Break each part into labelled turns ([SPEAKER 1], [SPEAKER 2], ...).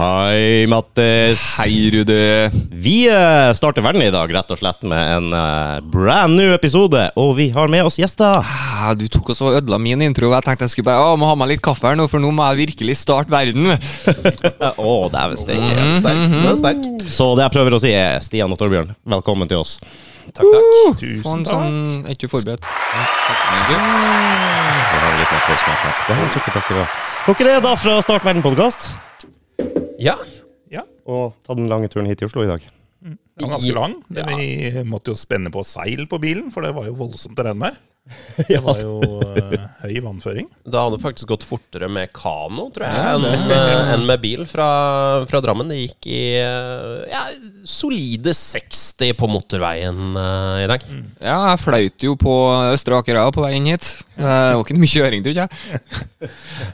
[SPEAKER 1] Hei, Mattis.
[SPEAKER 2] Hei, Rudi.
[SPEAKER 1] Vi eh, starter verden i dag rett og slett med en eh, brand new episode, og vi har med oss gjester.
[SPEAKER 2] Ah, Du tok også og ødela min intro. Jeg tenkte jeg skulle bare, å, må ha meg litt kaffe her nå, for nå må jeg virkelig starte verden.
[SPEAKER 1] Å, dæven steike.
[SPEAKER 3] Den er sterk. Den er sterk.
[SPEAKER 1] Så det jeg prøver å si, er Stian og Torbjørn, velkommen til oss.
[SPEAKER 3] Takk, takk.
[SPEAKER 2] Sånn,
[SPEAKER 3] Tusen takk.
[SPEAKER 2] sånn, er ikke du forberedt? Nei,
[SPEAKER 1] Vi har en liten applausklapp her. Det har sikkert dere også. Dere er da fra Start verden-podkast,
[SPEAKER 3] Ja.
[SPEAKER 1] og tatt den lange turen hit til Oslo i dag.
[SPEAKER 3] Den var ganske lang. Det, Vi måtte jo spenne på seil på bilen, for det var jo voldsomt terreng der. Det var jo eh, høy vannføring.
[SPEAKER 4] Det hadde faktisk gått fortere med kano, tror jeg, enn eh, enn med bil fra, fra Drammen. Det gikk i eh, ja, solide 60 på motorveien eh, i dag.
[SPEAKER 2] du- Ja, jeg fløyt jo på Østre Akerøya på vei inn hit. Det var ikke mye kjøring, tror jeg.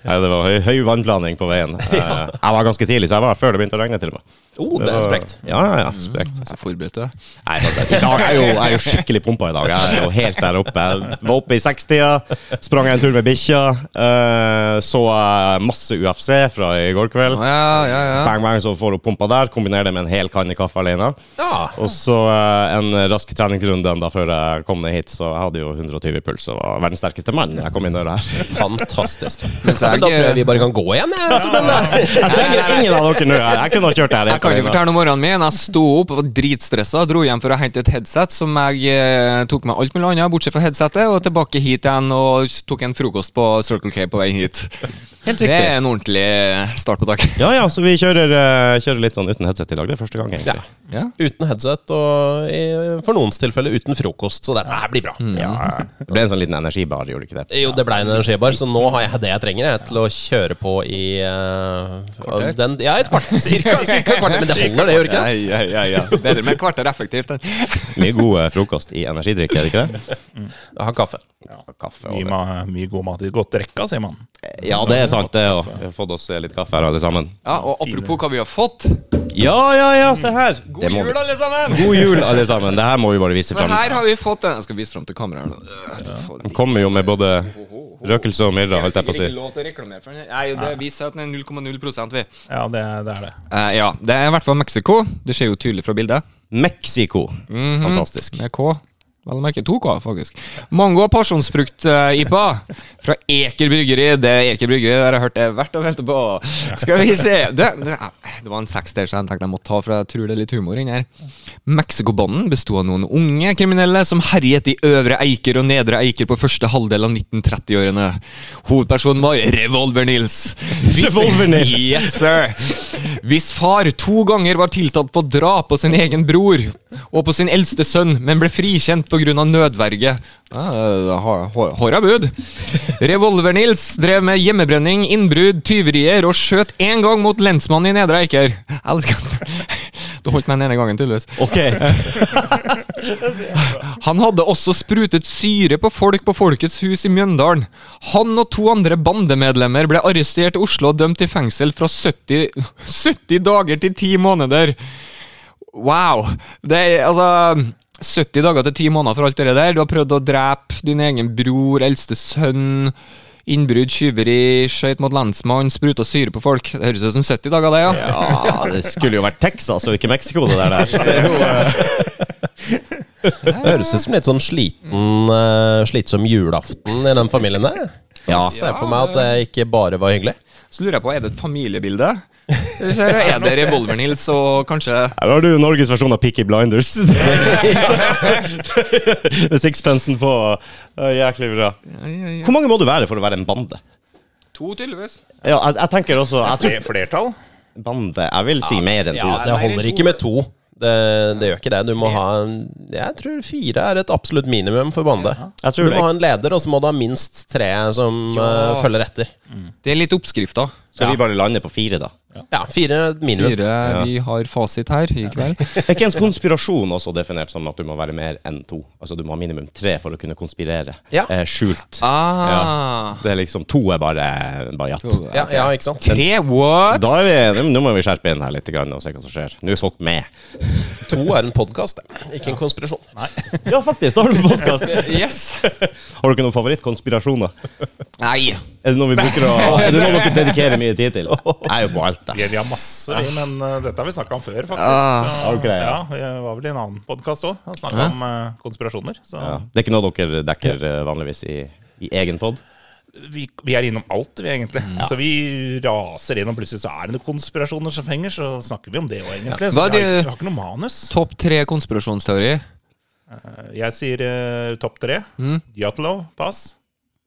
[SPEAKER 1] Nei, det var høy, høy vannplaning på veien. Eh, Jeg var ganske tidlig, så jeg var før det begynte å regne, til og med.
[SPEAKER 4] Oh, det er
[SPEAKER 1] var-
[SPEAKER 4] sprekt.
[SPEAKER 1] Ja, ja, ja. Sprekt.
[SPEAKER 2] Så forberedte jeg.
[SPEAKER 1] Nei, det, I dag er jeg jo, jeg er jo skikkelig pumpa i dag. Jeg er jo helt der oppe. Jeg var oppe i 60-tida, sprang en tur med bikkja, eh, så eh, masse UFC fra i går kveld.
[SPEAKER 2] Å, Ja, ja, ja.
[SPEAKER 1] Bang, bang, så får hun pumpa der. Kombiner det med en hel kanne kaffe alene.
[SPEAKER 4] Ja.
[SPEAKER 1] Og så eh, en rask treningsrunde da før jeg kom ned hit, så jeg hadde jo 120 puls og var verdens sterkeste mann da jeg kom inn døra her.
[SPEAKER 4] Fantastisk.
[SPEAKER 2] Mens jeg-
[SPEAKER 4] Men da tror jeg vi bare kan gå igjen. Jeg, vet du, men, eh,
[SPEAKER 1] Jeg trenger ingen av dere nå. Jeg kunne ha kjørt det her
[SPEAKER 2] Jeg
[SPEAKER 1] helt
[SPEAKER 2] kan jo
[SPEAKER 1] alene.
[SPEAKER 2] fortelle om morgenen min. Jeg sto opp og var dritstressa. Dro hjem for å hente et headset som jeg eh, tok med alt mulig annet, bortsett fra headsetet, og tilbake hit igjen og tok en frokost på Circle K på vei hit.
[SPEAKER 1] Helt riktig.
[SPEAKER 2] Det er en ordentlig start på dagen.
[SPEAKER 1] Ja ja, så vi kjører, eh, kjører litt sånn uten headset i dag. Det er første gang, egentlig.
[SPEAKER 4] ja.
[SPEAKER 2] Ja.
[SPEAKER 4] Uten headset og i, for noens tilfelle uten frokost, så dette her blir bra.
[SPEAKER 1] Det ble en sånn liten energibar, gjorde det ikke det?
[SPEAKER 4] Jo, det blei en energibar, så nå har jeg det jeg trenger jeg, til å kjøre på i uh, den, Ja, et kvarter. Cirka, cirka et kvarter. Men det holder, det gjør ikke det?
[SPEAKER 2] ja, ja, ja. Bedre med et kvarter effektivt enn
[SPEAKER 1] Mye god eh, frokost i energidrikk, er det ikke det?
[SPEAKER 4] Jeg har kaffe.
[SPEAKER 1] Kaffe
[SPEAKER 3] Mye,
[SPEAKER 1] og
[SPEAKER 3] ma mye god mat i godt rekka, sier man.
[SPEAKER 1] Ja, det er sant, det òg. Vi har fått oss eh, litt kaffe her, alle sammen.
[SPEAKER 2] Ja, og apropos hva vi har fått.
[SPEAKER 1] Ja, ja, ja, se her!
[SPEAKER 2] God jul, alle sammen!
[SPEAKER 1] God jul, alle sammen. Det her må vi bare vise
[SPEAKER 2] Men
[SPEAKER 1] fram.
[SPEAKER 2] her har vi fått en Jeg skal vise fram til kameraet. nå. Øh, faen.
[SPEAKER 1] De kommer jo med både røkelse og myrra, holdt jeg på å si.
[SPEAKER 2] sikkert ikke lov til å reklamere for den. Nei, det viser at den er 0,0 vi.
[SPEAKER 3] Ja, det, det er det.
[SPEAKER 2] Eh, ja, det er i hvert fall Mexico. Det ser jo tydelig fra bildet.
[SPEAKER 1] Mexico.
[SPEAKER 3] Mhm.
[SPEAKER 1] Fantastisk.
[SPEAKER 2] Med K. Vel å merke 2K, faktisk. Mango- og pasjonsfrukt-ipa fra Eker bryggeri. Det er Eker bryggeri der jeg har hørt det er verdt å vente på. Skal vi se Det, det, det var en sekster som jeg tenkte jeg måtte ta, for jeg tror det er litt humor inni her. Mexicobanden besto av noen unge kriminelle som herjet i Øvre Eiker og Nedre Eiker på første halvdel av 1930-årene. Hovedpersonen var Revolver-Nils.
[SPEAKER 1] Revolver-Nils.
[SPEAKER 2] Yes, sir. Hvis far to ganger var tiltalt for drap på sin egen bror og på sin eldste sønn, men ble frikjent pga. nødverge ah, har- har- Håra bud. Revolver-Nils drev med hjemmebrenning, innbrudd, tyverier og skjøt én gang mot lensmannen i Nedre Eiker. Elsker Det holdt meg den ene gangen, tydeligvis.
[SPEAKER 1] Ok.
[SPEAKER 2] Han hadde også sprutet syre på folk på Folkets hus i Mjøndalen. Han og to andre bandemedlemmer ble arrestert i Oslo og dømt til fengsel fra 70, 70 dager til 10 måneder. Wow! Det er altså 70 dager til 10 måneder for alt det der. Du har prøvd å drepe din egen bror, eldste sønn. Innbrudd, tyveri, skøyt mot lensmann, spruta syre på folk. Det høres ut som 70 dager, det, ja.
[SPEAKER 1] Ja, det skulle jo vært Texas og ikke Mexico, det der. der.
[SPEAKER 4] Det høres ut som litt sånn sliten, eh, slitsom julaften i den familien der.
[SPEAKER 1] Ja.
[SPEAKER 4] Jeg ser for meg at det ikke bare var hyggelig.
[SPEAKER 2] Så lurer jeg på, er det et familiebilde? Eller er det Revolver-Nils og kanskje
[SPEAKER 1] Her har du Norges versjon av Picky Blinders. Med sixpencen på. Det er Jæklig bra. Hvor mange må du være for å være en bande?
[SPEAKER 2] To, tydeligvis.
[SPEAKER 1] Ja, jeg, jeg tenker også jeg tror,
[SPEAKER 3] Fle- Flertall?
[SPEAKER 1] Bande Jeg vil si mer enn to.
[SPEAKER 4] Ja, det
[SPEAKER 2] nei,
[SPEAKER 4] holder
[SPEAKER 2] det er
[SPEAKER 4] ikke med to. Det, det gjør ikke det. Du må ha en, Jeg tror fire er et absolutt minimum for bande.
[SPEAKER 1] Jeg
[SPEAKER 4] Du
[SPEAKER 1] tror
[SPEAKER 4] må
[SPEAKER 1] det.
[SPEAKER 4] ha en leder, og så må du ha minst tre som
[SPEAKER 2] Ja.
[SPEAKER 4] eh, følger etter.
[SPEAKER 2] Det er litt oppskrifta.
[SPEAKER 1] Skal vi bare lande på fire, da?
[SPEAKER 4] Ja, fire er et minimum.
[SPEAKER 2] Fire, vi har fasit her i kveld.
[SPEAKER 1] Er ikke ens konspirasjon også definert som at du må være mer enn to? Altså du må ha minimum tre for å kunne konspirere.
[SPEAKER 4] Ja.
[SPEAKER 1] Eh, skjult.
[SPEAKER 2] Ah,
[SPEAKER 1] Det er liksom To er bare, bare jatt.
[SPEAKER 2] To,
[SPEAKER 4] Ja, ja, ikke sant?
[SPEAKER 2] Tre, what?
[SPEAKER 1] Da er vi, nå må vi skjerpe inn her litt grann og se hva som skjer. Nå er Sott med.
[SPEAKER 4] To er en podkast, ikke en konspirasjon.
[SPEAKER 1] Ja, faktisk! Da har du podkast.
[SPEAKER 2] Yes.
[SPEAKER 1] Har du ikke noen favorittkonspirasjoner?
[SPEAKER 2] Nei.
[SPEAKER 1] Er det noe vi bruker å Er det noe dere dedikerer mye tid til? Jeg er jo på alt. helvete.
[SPEAKER 3] Vi har masse, vi, men eh, dette har vi snakka om før, faktisk.
[SPEAKER 1] Ah,
[SPEAKER 3] Så,
[SPEAKER 1] ok, ja.
[SPEAKER 3] ja, jeg var vel i en annen podkast òg og snakka om eh, konspirasjoner. Så
[SPEAKER 1] Ja. Det er ikke noe dere dekker eh, vanligvis i, i egen pod?
[SPEAKER 3] vi, vi er innom alt, vi, egentlig.
[SPEAKER 1] Mm.
[SPEAKER 3] Så vi raser inn, og plutselig så er det noen konspirasjoner som henger, så snakker vi om det òg, egentlig. Så
[SPEAKER 2] Hva er
[SPEAKER 3] vi, har,
[SPEAKER 2] det-
[SPEAKER 3] vi har ikke noe manus.
[SPEAKER 2] Topp tre konspirasjonsteori.
[SPEAKER 3] Jeg sier eh, topp tre. Dyatlov pass.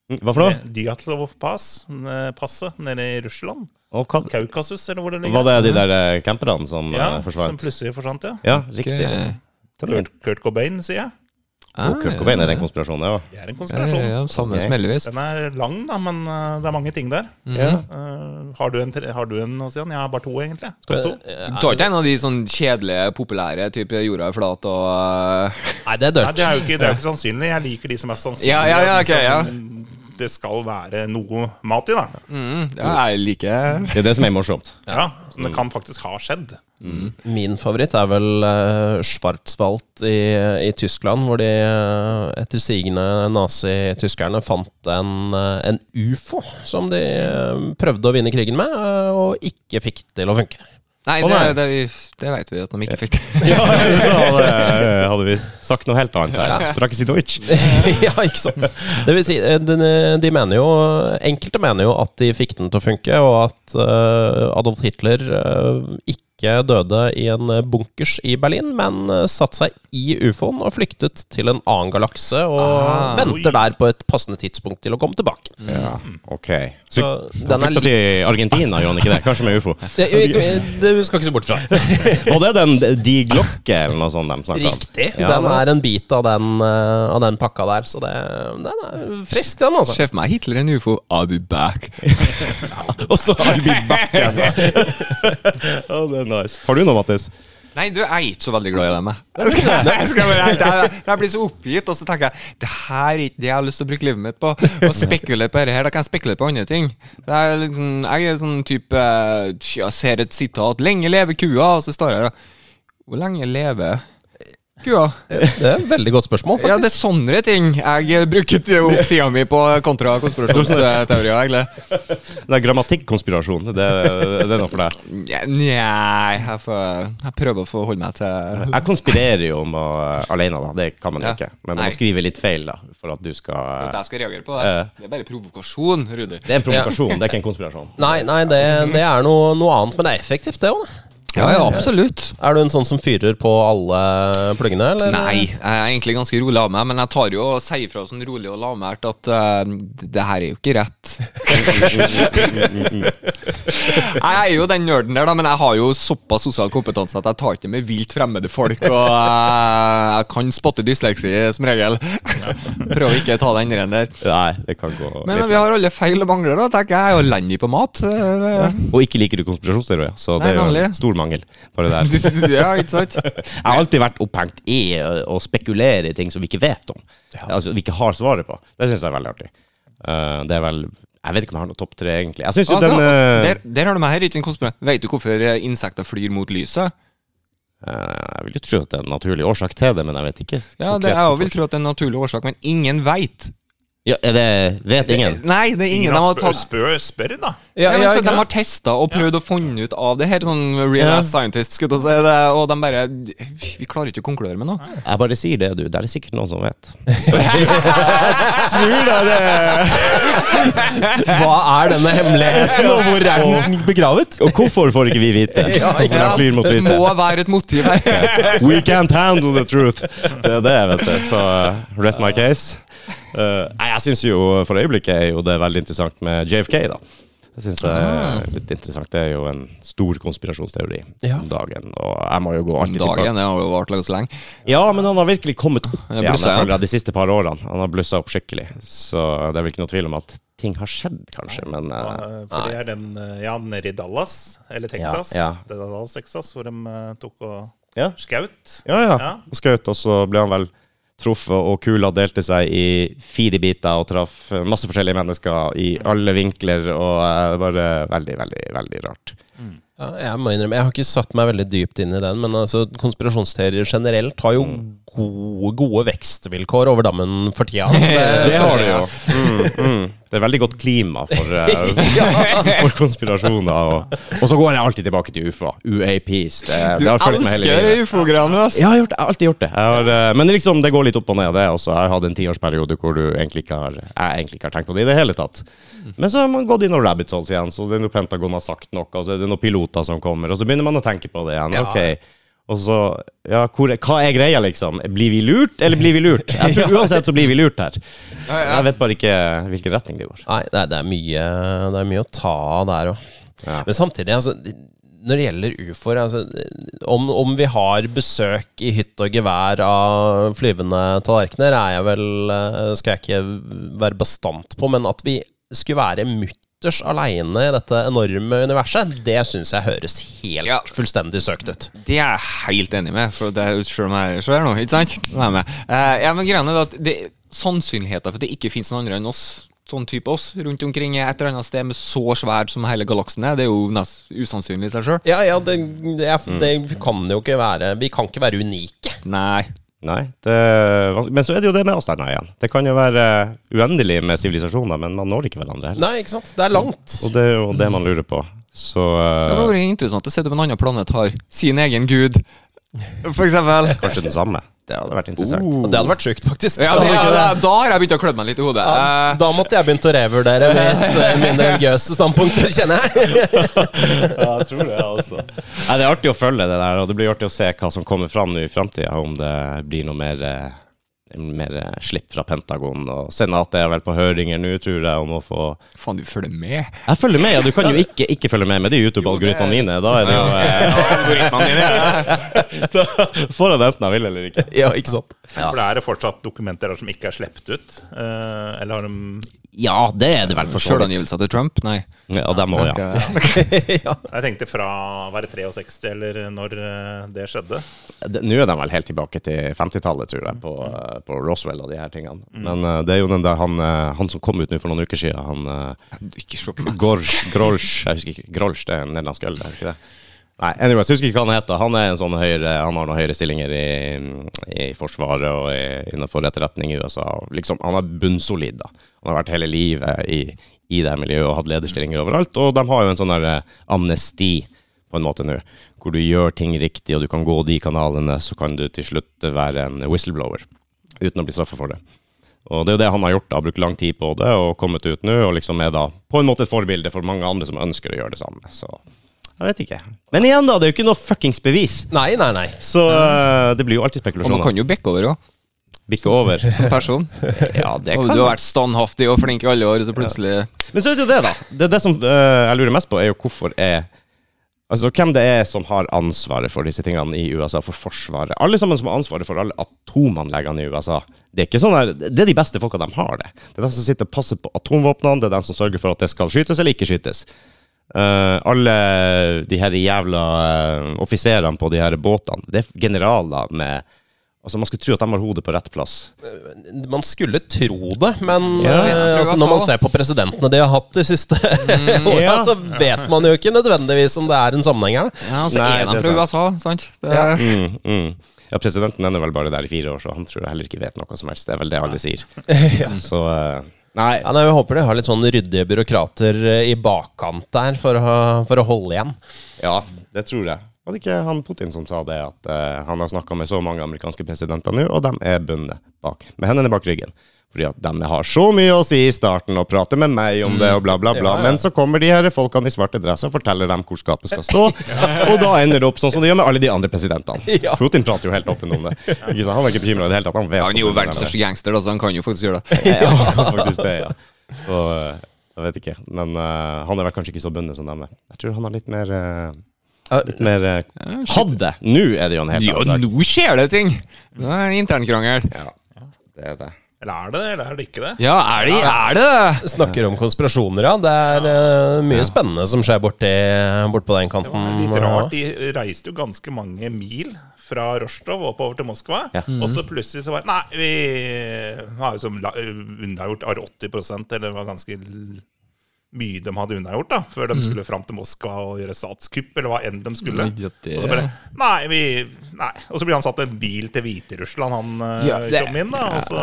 [SPEAKER 1] Mm, Hva for noe?
[SPEAKER 3] Dyatlov pass, eh, passet nede i Russland.
[SPEAKER 1] Og hva,
[SPEAKER 3] Kaukasus, eller hvor det ligger.
[SPEAKER 1] var det de der eh, camperne som
[SPEAKER 3] ja,
[SPEAKER 1] eh,
[SPEAKER 3] som
[SPEAKER 1] forsvant?
[SPEAKER 3] plutselig forsvant, ja.
[SPEAKER 1] Ja, riktig.
[SPEAKER 2] Ok.
[SPEAKER 1] Kurt
[SPEAKER 3] Kurt, Kurt Cobain, sier jeg.
[SPEAKER 4] Ah.
[SPEAKER 1] Cobain er den konspirasjonen, ja.
[SPEAKER 3] Det er en
[SPEAKER 2] Ah, Ja, ja,
[SPEAKER 3] konspirasjon.
[SPEAKER 2] ja, samme
[SPEAKER 1] Ok.
[SPEAKER 2] smellevis.
[SPEAKER 3] Den er lang, da, men eh, det er mange ting der.
[SPEAKER 1] ja.
[SPEAKER 3] Eh, har, du en, tre- har du en, Sian? Jeg har bare to, egentlig. Skal
[SPEAKER 1] Eh,
[SPEAKER 3] du ha to?
[SPEAKER 2] Du tar ikke en av de sånn kjedelige, populære type jorda er flat og øh,
[SPEAKER 4] Nei, det
[SPEAKER 3] Nei, det
[SPEAKER 4] er dørt.
[SPEAKER 3] er jo ikke, det er jo ikke sannsynlig. Jeg liker de som er sannsynlige.
[SPEAKER 2] Ja, ja, ja,
[SPEAKER 3] og de
[SPEAKER 2] ok, ja.
[SPEAKER 3] som Det skal være noe mat i, da.
[SPEAKER 2] mm, Ja, jeg liker
[SPEAKER 1] Det er det som er morsomt.
[SPEAKER 3] Ja, Som det kan faktisk ha skjedd.
[SPEAKER 4] Min favoritt er vel uh, Schwarzwald i, i Tyskland, hvor de eh, etter sigende nazityskerne fant en, eh, en ufo som de eh, prøvde å vinne krigen med, eh, og ikke fikk til å funke.
[SPEAKER 2] Nei,
[SPEAKER 1] Å,
[SPEAKER 2] det,
[SPEAKER 1] nei.
[SPEAKER 2] det, det vet vi at de ikke fikk til.
[SPEAKER 1] Ja, så hadde, eh, hadde vi sagt noe helt annet her. Sprakk i Deutsch.
[SPEAKER 4] Eh. ja, ikke sant. Det vil si, eh, den, eh, de mener jo Enkelte mener jo at de fikk den til å funke, og at eh, Adolf Hitler eh, ikke døde i en eh, bunkers i Berlin, men eh, satte seg i ufoen og flyktet til en annen galakse, og
[SPEAKER 2] Ah.
[SPEAKER 4] venter der på et passende tidspunkt til å komme tilbake.
[SPEAKER 1] Ja, ok. Så,
[SPEAKER 4] Så
[SPEAKER 1] han
[SPEAKER 4] den er
[SPEAKER 1] flytta
[SPEAKER 4] litt
[SPEAKER 1] til Argentina, gjorde han ikke det? Kanskje med ufo.
[SPEAKER 4] det, det skal ikke se bort fra.
[SPEAKER 1] Var det den De Glocke eller noe sånt de snakka om?
[SPEAKER 4] Riktig.
[SPEAKER 1] Ja, det
[SPEAKER 4] Den
[SPEAKER 1] var-
[SPEAKER 4] er en bit av den, eh, av den pakka der, så det, den er frisk, den, altså.
[SPEAKER 2] Se for meg Hitler en ufo. I'll be back.
[SPEAKER 1] Og så har vi back igjen, da. Ja, det er nice. Har du noe, Mattis?
[SPEAKER 2] Nei, du jeg er ikke så veldig glad i dem. jeg. Jeg, skal, jeg, skal være helt ærlig. jeg blir så oppgitt, og så tenker jeg det her er ikke det jeg har lyst til å bruke livet mitt på. Å spekulere på dette her, da kan jeg spekulere på andre ting. Det er liksom, jeg er sånn type Jeg ser et sitat 'Lenge leve kua', og så står jeg her og Hvor lenge lever kua?
[SPEAKER 4] Det er et veldig godt spørsmål,
[SPEAKER 2] Ja,
[SPEAKER 4] faktisk.
[SPEAKER 2] det er sånne ting jeg eh, bruker til- opp tida mi på kontra konspirasjonsteorier, egentlig.
[SPEAKER 1] Det er grammatikkonspirasjon. Det, det er noe for deg.
[SPEAKER 2] Nja, Nja, jeg, får- jeg prøver å forholde meg til
[SPEAKER 1] Jeg konspirerer jo om å, eh, alene, da. Det kan man jo
[SPEAKER 2] Ja.
[SPEAKER 1] ikke. Men
[SPEAKER 2] Nei.
[SPEAKER 1] man skriver litt feil, da, for at du
[SPEAKER 2] at
[SPEAKER 1] skal
[SPEAKER 2] jeg skal reagere på det. Det er bare provokasjon, Rudi.
[SPEAKER 1] Det er en provokasjon, det er ikke en konspirasjon.
[SPEAKER 4] Nei, nei det, det er noe, noe annet, men det er effektivt, det òg.
[SPEAKER 2] Ja, ja, absolutt.
[SPEAKER 4] Er du en sånn som fyrer på alle pluggene, eller?
[SPEAKER 2] Nei, jeg er egentlig ganske rolig av meg, men jeg tar jo og sier fra sånn rolig og lavmælt at eh, det her er jo ikke rett. jeg er jo den nerden der, da, men jeg har jo såpass sosial kompetanse at jeg tar ikke med vilt fremmede folk, og eh, jeg kan spotte dysleksi som regel. Prøver ikke å ta den reen der.
[SPEAKER 1] Nei, det kan gå
[SPEAKER 2] Men
[SPEAKER 1] litt
[SPEAKER 2] vi har alle feil og mangler, da. tenker Jeg Jeg er jo elendig på mat. eh,
[SPEAKER 1] Og ikke liker du konspirasjonsteorier, så
[SPEAKER 2] Nei,
[SPEAKER 1] det er jo
[SPEAKER 2] nemlig.
[SPEAKER 1] en stor mangel. Bare der.
[SPEAKER 2] Ja, ikke sant?
[SPEAKER 1] Jeg har alltid vært opphengt i å å spekulere i ting som vi ikke vet om. Altså vi ikke har svaret på. Det syns jeg er veldig artig. Eh, det er vel Jeg vet ikke om jeg har noe topp tre, egentlig. Jeg syns jo
[SPEAKER 2] Ah,
[SPEAKER 1] den
[SPEAKER 2] da,
[SPEAKER 1] eh,
[SPEAKER 2] der, der har du meg her, ikke en konspirant. Vet du hvorfor eh, insekter flyr mot lyset?
[SPEAKER 1] eh, Jeg vil jo tro at det er en naturlig årsak til det, men jeg vet ikke.
[SPEAKER 2] Ja, det
[SPEAKER 1] konkret
[SPEAKER 2] er, Jeg
[SPEAKER 1] hvorfor.
[SPEAKER 2] vil tro at det er en naturlig årsak, men ingen veit.
[SPEAKER 1] ja, er det Vet ingen.
[SPEAKER 2] Nei, det er ingen,
[SPEAKER 3] Ingen
[SPEAKER 2] de
[SPEAKER 3] har
[SPEAKER 2] har
[SPEAKER 3] spør,
[SPEAKER 2] tatt
[SPEAKER 3] spør, spør, da.
[SPEAKER 2] ja,
[SPEAKER 4] Ja, ja,
[SPEAKER 2] så
[SPEAKER 4] ikke
[SPEAKER 2] De
[SPEAKER 4] sant?
[SPEAKER 2] har testa og prøvd å finne ut av det her, sånn real
[SPEAKER 1] Ja.
[SPEAKER 2] ass scientist, skulle jeg til å si det, og de bare Vi vi klarer ikke å konkludere med noe.
[SPEAKER 1] Jeg bare sier det, du. Det er det sikkert noen som vet. jeg tror det er det.
[SPEAKER 4] Hva er denne hemmeligheten, og hvor er den begravet?
[SPEAKER 1] Og hvorfor får ikke vi vite?
[SPEAKER 4] Ja, ikke
[SPEAKER 1] Hvorfor de flyr mot
[SPEAKER 2] Det
[SPEAKER 1] lyset.
[SPEAKER 2] må være et motiv her.
[SPEAKER 1] We can't handle the truth. Det er det, vet du. Så uh, rest my case. Uh, nei, jeg syns jo for øyeblikket er jo det veldig interessant med JFK, da. Jeg synes det er litt interessant. Det er jo en stor konspirasjonsteori
[SPEAKER 4] Ah. Ja.
[SPEAKER 1] om dagen. Og jeg må jo gå alltid
[SPEAKER 2] Dagen det har jo vart laga så lenge.
[SPEAKER 1] Ja, men han har virkelig kommet opp igjen jeg
[SPEAKER 2] blussa igjen.
[SPEAKER 1] føler jeg, de siste par årene. Han har blussa opp skikkelig. Så det er vel ikke noe tvil om at ting har skjedd, kanskje. Men uh,
[SPEAKER 3] Eh, For det er den eh, ja, nede i Dallas, eller Texas.
[SPEAKER 1] ja.
[SPEAKER 3] Det er Dallas, Texas, hvor de eh, tok og
[SPEAKER 1] ja.
[SPEAKER 3] skaut.
[SPEAKER 1] Ja, ja.
[SPEAKER 3] Ja.
[SPEAKER 1] Og Skjøt, og så ble han vel truffet, og kula delte seg i fire biter og traff masse forskjellige mennesker i alle vinkler, og eh, det var eh, veldig, veldig, veldig rart.
[SPEAKER 4] Ja, jeg må innrømme, jeg har ikke satt meg veldig dypt inn i den, men altså, konspirasjonsteorier generelt har jo gode, gode vekstvilkår over dammen for tida.
[SPEAKER 2] Eh,
[SPEAKER 1] Det
[SPEAKER 4] skal
[SPEAKER 1] har det
[SPEAKER 4] jeg si.
[SPEAKER 1] jo. Mm, mm. Det er veldig godt klima for, eh, for konspirasjoner. Og, og så går jeg alltid tilbake til UFA. UAPs. Det,
[SPEAKER 2] Du
[SPEAKER 1] det har fulgt meg hele
[SPEAKER 2] elsker
[SPEAKER 1] livet.
[SPEAKER 2] ufo-greiene, ass!
[SPEAKER 1] Ja, jeg har, gjort det. jeg har alltid gjort det. Jeg har, eh, men liksom, det går litt opp og ned. Det, også. Jeg har hatt en tiårsperiode hvor du egentlig ikke har, jeg egentlig ikke har tenkt på det i det hele tatt. Men så har man gått inn og rabbit holes igjen, så det er noe Pentagon har sagt noe, og så er det noen piloter som kommer, og så begynner man å tenke på det igjen.
[SPEAKER 4] Ja.
[SPEAKER 1] Ok. Og så, ja, hvor, Hva er greia, liksom? Blir vi lurt, eller blir vi lurt? Jeg tror Uansett så blir vi lurt her. Jeg vet bare ikke hvilken retning det går.
[SPEAKER 4] Nei, det er, det, er mye, det er mye å ta av der òg. Men samtidig, altså, når det gjelder ufoer altså, om, om vi har besøk i hytt og gevær av flyvende tallerkener, er jeg vel eh, Skal jeg ikke være bastant på, men at vi skulle være mutters aleine i dette enorme universet, det syns jeg høres helt
[SPEAKER 2] Ja.
[SPEAKER 4] fullstendig søkt ut.
[SPEAKER 2] Det er jeg helt enig med, for det er selv om jeg er sjøl nå, ikke sant? Nå er jeg med. Eh, ja, men greia er det at det, sannsynligheten for at det ikke finnes noen andre enn oss, sånn type oss, rundt omkring i et eller annet sted med så svært som hele galaksen er, det er jo nest usannsynlig i seg sjøl.
[SPEAKER 4] Ja, ja, det, det, er- det kan jo ikke være Vi kan ikke være unike.
[SPEAKER 2] Nei.
[SPEAKER 1] Nei, det, Men så er det jo det med avstander igjen. Det kan jo være uendelig med sivilisasjoner, men man når ikke hverandre. heller.
[SPEAKER 4] Nei, ikke sant? Det er langt.
[SPEAKER 1] Og det er jo det man lurer på. Så
[SPEAKER 2] Det
[SPEAKER 1] eh,
[SPEAKER 2] hadde vært interessant å se om en annen planet har sin egen gud, for eksempel.
[SPEAKER 1] kanskje den samme. Det hadde vært interessant.
[SPEAKER 2] Oh.
[SPEAKER 4] Det hadde vært sjukt, faktisk.
[SPEAKER 2] Ja,
[SPEAKER 4] Det
[SPEAKER 2] det,
[SPEAKER 4] hadde ikke
[SPEAKER 2] ja,
[SPEAKER 4] det.
[SPEAKER 2] det- da har jeg begynt å klø meg litt i hodet.
[SPEAKER 4] Ja,
[SPEAKER 2] Eh,
[SPEAKER 4] da måtte jeg begynt å revurdere mitt eh, mine religiøse standpunkter, kjenner jeg.
[SPEAKER 1] Ja, jeg tror det, altså. Nei, det er artig å følge det der, og det blir artig å se hva som kommer fram nå i framtida, om det blir noe mer eh, mer eh, slipp fra Pentagon. Og Senatet er vel på høringer nå, tror jeg, om å få
[SPEAKER 2] Eh, faen, du følger med?
[SPEAKER 1] Jeg følger med, ja. Du kan jo ikke ikke følge med med de YouTube-algoritmene mine. Da er det jo eh, Får jeg det enten jeg vil eller ikke.
[SPEAKER 4] Ja, ikke sant?
[SPEAKER 3] For det er det fortsatt dokumenter der som ikke er sluppet ut. eh, eller har de
[SPEAKER 1] Ja, det er det vel for så vidt.
[SPEAKER 2] Sjølangivelse til Trump? Nei. Eh,
[SPEAKER 1] Ja, dem òg, ja.
[SPEAKER 4] Ja.
[SPEAKER 3] Jeg tenkte fra å være 63 eller når eh, det skjedde.
[SPEAKER 1] Det- Nå er de vel helt tilbake til 50-tallet, tror jeg, på, eh, på Roswell og de her tingene. Men eh, det er jo den der han, eh, han som kom ut nå for noen uker siden, han eh,
[SPEAKER 2] Ikke se på meg.
[SPEAKER 1] Gorsch, Grolsch, jeg husker ikke, Grolsch, det er en nederlandsk øl, er det ikke det? Nei, anyways, jeg husker ikke hva han heter. Han er en sånn høyere, han har noen høyere stillinger i, i Forsvaret og i, innenfor etterretning i USA. og Liksom, han er bunnsolid, da. Han har vært hele livet i, i det her miljøet og hatt lederstillinger overalt. Og de har jo en sånn der eh, amnesti på en måte nå, hvor du gjør ting riktig, og du kan gå de kanalene, så kan du til slutt være en whistleblower uten å bli straffa for det. Og det er jo det han har gjort, da, brukt lang tid på det og kommet ut nå, og liksom er da på en måte et forbilde for mange andre som ønsker å gjøre det samme. Så jeg vet ikke. Men igjen, da, det er jo ikke noe fuckings bevis.
[SPEAKER 4] Nei, nei, nei.
[SPEAKER 1] Så eh, det blir jo alltid
[SPEAKER 2] Og man
[SPEAKER 1] spekulasjoner.
[SPEAKER 2] kan jo bekke over òg,
[SPEAKER 1] Bikke over.
[SPEAKER 2] som person.
[SPEAKER 1] Ja, det
[SPEAKER 2] Og
[SPEAKER 1] kan
[SPEAKER 2] du har vært standhaftig og flink i alle år, og så plutselig
[SPEAKER 1] Men så er det jo det, da. Det, er det som eh, jeg lurer mest på, er jo hvorfor er Altså hvem det er som har ansvaret for disse tingene i USA, for Forsvaret. Alle sammen som har ansvaret for alle atomanleggene i USA. Det er ikke sånn der, det er de beste folka de har, det. Det er de som sitter og passer på atomvåpnene, det er de som sørger for at det skal skytes eller ikke skytes. Eh, alle de her jævla eh, offiserene på de her båtene, det er generaler med Altså, man skulle tro at de har hodet på rett plass.
[SPEAKER 4] Man skulle tro det, men
[SPEAKER 1] Ja,
[SPEAKER 4] eh,
[SPEAKER 2] jeg tror jeg
[SPEAKER 4] altså,
[SPEAKER 2] sa
[SPEAKER 4] når man
[SPEAKER 2] det.
[SPEAKER 4] ser på presidentene de har hatt de siste åra,
[SPEAKER 1] ja.
[SPEAKER 4] så vet man jo ikke nødvendigvis om det er en sammenheng her. da.
[SPEAKER 2] Ja, altså
[SPEAKER 1] Nei,
[SPEAKER 2] er de
[SPEAKER 1] det er
[SPEAKER 2] fra USA, sant? Det,
[SPEAKER 1] Mm, mm. Ja, presidenten er nå vel bare der i fire år, så han tror jeg heller ikke vet noe som helst. Det er vel det alle sier. Så eh, Nei.
[SPEAKER 4] Ja, nei, Vi håper de har litt sånn ryddige byråkrater eh, i bakkant der for å, for å holde igjen.
[SPEAKER 1] Ja, det tror jeg. Var det ikke han Putin som sa det, at eh, han har snakka med så mange amerikanske presidenter nå, og de er bundet bak, med hendene bak ryggen. Fordi at de har så mye å si i starten, og prater med meg om det, og bla, bla, bla.
[SPEAKER 4] Ja, ja.
[SPEAKER 1] Men så kommer de her folkene i svarte dress og forteller dem hvor skapet skal stå. Og da ender det opp sånn som det gjør med alle de andre presidentene.
[SPEAKER 4] Ja.
[SPEAKER 1] Putin prater jo helt åpen om det. Ikke sant? Han er ikke bekymra i det hele tatt. Han vet
[SPEAKER 2] Ja, han er jo
[SPEAKER 1] hvordan det
[SPEAKER 2] verdens
[SPEAKER 1] er.
[SPEAKER 2] største gangster, da, så han kan jo faktisk gjøre det.
[SPEAKER 1] Ja, faktisk det, ja. Så eh, jeg vet ikke. Men eh, han er vel kanskje ikke så bundet som dem er. Jeg tror han har litt mer eh,
[SPEAKER 4] Ja,
[SPEAKER 1] Litt mer eh,
[SPEAKER 2] Ja, shit.
[SPEAKER 1] Hadde! Nå er det jo en helt
[SPEAKER 2] Ja,
[SPEAKER 1] annen sak.
[SPEAKER 2] nå skjer det ting! Nå er det en internkrangel.
[SPEAKER 1] Det er det.
[SPEAKER 3] Eller er det det, eller er det ikke det?
[SPEAKER 2] Ja, er det er det?
[SPEAKER 4] Snakker om konspirasjoner, ja. Det er eh, mye spennende som skjer borti, bort på den kanten.
[SPEAKER 3] Litt
[SPEAKER 4] eh,
[SPEAKER 3] rart, de reiste jo ganske mange mil fra Rostov og oppover til Moskva.
[SPEAKER 1] Ja.
[SPEAKER 2] Mm.
[SPEAKER 3] Og så plutselig så var Nei, vi har jo som la- unnagjort av 80 eller det var ganske l- mye de hadde unnagjort da, før de
[SPEAKER 2] Mm.
[SPEAKER 3] skulle fram til Moskva og gjøre statskupp, eller hva enn de skulle.
[SPEAKER 2] Ja, Mm. det-
[SPEAKER 3] Og så bare Nei, vi Nei. Og så blir han satt i en bil til Hviterussland, han eh,
[SPEAKER 2] Ja, det-
[SPEAKER 3] kom inn, da. Og så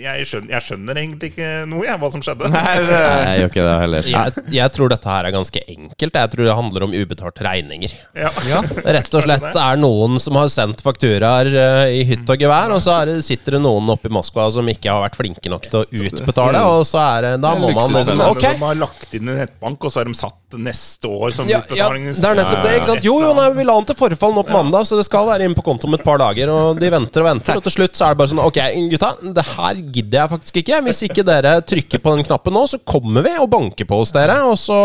[SPEAKER 3] jeg skjønner, jeg skjønner egentlig ikke noe, jeg, hva som skjedde.
[SPEAKER 2] Nei, det-
[SPEAKER 1] Nei, jeg gjør ikke det heller.
[SPEAKER 4] Jeg, jeg tror dette her er ganske enkelt. Jeg tror det handler om ubetalte regninger.
[SPEAKER 3] Ja.
[SPEAKER 2] Ja.
[SPEAKER 4] Rett og slett det er noen som har sendt fakturaer eh, i hytt og gevær, og så er det, sitter det noen oppe i Moskva som ikke har vært flinke nok til å utbetale, og så er det Da må man
[SPEAKER 2] luksus,
[SPEAKER 4] liksom
[SPEAKER 3] Men
[SPEAKER 4] Ok,
[SPEAKER 3] De har lagt inn en nettbank, og så har de satt neste år som
[SPEAKER 4] ja, ja,
[SPEAKER 3] utbetalings-
[SPEAKER 4] det er nettopp det. ikke sant? Jo, jo, nei, vi la den til forfall nå på mandag, så det skal være inne på konto om et par dager. Og de venter og venter, og til slutt så er det bare sånn Ok, gutta, det her gidder jeg faktisk ikke. Hvis ikke dere trykker på den knappen nå, så kommer vi og banker på hos dere, og så,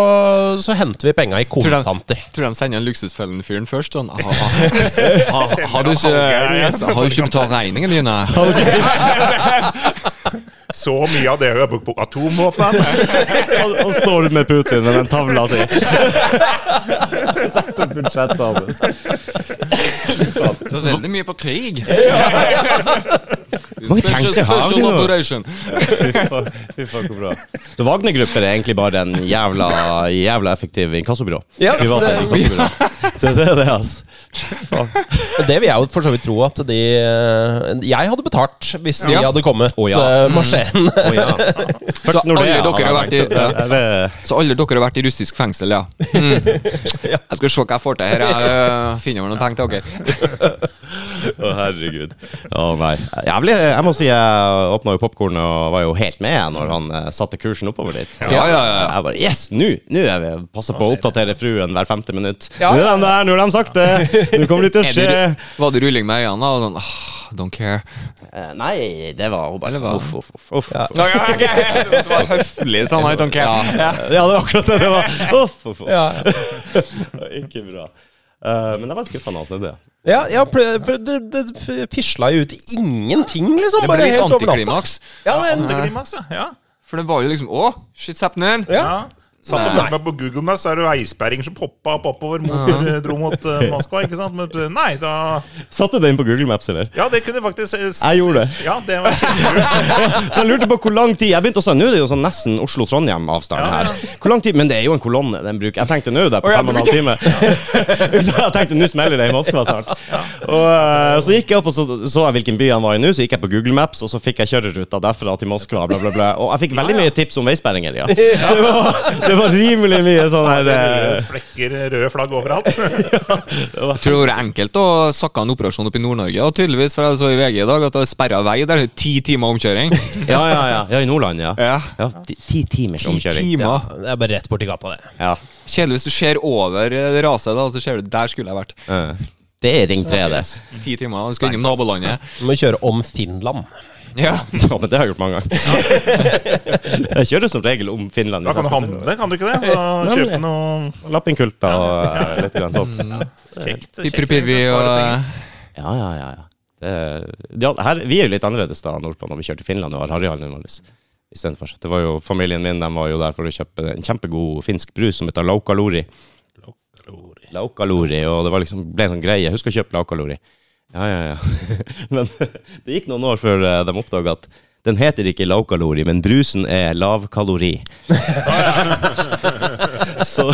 [SPEAKER 4] så henter vi penga i
[SPEAKER 2] Tror de-
[SPEAKER 4] kontanter.
[SPEAKER 2] Tror de sender en Luksusfellen-fyren først? Sånn. Ah, ah, ah, har du ikke, har du ikke betalt regningen din? nei?
[SPEAKER 3] Så mye av det jeg har brukt på atomvåpen.
[SPEAKER 1] Og, og står ut med Putin med den tavla si. Sett opp budsjettet hans.
[SPEAKER 2] Det er veldig mye på krig.
[SPEAKER 1] Mange tanks jeg har, du.
[SPEAKER 2] special operation.
[SPEAKER 1] Fy faen, fy faen, hvor bra. Så Wagner-grupper er egentlig bare en jævla, jævla effektiv inkassobyrå.
[SPEAKER 4] Ja,
[SPEAKER 1] Privat
[SPEAKER 4] det-
[SPEAKER 1] inkassobyrå. Det det er det, altså.
[SPEAKER 4] Men Det vil jeg jo for så vidt tro at de eh, Jeg hadde betalt hvis de
[SPEAKER 2] Ja.
[SPEAKER 4] hadde kommet
[SPEAKER 1] Å ja.
[SPEAKER 4] eh, marsjerende.
[SPEAKER 1] Å, ja. Først når det
[SPEAKER 2] alle
[SPEAKER 1] er
[SPEAKER 2] dere har vært i-
[SPEAKER 1] anlagt, er det-
[SPEAKER 2] Så alle dere har vært i russisk fengsel, ja. Mm. Jeg skal se hva jeg får til her. Jeg øh, finner over noen penger til dere.
[SPEAKER 1] Å, herregud. Å, nei. Jævlig. Jeg må si jeg åpna jo popkornet og var jo helt med når han eh, satte kursen oppover dit.
[SPEAKER 2] Ja, ja, ja.
[SPEAKER 1] Jeg bare Yes, nå nå er vi Passer på å oppdatere fruen hver femte minutt.
[SPEAKER 4] Ja.
[SPEAKER 1] Nå er de der, nå har de sagt det! Nå kommer det til å
[SPEAKER 2] Er
[SPEAKER 1] skje.
[SPEAKER 2] det- Var det rulling med øynene? Og sånn, ah, don't care.
[SPEAKER 1] Eh, Nei, det var hun bare
[SPEAKER 2] Eller hva?
[SPEAKER 1] sånn uff, uff, uff. uff, uff.
[SPEAKER 2] Ja, ja, ok. Det var høflig sånn. I don't care. Ja.
[SPEAKER 1] Ja, det var akkurat det det var. Uff, uff, uff.
[SPEAKER 4] Ja,
[SPEAKER 1] Ikke bra. Eh, men jeg var skuffa da han snudde.
[SPEAKER 4] ja, ja pl- for det, det f- fisla jo ut i ingenting, liksom.
[SPEAKER 2] Det
[SPEAKER 4] Bare
[SPEAKER 2] ble litt
[SPEAKER 4] helt over natta.
[SPEAKER 2] antiklimaks.
[SPEAKER 4] Ja, det,
[SPEAKER 3] Antiklimaks, ja. ja.
[SPEAKER 2] For det var jo liksom Å, shit's happening.
[SPEAKER 4] ja.
[SPEAKER 3] ja. Satt og
[SPEAKER 2] Nei.
[SPEAKER 3] fulgte meg på Google Maps, så er det jo eisperringer som poppa opp oppover mot, dro mot eh, Moskva. ikke sant? Men eh, nei, da
[SPEAKER 1] Satte du det inn på Google Maps, eller?
[SPEAKER 3] Ja, det kunne faktisk eh, s-
[SPEAKER 1] Jeg gjorde det.
[SPEAKER 3] Ja, det var skikkelig lurt.
[SPEAKER 1] Så jeg lurte på hvor lang tid Jeg begynte å si, nå er det jo sånn nesten Oslo-Trondheim-avstand
[SPEAKER 3] Ja, ja.
[SPEAKER 1] her. Hvor lang tid, Men det er jo en kolonne den bruker. Jeg tenkte nå er det på
[SPEAKER 2] Å, ja,
[SPEAKER 1] fem og en halv time. Så jeg tenkte nå smeller det i Moskva snart. Og eh, Så gikk jeg opp og så, så jeg hvilken by han var i nå, så gikk jeg på Google Maps, og så fikk jeg kjøreruta derfra til Moskva, bla, bla, bla. Og jeg fikk veldig mye tips om veisperringer, ja. Det var, det var rimelig mye sånn her eh,
[SPEAKER 3] Røde Flekker, røde flagg overalt.
[SPEAKER 2] Tror det var enkelt å sakke en operasjon opp i Nord-Norge. Og tydeligvis, for jeg så i VG i dag, at det er sperra vei der. det er Ti timer omkjøring.
[SPEAKER 1] Ja, ja, ja. ja I Nordland, ja.
[SPEAKER 2] Ja.
[SPEAKER 1] ja ti, ti timers
[SPEAKER 2] Ti
[SPEAKER 1] omkjøring. Ja.
[SPEAKER 2] timer.
[SPEAKER 4] det er bare rett borti gata, det.
[SPEAKER 1] Ja.
[SPEAKER 2] Kjedelig hvis du ser over eh, raset, da, så ser du der skulle jeg vært.
[SPEAKER 1] eh, Det er Ring 3, det.
[SPEAKER 2] Ti timer. Du skal innom nabolandet.
[SPEAKER 4] Du må kjøre om Finland.
[SPEAKER 2] Ja.
[SPEAKER 1] Ja, men det har jeg gjort mange ganger. Jeg kjører som regel om Finland.
[SPEAKER 3] Da kan du handle, kan du ikke det? Så
[SPEAKER 1] Nemlig.
[SPEAKER 3] kjøpe noe
[SPEAKER 1] Lappinkulta og eh, litt
[SPEAKER 3] Mm.
[SPEAKER 1] grann sånt.
[SPEAKER 3] kjekt.
[SPEAKER 2] Pippi-pippi
[SPEAKER 3] kjekt,
[SPEAKER 2] og
[SPEAKER 3] spare penger.
[SPEAKER 1] Ja, ja, ja. ja. Det, ja her, vi er jo litt annerledes da nordpå når vi kjører til Finland og har harryhallen vår. i stedet for. Det var jo Familien min de var jo der for å kjøpe en kjempegod finsk brus som heter laukalori. Laukalori, og det var liksom, ble en sånn greie. Husk å kjøpe laukalori. Ja, ja, ja. Men det gikk noen år før eh, de oppdaga at den heter ikke laukalori, men brusen er lavkalori. Så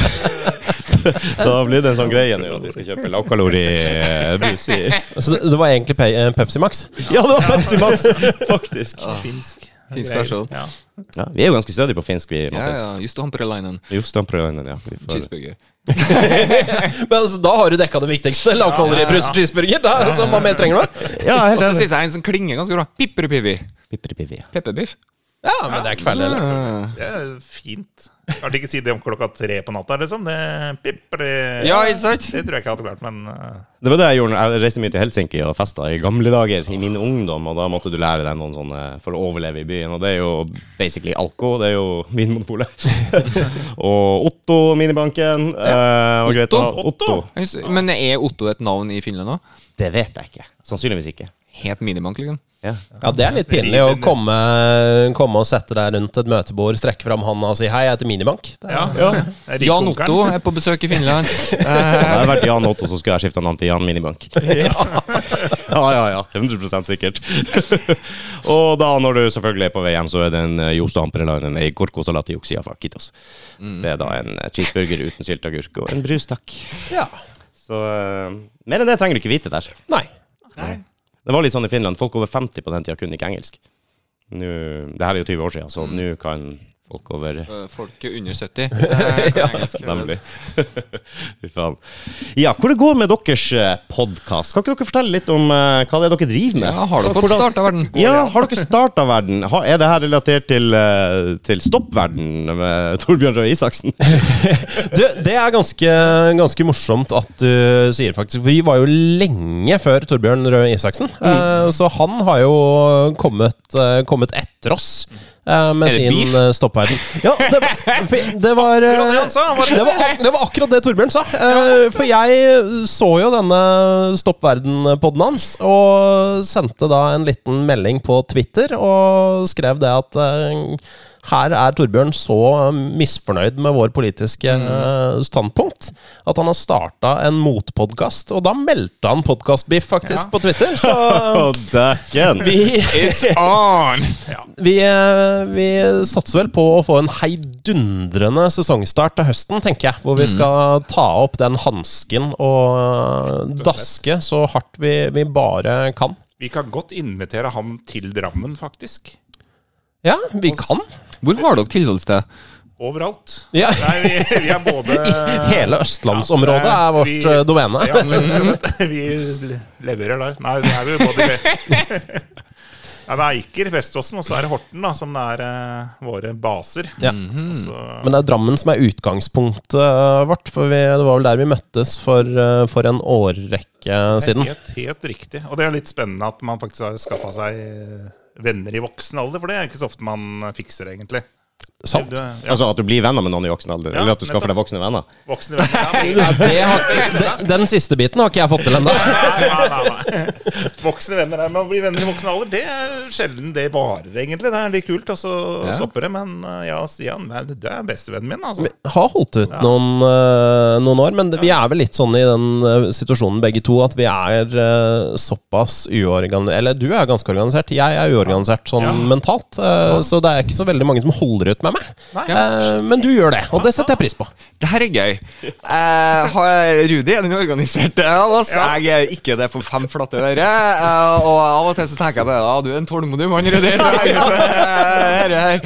[SPEAKER 1] da blir det en sånn greie nå at vi skal kjøpe lavkalori-brus i
[SPEAKER 4] Så det, det var egentlig Pe eh, Pepsi Max?
[SPEAKER 1] Ja, det var Pepsi Max, faktisk.
[SPEAKER 3] Finsk.
[SPEAKER 2] Finsk
[SPEAKER 3] Greier.
[SPEAKER 2] versjon.
[SPEAKER 3] Ja.
[SPEAKER 1] Ja, vi er jo ganske stødige på finsk, vi,
[SPEAKER 2] Ja,
[SPEAKER 1] Mathias.
[SPEAKER 2] ja. Just Hamperleinen.
[SPEAKER 1] Jo, stamprøven, ja. Vi får,
[SPEAKER 2] Cheeseburger.
[SPEAKER 4] Men altså, Da har du dekka det viktigste. Lavkaloribrus og cheeseburger. Da, er det sånn, hva mer trenger du?
[SPEAKER 1] ja,
[SPEAKER 2] Og
[SPEAKER 1] helt
[SPEAKER 2] så
[SPEAKER 1] enig.
[SPEAKER 2] syns jeg en som klinger ganske bra. Pipperipippi.
[SPEAKER 1] Pipperipippi, ja.
[SPEAKER 2] Pepperbiff.
[SPEAKER 4] Ja, men det er ikke feil, heller.
[SPEAKER 2] Ja,
[SPEAKER 3] Det er fint. Jeg kan ikke si det om klokka tre på natta, liksom. Det pipper
[SPEAKER 2] ikke sant?
[SPEAKER 3] Det tror jeg ikke jeg hadde klart, men eh,
[SPEAKER 1] Det var det jeg gjorde. når Jeg reiste mye til Helsinki og festa i gamle dager, i min ungdom, og da måtte du lære deg noen sånne for å overleve i byen, og det er jo basically alko, det er jo Vinmonopolet. og Otto, minibanken. eh, og greit,
[SPEAKER 2] Otto?
[SPEAKER 1] Otto? Otto?
[SPEAKER 2] Jeg husker- Men er Otto et navn i Finland òg?
[SPEAKER 1] Det vet jeg ikke. Sannsynligvis ikke.
[SPEAKER 2] Helt minibank, liksom.
[SPEAKER 1] Ja.
[SPEAKER 4] Ja, Det er litt pinlig å komme, komme og sette deg rundt et møtebord, strekke fram handa og si 'hei, jeg heter Minibank'. Det er,
[SPEAKER 3] ja. Det er rik
[SPEAKER 2] Jan
[SPEAKER 3] onkelen.
[SPEAKER 2] Otto er på besøk i Finland.
[SPEAKER 1] Hadde jeg vært Jan Otto, så skulle jeg skifta navn til Jan Minibank. Ja, ja, ja. 100 sikkert. og da, når du selvfølgelig er på vei hjem, så er det en Josto Amperelainen ei korkosalat i oksia fra Kitos.
[SPEAKER 2] Mm.
[SPEAKER 1] Det er da en eh, cheeseburger uten sylteagurk og en brus, takk.
[SPEAKER 4] Ja.
[SPEAKER 1] Så eh, mer enn det trenger du ikke vite der.
[SPEAKER 4] Nei.
[SPEAKER 1] Det var litt sånn i Finland. Folk over 50 på den tida kunne ikke engelsk. Nå, det her er jo 20 år siden, så
[SPEAKER 2] Mm.
[SPEAKER 1] nå kan folk over
[SPEAKER 2] Eh, Folk er under Eh, 70. Jeg kan engelsk.
[SPEAKER 1] Nemlig. Fy faen. Ja, hvor det går med deres podkast? Kan ikke dere fortelle litt om eh, hva det er dere driver med?
[SPEAKER 2] Ja, har dere fått
[SPEAKER 1] Hvordan-
[SPEAKER 2] starta verden?
[SPEAKER 1] Ja, har dere starta verden? Har- Er det her relatert til, eh, til stoppverden med Torbjørn Røe Isaksen?
[SPEAKER 4] Du, det er ganske, ganske morsomt at du sier faktisk for Vi var jo lenge før Torbjørn Røe Isaksen.
[SPEAKER 3] Mm.
[SPEAKER 4] eh, Så han har jo kommet, eh, kommet etter oss eh, med
[SPEAKER 2] Er det
[SPEAKER 4] sin
[SPEAKER 2] beef?
[SPEAKER 4] eh, stoppverden. Ja, det var, for det var eh,
[SPEAKER 3] han sa, var det
[SPEAKER 4] det var, ak- det var akkurat det Torbjørn sa. Eh, For jeg så jo denne Stopp verden-podden hans, og sendte da en liten melding på Twitter og skrev det at eh, her er Torbjørn så misfornøyd med vår politiske eh, standpunkt at han har starta en motpodkast, og da meldte han podkastbiff faktisk på Twitter, så
[SPEAKER 1] Å, dæken!
[SPEAKER 4] vi
[SPEAKER 2] It's on!
[SPEAKER 4] vi, eh, vi satser vel på å få en heidundrende sesongstart til høsten, tenker jeg. Hvor vi skal ta opp den hansken og eh, daske så hardt vi, vi bare kan.
[SPEAKER 3] Vi kan godt invitere ham til Drammen, faktisk.
[SPEAKER 4] Ja, vi kan.
[SPEAKER 2] Hvor har dere tilholdssted?
[SPEAKER 3] Overalt.
[SPEAKER 4] Ja.
[SPEAKER 3] Nei, vi, vi er både
[SPEAKER 4] Hele østlandsområdet er
[SPEAKER 3] Vi-
[SPEAKER 4] vårt eh, domene.
[SPEAKER 3] Ja, men, men, vi leverer der. Nei, det er jo både ja, Det er Eiker, Veståsen og så er det Horten, da, som det er eh, våre baser.
[SPEAKER 4] Ja. Altså-
[SPEAKER 3] Så,
[SPEAKER 4] Men det er Drammen som er utgangspunktet eh, vårt, for vi, det var vel der vi møttes for, eh, for en årrekke siden.
[SPEAKER 3] Helt, helt riktig. Og det er litt spennende at man faktisk har skaffa seg eh, venner i voksen alder, for det er ikke så ofte man eh, fikser, egentlig.
[SPEAKER 4] Sant?
[SPEAKER 3] Du, ja,
[SPEAKER 1] Altså at du blir venner med noen i voksen alder,
[SPEAKER 3] Ja,
[SPEAKER 1] eller at du skaffer
[SPEAKER 3] nettopp.
[SPEAKER 1] deg voksne venner.
[SPEAKER 3] voksne venner ja,
[SPEAKER 4] Ja, det har, den, den siste biten har ikke jeg fått til ennå.
[SPEAKER 3] Nei, nei, nei, nei. Voksne venner er, Men å bli venner i voksen alder, det er sjelden det varer, egentlig. Det er litt kult, og så stopper det. Men eh, ja, Stian, nei, det er bestevennen min, altså.
[SPEAKER 4] har holdt ut noen, eh, noen år, men det, vi er vel litt sånn i den eh, situasjonen begge to at vi er eh, såpass uorganisert Eller du er ganske organisert, jeg er uorganisert sånn
[SPEAKER 3] Ja.
[SPEAKER 4] mentalt. eh, Så det er ikke så veldig mange som holder ut med meg.
[SPEAKER 3] Nei.
[SPEAKER 4] Eh, men du gjør det, og det setter jeg pris på.
[SPEAKER 2] Det her er gøy. Eh, har- Rudi er den organiserte av oss.
[SPEAKER 3] Ja.
[SPEAKER 2] Jeg er ikke det for fem flate øre. eh, og av og til så tenker jeg på det. Ja, du er en tålmodig mann, Rudi. Så, jeg er for det her.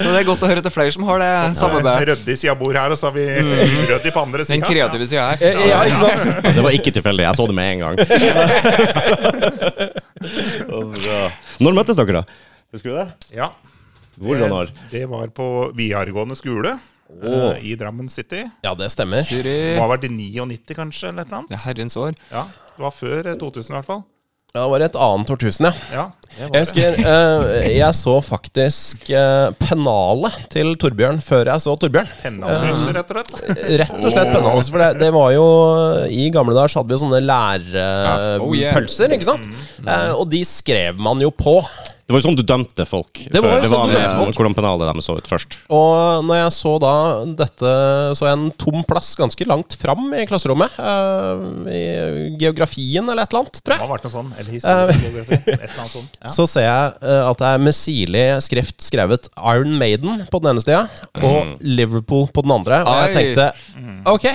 [SPEAKER 2] så det er godt å høre til flere som har det samarbeidet.
[SPEAKER 3] Rødde i sida av bordet her, og så har vi urødde på andre
[SPEAKER 2] Den
[SPEAKER 3] sida.
[SPEAKER 2] kreative sida her.
[SPEAKER 4] Ja, ikke sant?
[SPEAKER 1] Altså, Det var ikke tilfeldig, jeg så det med en gang. Så bra. Når møttes dere, da? Husker du det?
[SPEAKER 3] Ja.
[SPEAKER 1] Hvor og når?
[SPEAKER 3] Det, det var på videregående skole
[SPEAKER 1] Åh.
[SPEAKER 3] eh, i Drammen City.
[SPEAKER 4] Ja, det stemmer.
[SPEAKER 3] Det
[SPEAKER 2] Siri.
[SPEAKER 3] må ha vært i 99, kanskje, eller et eller
[SPEAKER 2] Det
[SPEAKER 3] annet.
[SPEAKER 2] er herrens år.
[SPEAKER 3] Ja. Det var før eh, 2000, i hvert fall.
[SPEAKER 4] Ja, det var et annet årtusen, ja.
[SPEAKER 3] Ja, det var
[SPEAKER 4] Jeg husker eh, jeg så faktisk eh, pennalet til Torbjørn før jeg så Torbjørn.
[SPEAKER 3] Pennalhuset, rett og slett.
[SPEAKER 4] Rett og slett pennehals. For det, det var jo I gamle dager så hadde vi jo sånne
[SPEAKER 2] Ja. Oh, yeah. Mm.
[SPEAKER 4] lærpølser, ikke sant? Eh, og de skrev man jo på.
[SPEAKER 1] Det var jo sånn du dømte folk.
[SPEAKER 4] Det var jo
[SPEAKER 1] før.
[SPEAKER 4] sånn du
[SPEAKER 1] med
[SPEAKER 4] dømte folk.
[SPEAKER 1] Hvordan pennalet deres så ut først.
[SPEAKER 4] Og når jeg så da dette Så jeg en tom plass ganske langt fram i klasserommet. eh, I geografien eller et eller annet, tror
[SPEAKER 3] Det
[SPEAKER 4] jeg.
[SPEAKER 3] har vært noe sånn. Eller historiegeografi. Et eller annet sånt. Ja.
[SPEAKER 4] Så ser jeg eh, at det er med sirlig skrift skrevet Iron Maiden på den ene sida og Liverpool på den andre. Og jeg
[SPEAKER 2] Oi.
[SPEAKER 4] tenkte ok,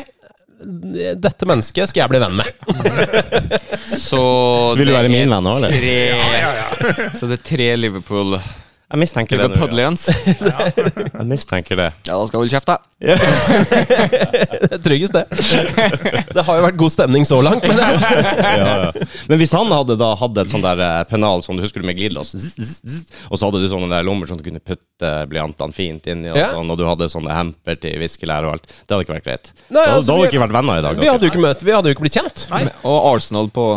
[SPEAKER 4] dette mennesket skal jeg bli venn med.
[SPEAKER 2] Så
[SPEAKER 1] Vil du
[SPEAKER 2] det
[SPEAKER 1] være
[SPEAKER 2] er
[SPEAKER 1] min venn nå, eller?
[SPEAKER 2] Tre. Så det er tre Liverpool.
[SPEAKER 1] Jeg mistenker det. nå, ja.
[SPEAKER 2] Liverpudlians.
[SPEAKER 1] Jeg mistenker det.
[SPEAKER 2] Ja, da skal jeg holde kjeft, da.
[SPEAKER 4] Det er tryggest, det. Det har jo vært god stemning så langt. Men det er
[SPEAKER 1] ja, ja. Men hvis han hadde da hatt et sånn der eh, pennal som du husker du med glidelås, zzz, zzz, zzz, og så hadde du sånne der lommer som du kunne putte blyantene fint inni, og,
[SPEAKER 4] Ja.
[SPEAKER 1] sånn, og du hadde sånne hemper til viskelær og alt, det hadde ikke vært greit.
[SPEAKER 4] Nei,
[SPEAKER 1] da,
[SPEAKER 4] altså,
[SPEAKER 1] da hadde
[SPEAKER 4] vi-
[SPEAKER 1] dere ikke vært venner i dag.
[SPEAKER 4] vi
[SPEAKER 1] dere.
[SPEAKER 4] hadde jo ikke møtt, vi hadde jo ikke blitt kjent.
[SPEAKER 2] Og Arsenal på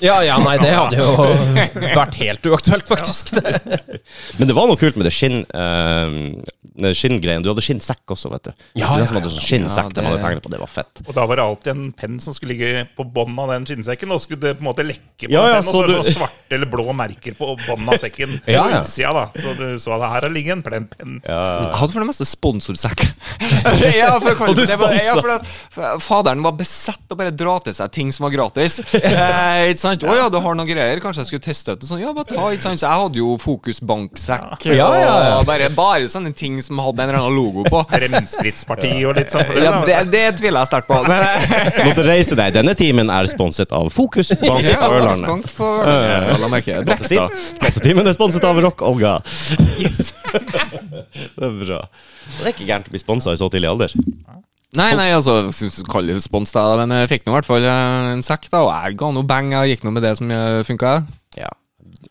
[SPEAKER 4] Ja, ja, nei, det hadde jo vært helt uaktuelt, faktisk. Det.
[SPEAKER 1] Men det var noe kult med det skinn uh, skinngreiene. Du hadde skinnsekk også, vet du.
[SPEAKER 4] Ja,
[SPEAKER 1] det som
[SPEAKER 4] ja,
[SPEAKER 1] hadde
[SPEAKER 4] ja.
[SPEAKER 1] sånn skinnsekk
[SPEAKER 2] Ja,
[SPEAKER 1] de hadde
[SPEAKER 2] det-
[SPEAKER 1] tegnet på. Det var fett.
[SPEAKER 3] Og da var det alltid en penn som skulle ligge på bånn av den skinnsekken, og skulle det på en måte lekke på
[SPEAKER 1] Ja, ja,
[SPEAKER 3] den pennen, og så,
[SPEAKER 1] så
[SPEAKER 3] var det
[SPEAKER 1] du-
[SPEAKER 3] sånne svarte eller blå merker på bånn av sekken.
[SPEAKER 1] Ja, ja.
[SPEAKER 3] På utsida, da. Så du så at her har ligget en plen penn.
[SPEAKER 2] Jeg hadde for det meste sponsorsekk. ja, for å kalle
[SPEAKER 1] Og du
[SPEAKER 2] det det var-
[SPEAKER 1] sponset.
[SPEAKER 2] ja, for at f- Faderen var besatt og bare dra til seg ting som var gratis. Eh, ikke sant? 'Å ja, du har noen greier. Kanskje jeg skulle teste ut det?' Sånn, ja, bare ta, ikke sant? Så jeg hadde jo Fokus banksekk.
[SPEAKER 4] Ja, ja, ja.
[SPEAKER 2] Og bare, bare sånne ting som hadde en eller annen logo på.
[SPEAKER 3] Fremskrittspartiet og litt sånn. for
[SPEAKER 2] Ja,
[SPEAKER 3] det, da.
[SPEAKER 2] det, det tviler jeg sterkt på. Men, eh,
[SPEAKER 1] Måtte reise deg. Denne timen er sponset av Fokus Bank
[SPEAKER 2] ja,
[SPEAKER 1] på Ørlandet.
[SPEAKER 2] bank på Ørlandet. Ja, la meg merke det. Brakkestad.
[SPEAKER 1] Skattetimen er sponset av Rock Olga. Det er bra. Det er ikke gærent å bli sponsa i så tidlig alder.
[SPEAKER 2] Nei, nei, altså, synes- kall det spons, da. Men jeg fikk nå i hvert fall eh, en sekk, da. Og jeg ga noe bang. Jeg gikk nå med det som eh, funka.
[SPEAKER 1] Ja.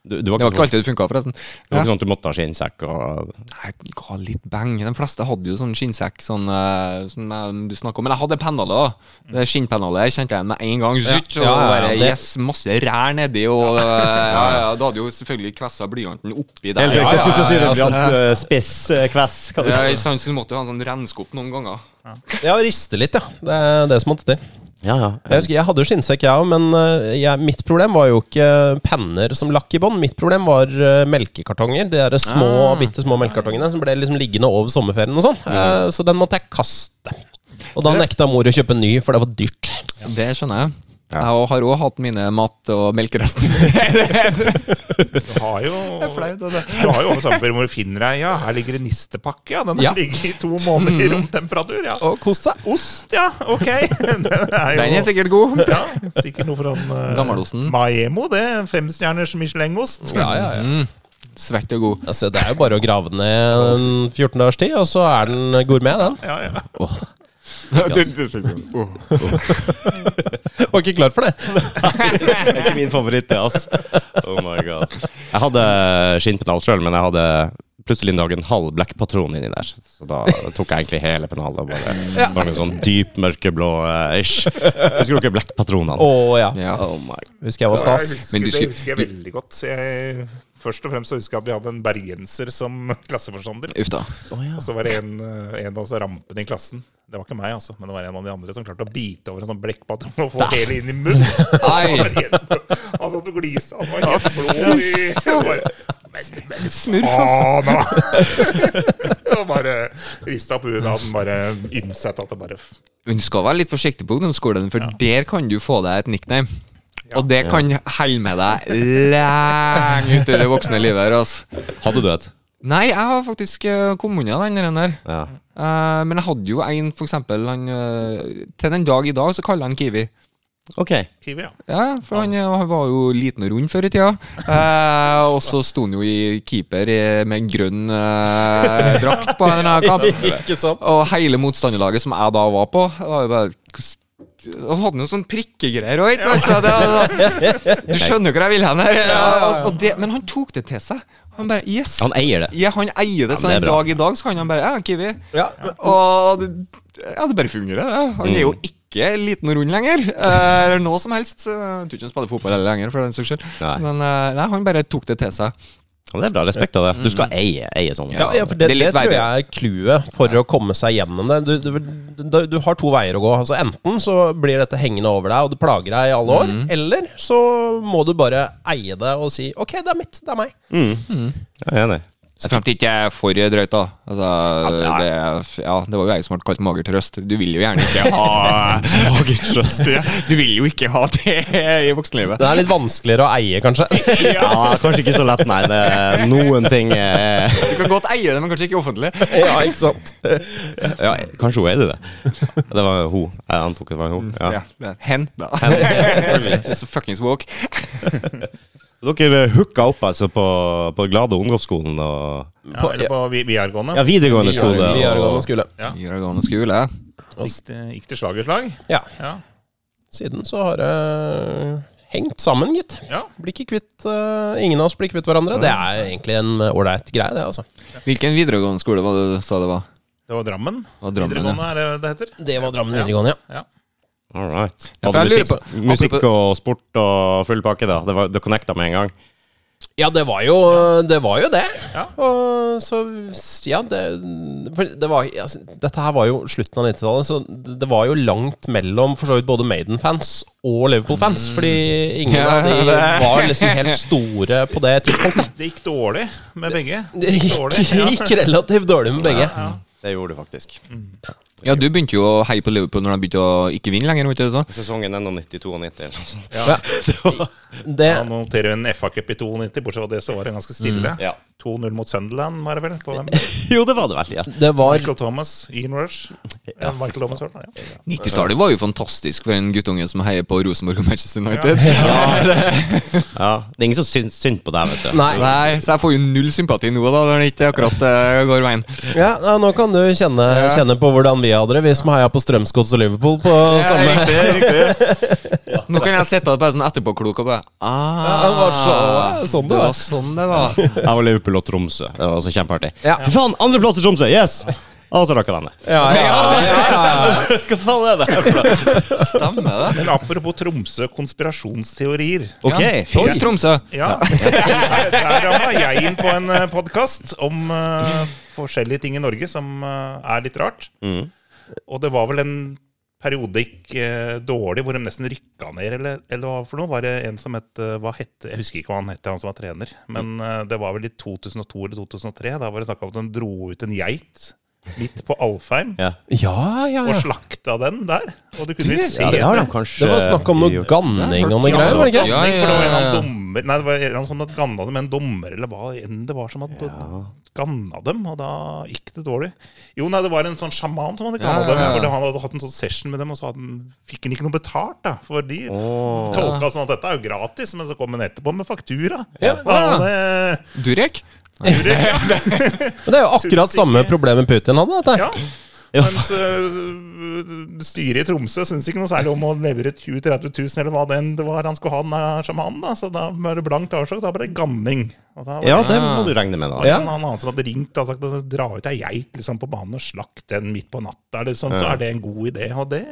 [SPEAKER 1] Du, du var ikke,
[SPEAKER 2] Det var ikke
[SPEAKER 1] sånn,
[SPEAKER 2] alltid det funka, forresten.
[SPEAKER 1] det var ikke sånn at du måtte ha skinnsekk og
[SPEAKER 2] Nei, ga litt bang. De fleste hadde jo sånn skinnsekk sånn, eh, som eh, du snakker om. Men jeg hadde pennalet òg. Skinnpennalet kjente jeg igjen med en gang. Zutt,
[SPEAKER 4] ja, ja,
[SPEAKER 2] og bare,
[SPEAKER 4] ja, det-
[SPEAKER 2] yes, masse rær nedi, og eh, ja, ja, Du hadde jo selvfølgelig kvessa blyanten oppi der.
[SPEAKER 1] Helt riktig. Jeg
[SPEAKER 2] Ja, ja,
[SPEAKER 1] skulle til å si det.
[SPEAKER 2] ja,
[SPEAKER 1] Vi
[SPEAKER 2] ja,
[SPEAKER 1] hadde eh, spiss eh, kvess. Hva
[SPEAKER 2] ja,
[SPEAKER 1] det-
[SPEAKER 2] i sans, du måtte jo ha en sånn renske opp noen ganger.
[SPEAKER 4] Ja, riste litt, ja. Det er det som måtte til.
[SPEAKER 1] Ja, ja.
[SPEAKER 4] Jeg husker, jeg hadde jo skinnsekk, jeg òg, men eh, jeg, mitt problem var jo ikke penner som lakk i bånd. Mitt problem var eh, melkekartonger. De der små,
[SPEAKER 2] Ah.
[SPEAKER 4] bitte små melkekartongene som ble liksom liggende over sommerferien og sånn. Eh, Så den måtte jeg kaste. Og da nekta mor å kjøpe ny, for det var dyrt.
[SPEAKER 2] Det skjønner jeg.
[SPEAKER 1] Ja.
[SPEAKER 2] Jeg og har òg hatt mine mat- og melkerester.
[SPEAKER 3] Du har jo Du har jo over sommerferien hvor du finner deg Ja, her ligger det nistepakke, ja. Den har
[SPEAKER 4] Ja.
[SPEAKER 3] ligget i to måneder i romtemperatur, ja.
[SPEAKER 4] Og kos deg.
[SPEAKER 3] Ost, ja, ok. Den er
[SPEAKER 2] Den er
[SPEAKER 3] jo
[SPEAKER 2] sikkert god.
[SPEAKER 3] ja, sikkert noe fra eh,
[SPEAKER 2] Gammelosten.
[SPEAKER 3] Maemo, det. Femstjerners Michelin-ost.
[SPEAKER 4] Ja, ja, ja.
[SPEAKER 2] Svett og god.
[SPEAKER 4] Altså, det er jo bare å grave den ned en 14 dagers tid, og så er den gourmet, den.
[SPEAKER 3] Ja, ja.
[SPEAKER 2] Uh.
[SPEAKER 4] Var ikke klar for det.
[SPEAKER 1] Det er ikke min favoritt, det, ass. Oh my god. Jeg hadde skinnpennal sjøl, men jeg hadde plutselig en dag en halv blekkpatron inni der. Så da tok jeg egentlig hele pennalet og bare bare en sånn dyp mørkeblå eh, ish. Husker dere blekkpatronene?
[SPEAKER 4] Å ja.
[SPEAKER 2] Ja.
[SPEAKER 1] Oh my
[SPEAKER 4] Husker jeg var
[SPEAKER 3] Ja,
[SPEAKER 4] stas.
[SPEAKER 3] Jeg husker,
[SPEAKER 2] Men du
[SPEAKER 3] det
[SPEAKER 2] skulle-
[SPEAKER 3] husker jeg veldig godt. Så jeg, først og fremst så husker jeg at vi hadde en bergenser som klasseforstander.
[SPEAKER 2] Uff da.
[SPEAKER 3] Og så var det en, eh, en av oss rampen i klassen. Det var ikke meg, altså, men det var en av de andre som klarte å bite over en sånn blekkpatron og få hele inn i munnen.
[SPEAKER 2] Nei.
[SPEAKER 3] Han satt og gliste. Han var helt blå i og bare, Men, men
[SPEAKER 2] Smurf,
[SPEAKER 3] faen, da! Og bare rista på huet. Da hadde han bare innsett at det bare f-
[SPEAKER 2] Men du skal være litt forsiktig på ungdomsskolen, for der kan du få deg et nickname. Og det kan helle med deg lenge ut i det voksne livet her, altså.
[SPEAKER 1] god. Hadde du et?
[SPEAKER 2] Nei, jeg har faktisk eh, kommet unna den der. der.
[SPEAKER 1] Ja.
[SPEAKER 2] Eh, men jeg hadde jo en, for eksempel han, eh, Til den dag i dag så kaller jeg han Kiwi.
[SPEAKER 1] Ok.
[SPEAKER 3] Kiwi, ja.
[SPEAKER 2] Ja, for han, eh, han var jo liten og rund før i tida. Eh, og så sto han jo i keeper eh, med en grønn eh, drakt på en eller annen kamp.
[SPEAKER 4] Ikke sant?
[SPEAKER 2] Og hele motstanderlaget som jeg da var på, var jo bare "Hvordan- han hadde noen sånne prikkegreier òg, ikke sant? Så det, var- sånn, du skjønner jo hvor jeg vil hen her. Og, og det, men han tok det til seg. Han bare Yes.
[SPEAKER 1] Han eier det.
[SPEAKER 2] ja, han eier det, så
[SPEAKER 1] det er
[SPEAKER 2] en
[SPEAKER 1] bra.
[SPEAKER 2] dag i dag så kan han bare Ja, Kiwi.
[SPEAKER 4] Ja,
[SPEAKER 2] Og det, ja, det bare fungerer. det. Han er jo ikke liten og rund lenger. eh, Eller noe som helst. Eh, Jeg tror ikke han spiller fotball heller lenger, for den saks skyld.
[SPEAKER 1] Nei.
[SPEAKER 2] Men eh, nei, han bare tok det til seg.
[SPEAKER 1] Ja, Det er bra. Respekt av det. Du skal eie, eie sånn. sånne.
[SPEAKER 4] Ja, ja, for det,
[SPEAKER 2] det er
[SPEAKER 4] det,
[SPEAKER 2] litt
[SPEAKER 4] tror
[SPEAKER 2] verdig.
[SPEAKER 4] jeg er clouet for å komme seg gjennom det. Du, du, du, du har to veier å gå. Altså, enten så blir dette hengende over deg, og det plager deg i alle år. Eller så må du bare eie det og si OK, det er mitt. Det er meg.
[SPEAKER 1] Jeg er enig.
[SPEAKER 2] Så frem til ikke er for drøyt, da. Altså, det, ja, det var jo jeg som ble kalt magertrøst. Du vil jo gjerne ikke ha magertrøst. Du vil jo ikke ha det i voksenlivet.
[SPEAKER 4] Det er litt vanskeligere å eie, kanskje.
[SPEAKER 1] Ja, kanskje ikke så lett, nei. Det er noen ting eh,
[SPEAKER 2] Du kan godt eie det, men kanskje ikke offentlig.
[SPEAKER 4] ja, ikke sant?
[SPEAKER 1] Ja, kanskje hun eide det. Det var hun. Jeg antok det var hun. Mm, Ja.
[SPEAKER 2] Ja. Hen, da. Så fuckings woke.
[SPEAKER 1] Dere hooka opp altså på, på Glade ungdomsskolen og
[SPEAKER 3] ja eller på vi- videregående.
[SPEAKER 1] Ja, videregående skole.
[SPEAKER 4] Videregående
[SPEAKER 1] og-
[SPEAKER 4] skole.
[SPEAKER 3] Ja.
[SPEAKER 2] Videregående skole.
[SPEAKER 3] Så Gikk, det, gikk til slag i slag.
[SPEAKER 4] Ja.
[SPEAKER 3] Ja.
[SPEAKER 4] Siden så har det hengt sammen, gitt.
[SPEAKER 3] ja.
[SPEAKER 4] Blir ikke kvitt eh, Ingen av oss blir kvitt hverandre. Det er egentlig en ålreit greie, det, altså.
[SPEAKER 2] Hvilken videregående skole var det du sa det var?
[SPEAKER 3] Det var Drammen.
[SPEAKER 2] Det var Drammen, ja.
[SPEAKER 3] videregående er det det heter.
[SPEAKER 4] Det var Drammen videregående, ja.
[SPEAKER 3] Ja.
[SPEAKER 1] All right.
[SPEAKER 2] Ja, for
[SPEAKER 1] Hadde
[SPEAKER 2] jeg lurer
[SPEAKER 1] musikk, musikk og sport og full pakke, da. Det var, det connecta med en gang.
[SPEAKER 4] Ja, det var jo det. Var jo det.
[SPEAKER 3] Ja.
[SPEAKER 4] Og så Ja, det, for det var, altså, Dette her var jo slutten av 90-tallet, så det var jo langt mellom for så vidt både Maiden-fans og Liverpool-fans. Fordi ingen
[SPEAKER 2] Ja,
[SPEAKER 4] av de
[SPEAKER 2] det-
[SPEAKER 4] var liksom helt store på det tidspunktet.
[SPEAKER 3] Det gikk dårlig med begge.
[SPEAKER 4] Det gikk,
[SPEAKER 3] dårlig, ja.
[SPEAKER 4] gikk relativt dårlig med begge.
[SPEAKER 1] Det gjorde det faktisk.
[SPEAKER 2] Ja, du begynte jo å heie på Liverpool når de begynte å ikke vinne lenger. Vet du, så.
[SPEAKER 1] Sesongen 91-92 eller noe sånt.
[SPEAKER 4] Det,
[SPEAKER 3] Han noterer jo en FA-cup i 92, bortsett fra det så var det ganske stille.
[SPEAKER 1] Ja.
[SPEAKER 3] 2-0 mot Sunderland, var det vel? På hvem?
[SPEAKER 1] Jo, det var det vel. Ja.
[SPEAKER 4] det var
[SPEAKER 3] Michael Thomas, Ian Rush. Eh, Michael Thomas, var det, ja.
[SPEAKER 2] 90-tallet var jo fantastisk for en guttunge som heier på Rosenborg og Manchester United.
[SPEAKER 1] ja. Det er ingen som syns synd på deg, vet du.
[SPEAKER 4] Nei.
[SPEAKER 2] Nei, Så jeg får jo null sympati nå, da, når det ikke akkurat eh, går veien.
[SPEAKER 4] Ja, ja, nå kan du kjenne, kjenne på hvordan vi hadde det, vi som heia på Strømsgods og Liverpool på samme
[SPEAKER 2] Nå kan jeg sitte bare sånn etterpåklok og bare ah,
[SPEAKER 4] Ja, det var så- sånn det
[SPEAKER 2] det
[SPEAKER 4] var."
[SPEAKER 2] var. Sånn det var.
[SPEAKER 1] Jeg var Liverpool og Tromsø. Det var altså kjempeartig.
[SPEAKER 4] Ja.
[SPEAKER 1] Fy faen, andreplass til Tromsø! Yes! Og så rakk jeg dem.
[SPEAKER 4] Ja, ja, ja, ja.
[SPEAKER 1] Hva faen er det her for noe?
[SPEAKER 2] Stemmer det.
[SPEAKER 3] Men apropos Tromsø, konspirasjonsteorier.
[SPEAKER 1] Ok,
[SPEAKER 2] Ja, Fins Tromsø?
[SPEAKER 3] Ja. Der der ramla jeg inn på en podkast om eh, forskjellige ting i Norge som eh, er litt rart.
[SPEAKER 1] Mm.
[SPEAKER 3] Og det var vel en periode det gikk eh, dårlig, hvor de nesten rykka ned, eller, eller hva for noe. Var det en som het eh, hva hette, Jeg husker ikke hva han het, han som var trener.
[SPEAKER 1] Mm.
[SPEAKER 3] Men eh, det var vel i 2002 eller 2003. Da var det snakk om at de dro ut en geit midt på Alfheim.
[SPEAKER 1] Ja.
[SPEAKER 4] ja, ja,
[SPEAKER 3] Og
[SPEAKER 4] ja.
[SPEAKER 3] slakta den der. Og du kunne se
[SPEAKER 1] ja, det har de kanskje
[SPEAKER 4] Det var snakk om noe
[SPEAKER 1] gjort.
[SPEAKER 4] ganning og noe greier, var det ikke?
[SPEAKER 2] Ja,
[SPEAKER 3] Nei, for det var en eller
[SPEAKER 2] ja, ja.
[SPEAKER 3] annen dommer Nei, det var en eller annen sånn at ganna dem en dommer, eller hva enn det var som hadde ganna dem, og da gikk det dårlig. Jo, nei, det var en sånn sjaman som hadde ganna
[SPEAKER 2] Ja, ja, ja.
[SPEAKER 3] dem, for han hadde hatt en sånn session med dem, og så hadde han, fikk han ikke noe betalt, da. For de
[SPEAKER 1] Åh.
[SPEAKER 3] tolka sånn at dette er jo gratis, men så kom han etterpå med faktura.
[SPEAKER 4] Ja.
[SPEAKER 3] Og han,
[SPEAKER 2] Durek?
[SPEAKER 4] Men det er jo akkurat samme problemet Putin hadde.
[SPEAKER 3] eh,
[SPEAKER 4] Dette.
[SPEAKER 3] ja. Mens eh, styret i Tromsø syns ikke noe særlig om å levere 20 000-30 000 eller hva det enn det var han skulle ha den eh, sjamanen, da. Så da var det blankt avslag. Da ble det ganning. Og da var
[SPEAKER 1] Ja, det må du regne med, da.
[SPEAKER 4] Ja.
[SPEAKER 3] En annen som hadde ringt og sagt at dra ut ei geit liksom, på banen og slakt den midt på natta, liksom, så er det en god idé. Og det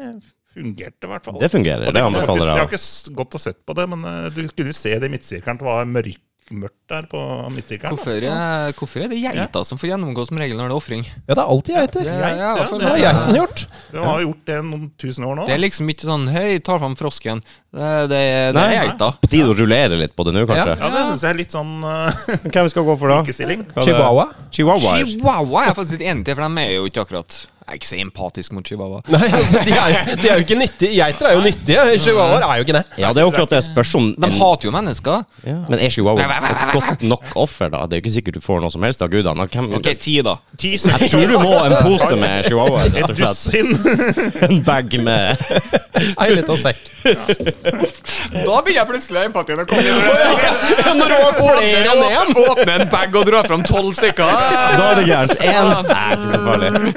[SPEAKER 3] fungerte i hvert fall.
[SPEAKER 1] Det fungerer.
[SPEAKER 3] Og
[SPEAKER 1] Det
[SPEAKER 3] jeg, har ikke,
[SPEAKER 1] anbefaler
[SPEAKER 3] jeg har
[SPEAKER 1] jeg.
[SPEAKER 3] ikke s- gått og sett på det, men eh, du kunne se det i midtsirkelen. at Det var mørk, mørkt der på midtsirkelen. altså.
[SPEAKER 2] Hvorfor, eh, hvorfor er det geita som får gjennomgå som regel når det er ofring?
[SPEAKER 4] Ja, det er alltid geiter.
[SPEAKER 2] Det,
[SPEAKER 3] Geit,
[SPEAKER 2] ja,
[SPEAKER 3] ja,
[SPEAKER 2] for
[SPEAKER 3] det-
[SPEAKER 4] Hva har
[SPEAKER 2] meg.
[SPEAKER 4] geiten gjort?
[SPEAKER 3] Du har jo gjort det noen tusen år nå.
[SPEAKER 2] det er liksom ikke sånn Hei, ta fram frosken. Det, det, det er
[SPEAKER 1] Nei.
[SPEAKER 2] geita.
[SPEAKER 1] På tide å rullere litt på det nå, kanskje.
[SPEAKER 3] Ja, det syns jeg er litt sånn eh,
[SPEAKER 1] Hvem skal gå for, da?
[SPEAKER 3] ukestilling.
[SPEAKER 1] Hva er det?
[SPEAKER 4] Chihuahua?
[SPEAKER 1] Chihuahua. ja.
[SPEAKER 2] Chihuahua er jeg faktisk litt enig til, for de er jo ikke akkurat Jeg er ikke så empatisk mot chihuahua.
[SPEAKER 4] Nei, altså, de er, de er jo ikke nyttige. Geiter er jo nyttige. Chihuahuaer er jo ikke det.
[SPEAKER 1] Ja, det er jo akkurat det spørs om
[SPEAKER 2] De
[SPEAKER 1] en-
[SPEAKER 2] hater jo mennesker.
[SPEAKER 1] ja. Men er Chihuahua et godt nok offer, da? Det er jo ikke sikkert du får noe som helst av gudene. Hvem,
[SPEAKER 2] Ok, ti, da.
[SPEAKER 3] Ti
[SPEAKER 1] Jeg tror du må en pose med Chihuahua, rett
[SPEAKER 3] Et
[SPEAKER 1] og slett.
[SPEAKER 3] dusin.
[SPEAKER 1] En bag med
[SPEAKER 4] Er jo litt av sekk.
[SPEAKER 2] Da begynner jeg plutselig empatien å komme
[SPEAKER 4] Når det var flere enn én!
[SPEAKER 2] Åpne en bag og dra fram tolv stykker.
[SPEAKER 1] Da er det gærent. Én Nei, ikke så farlig.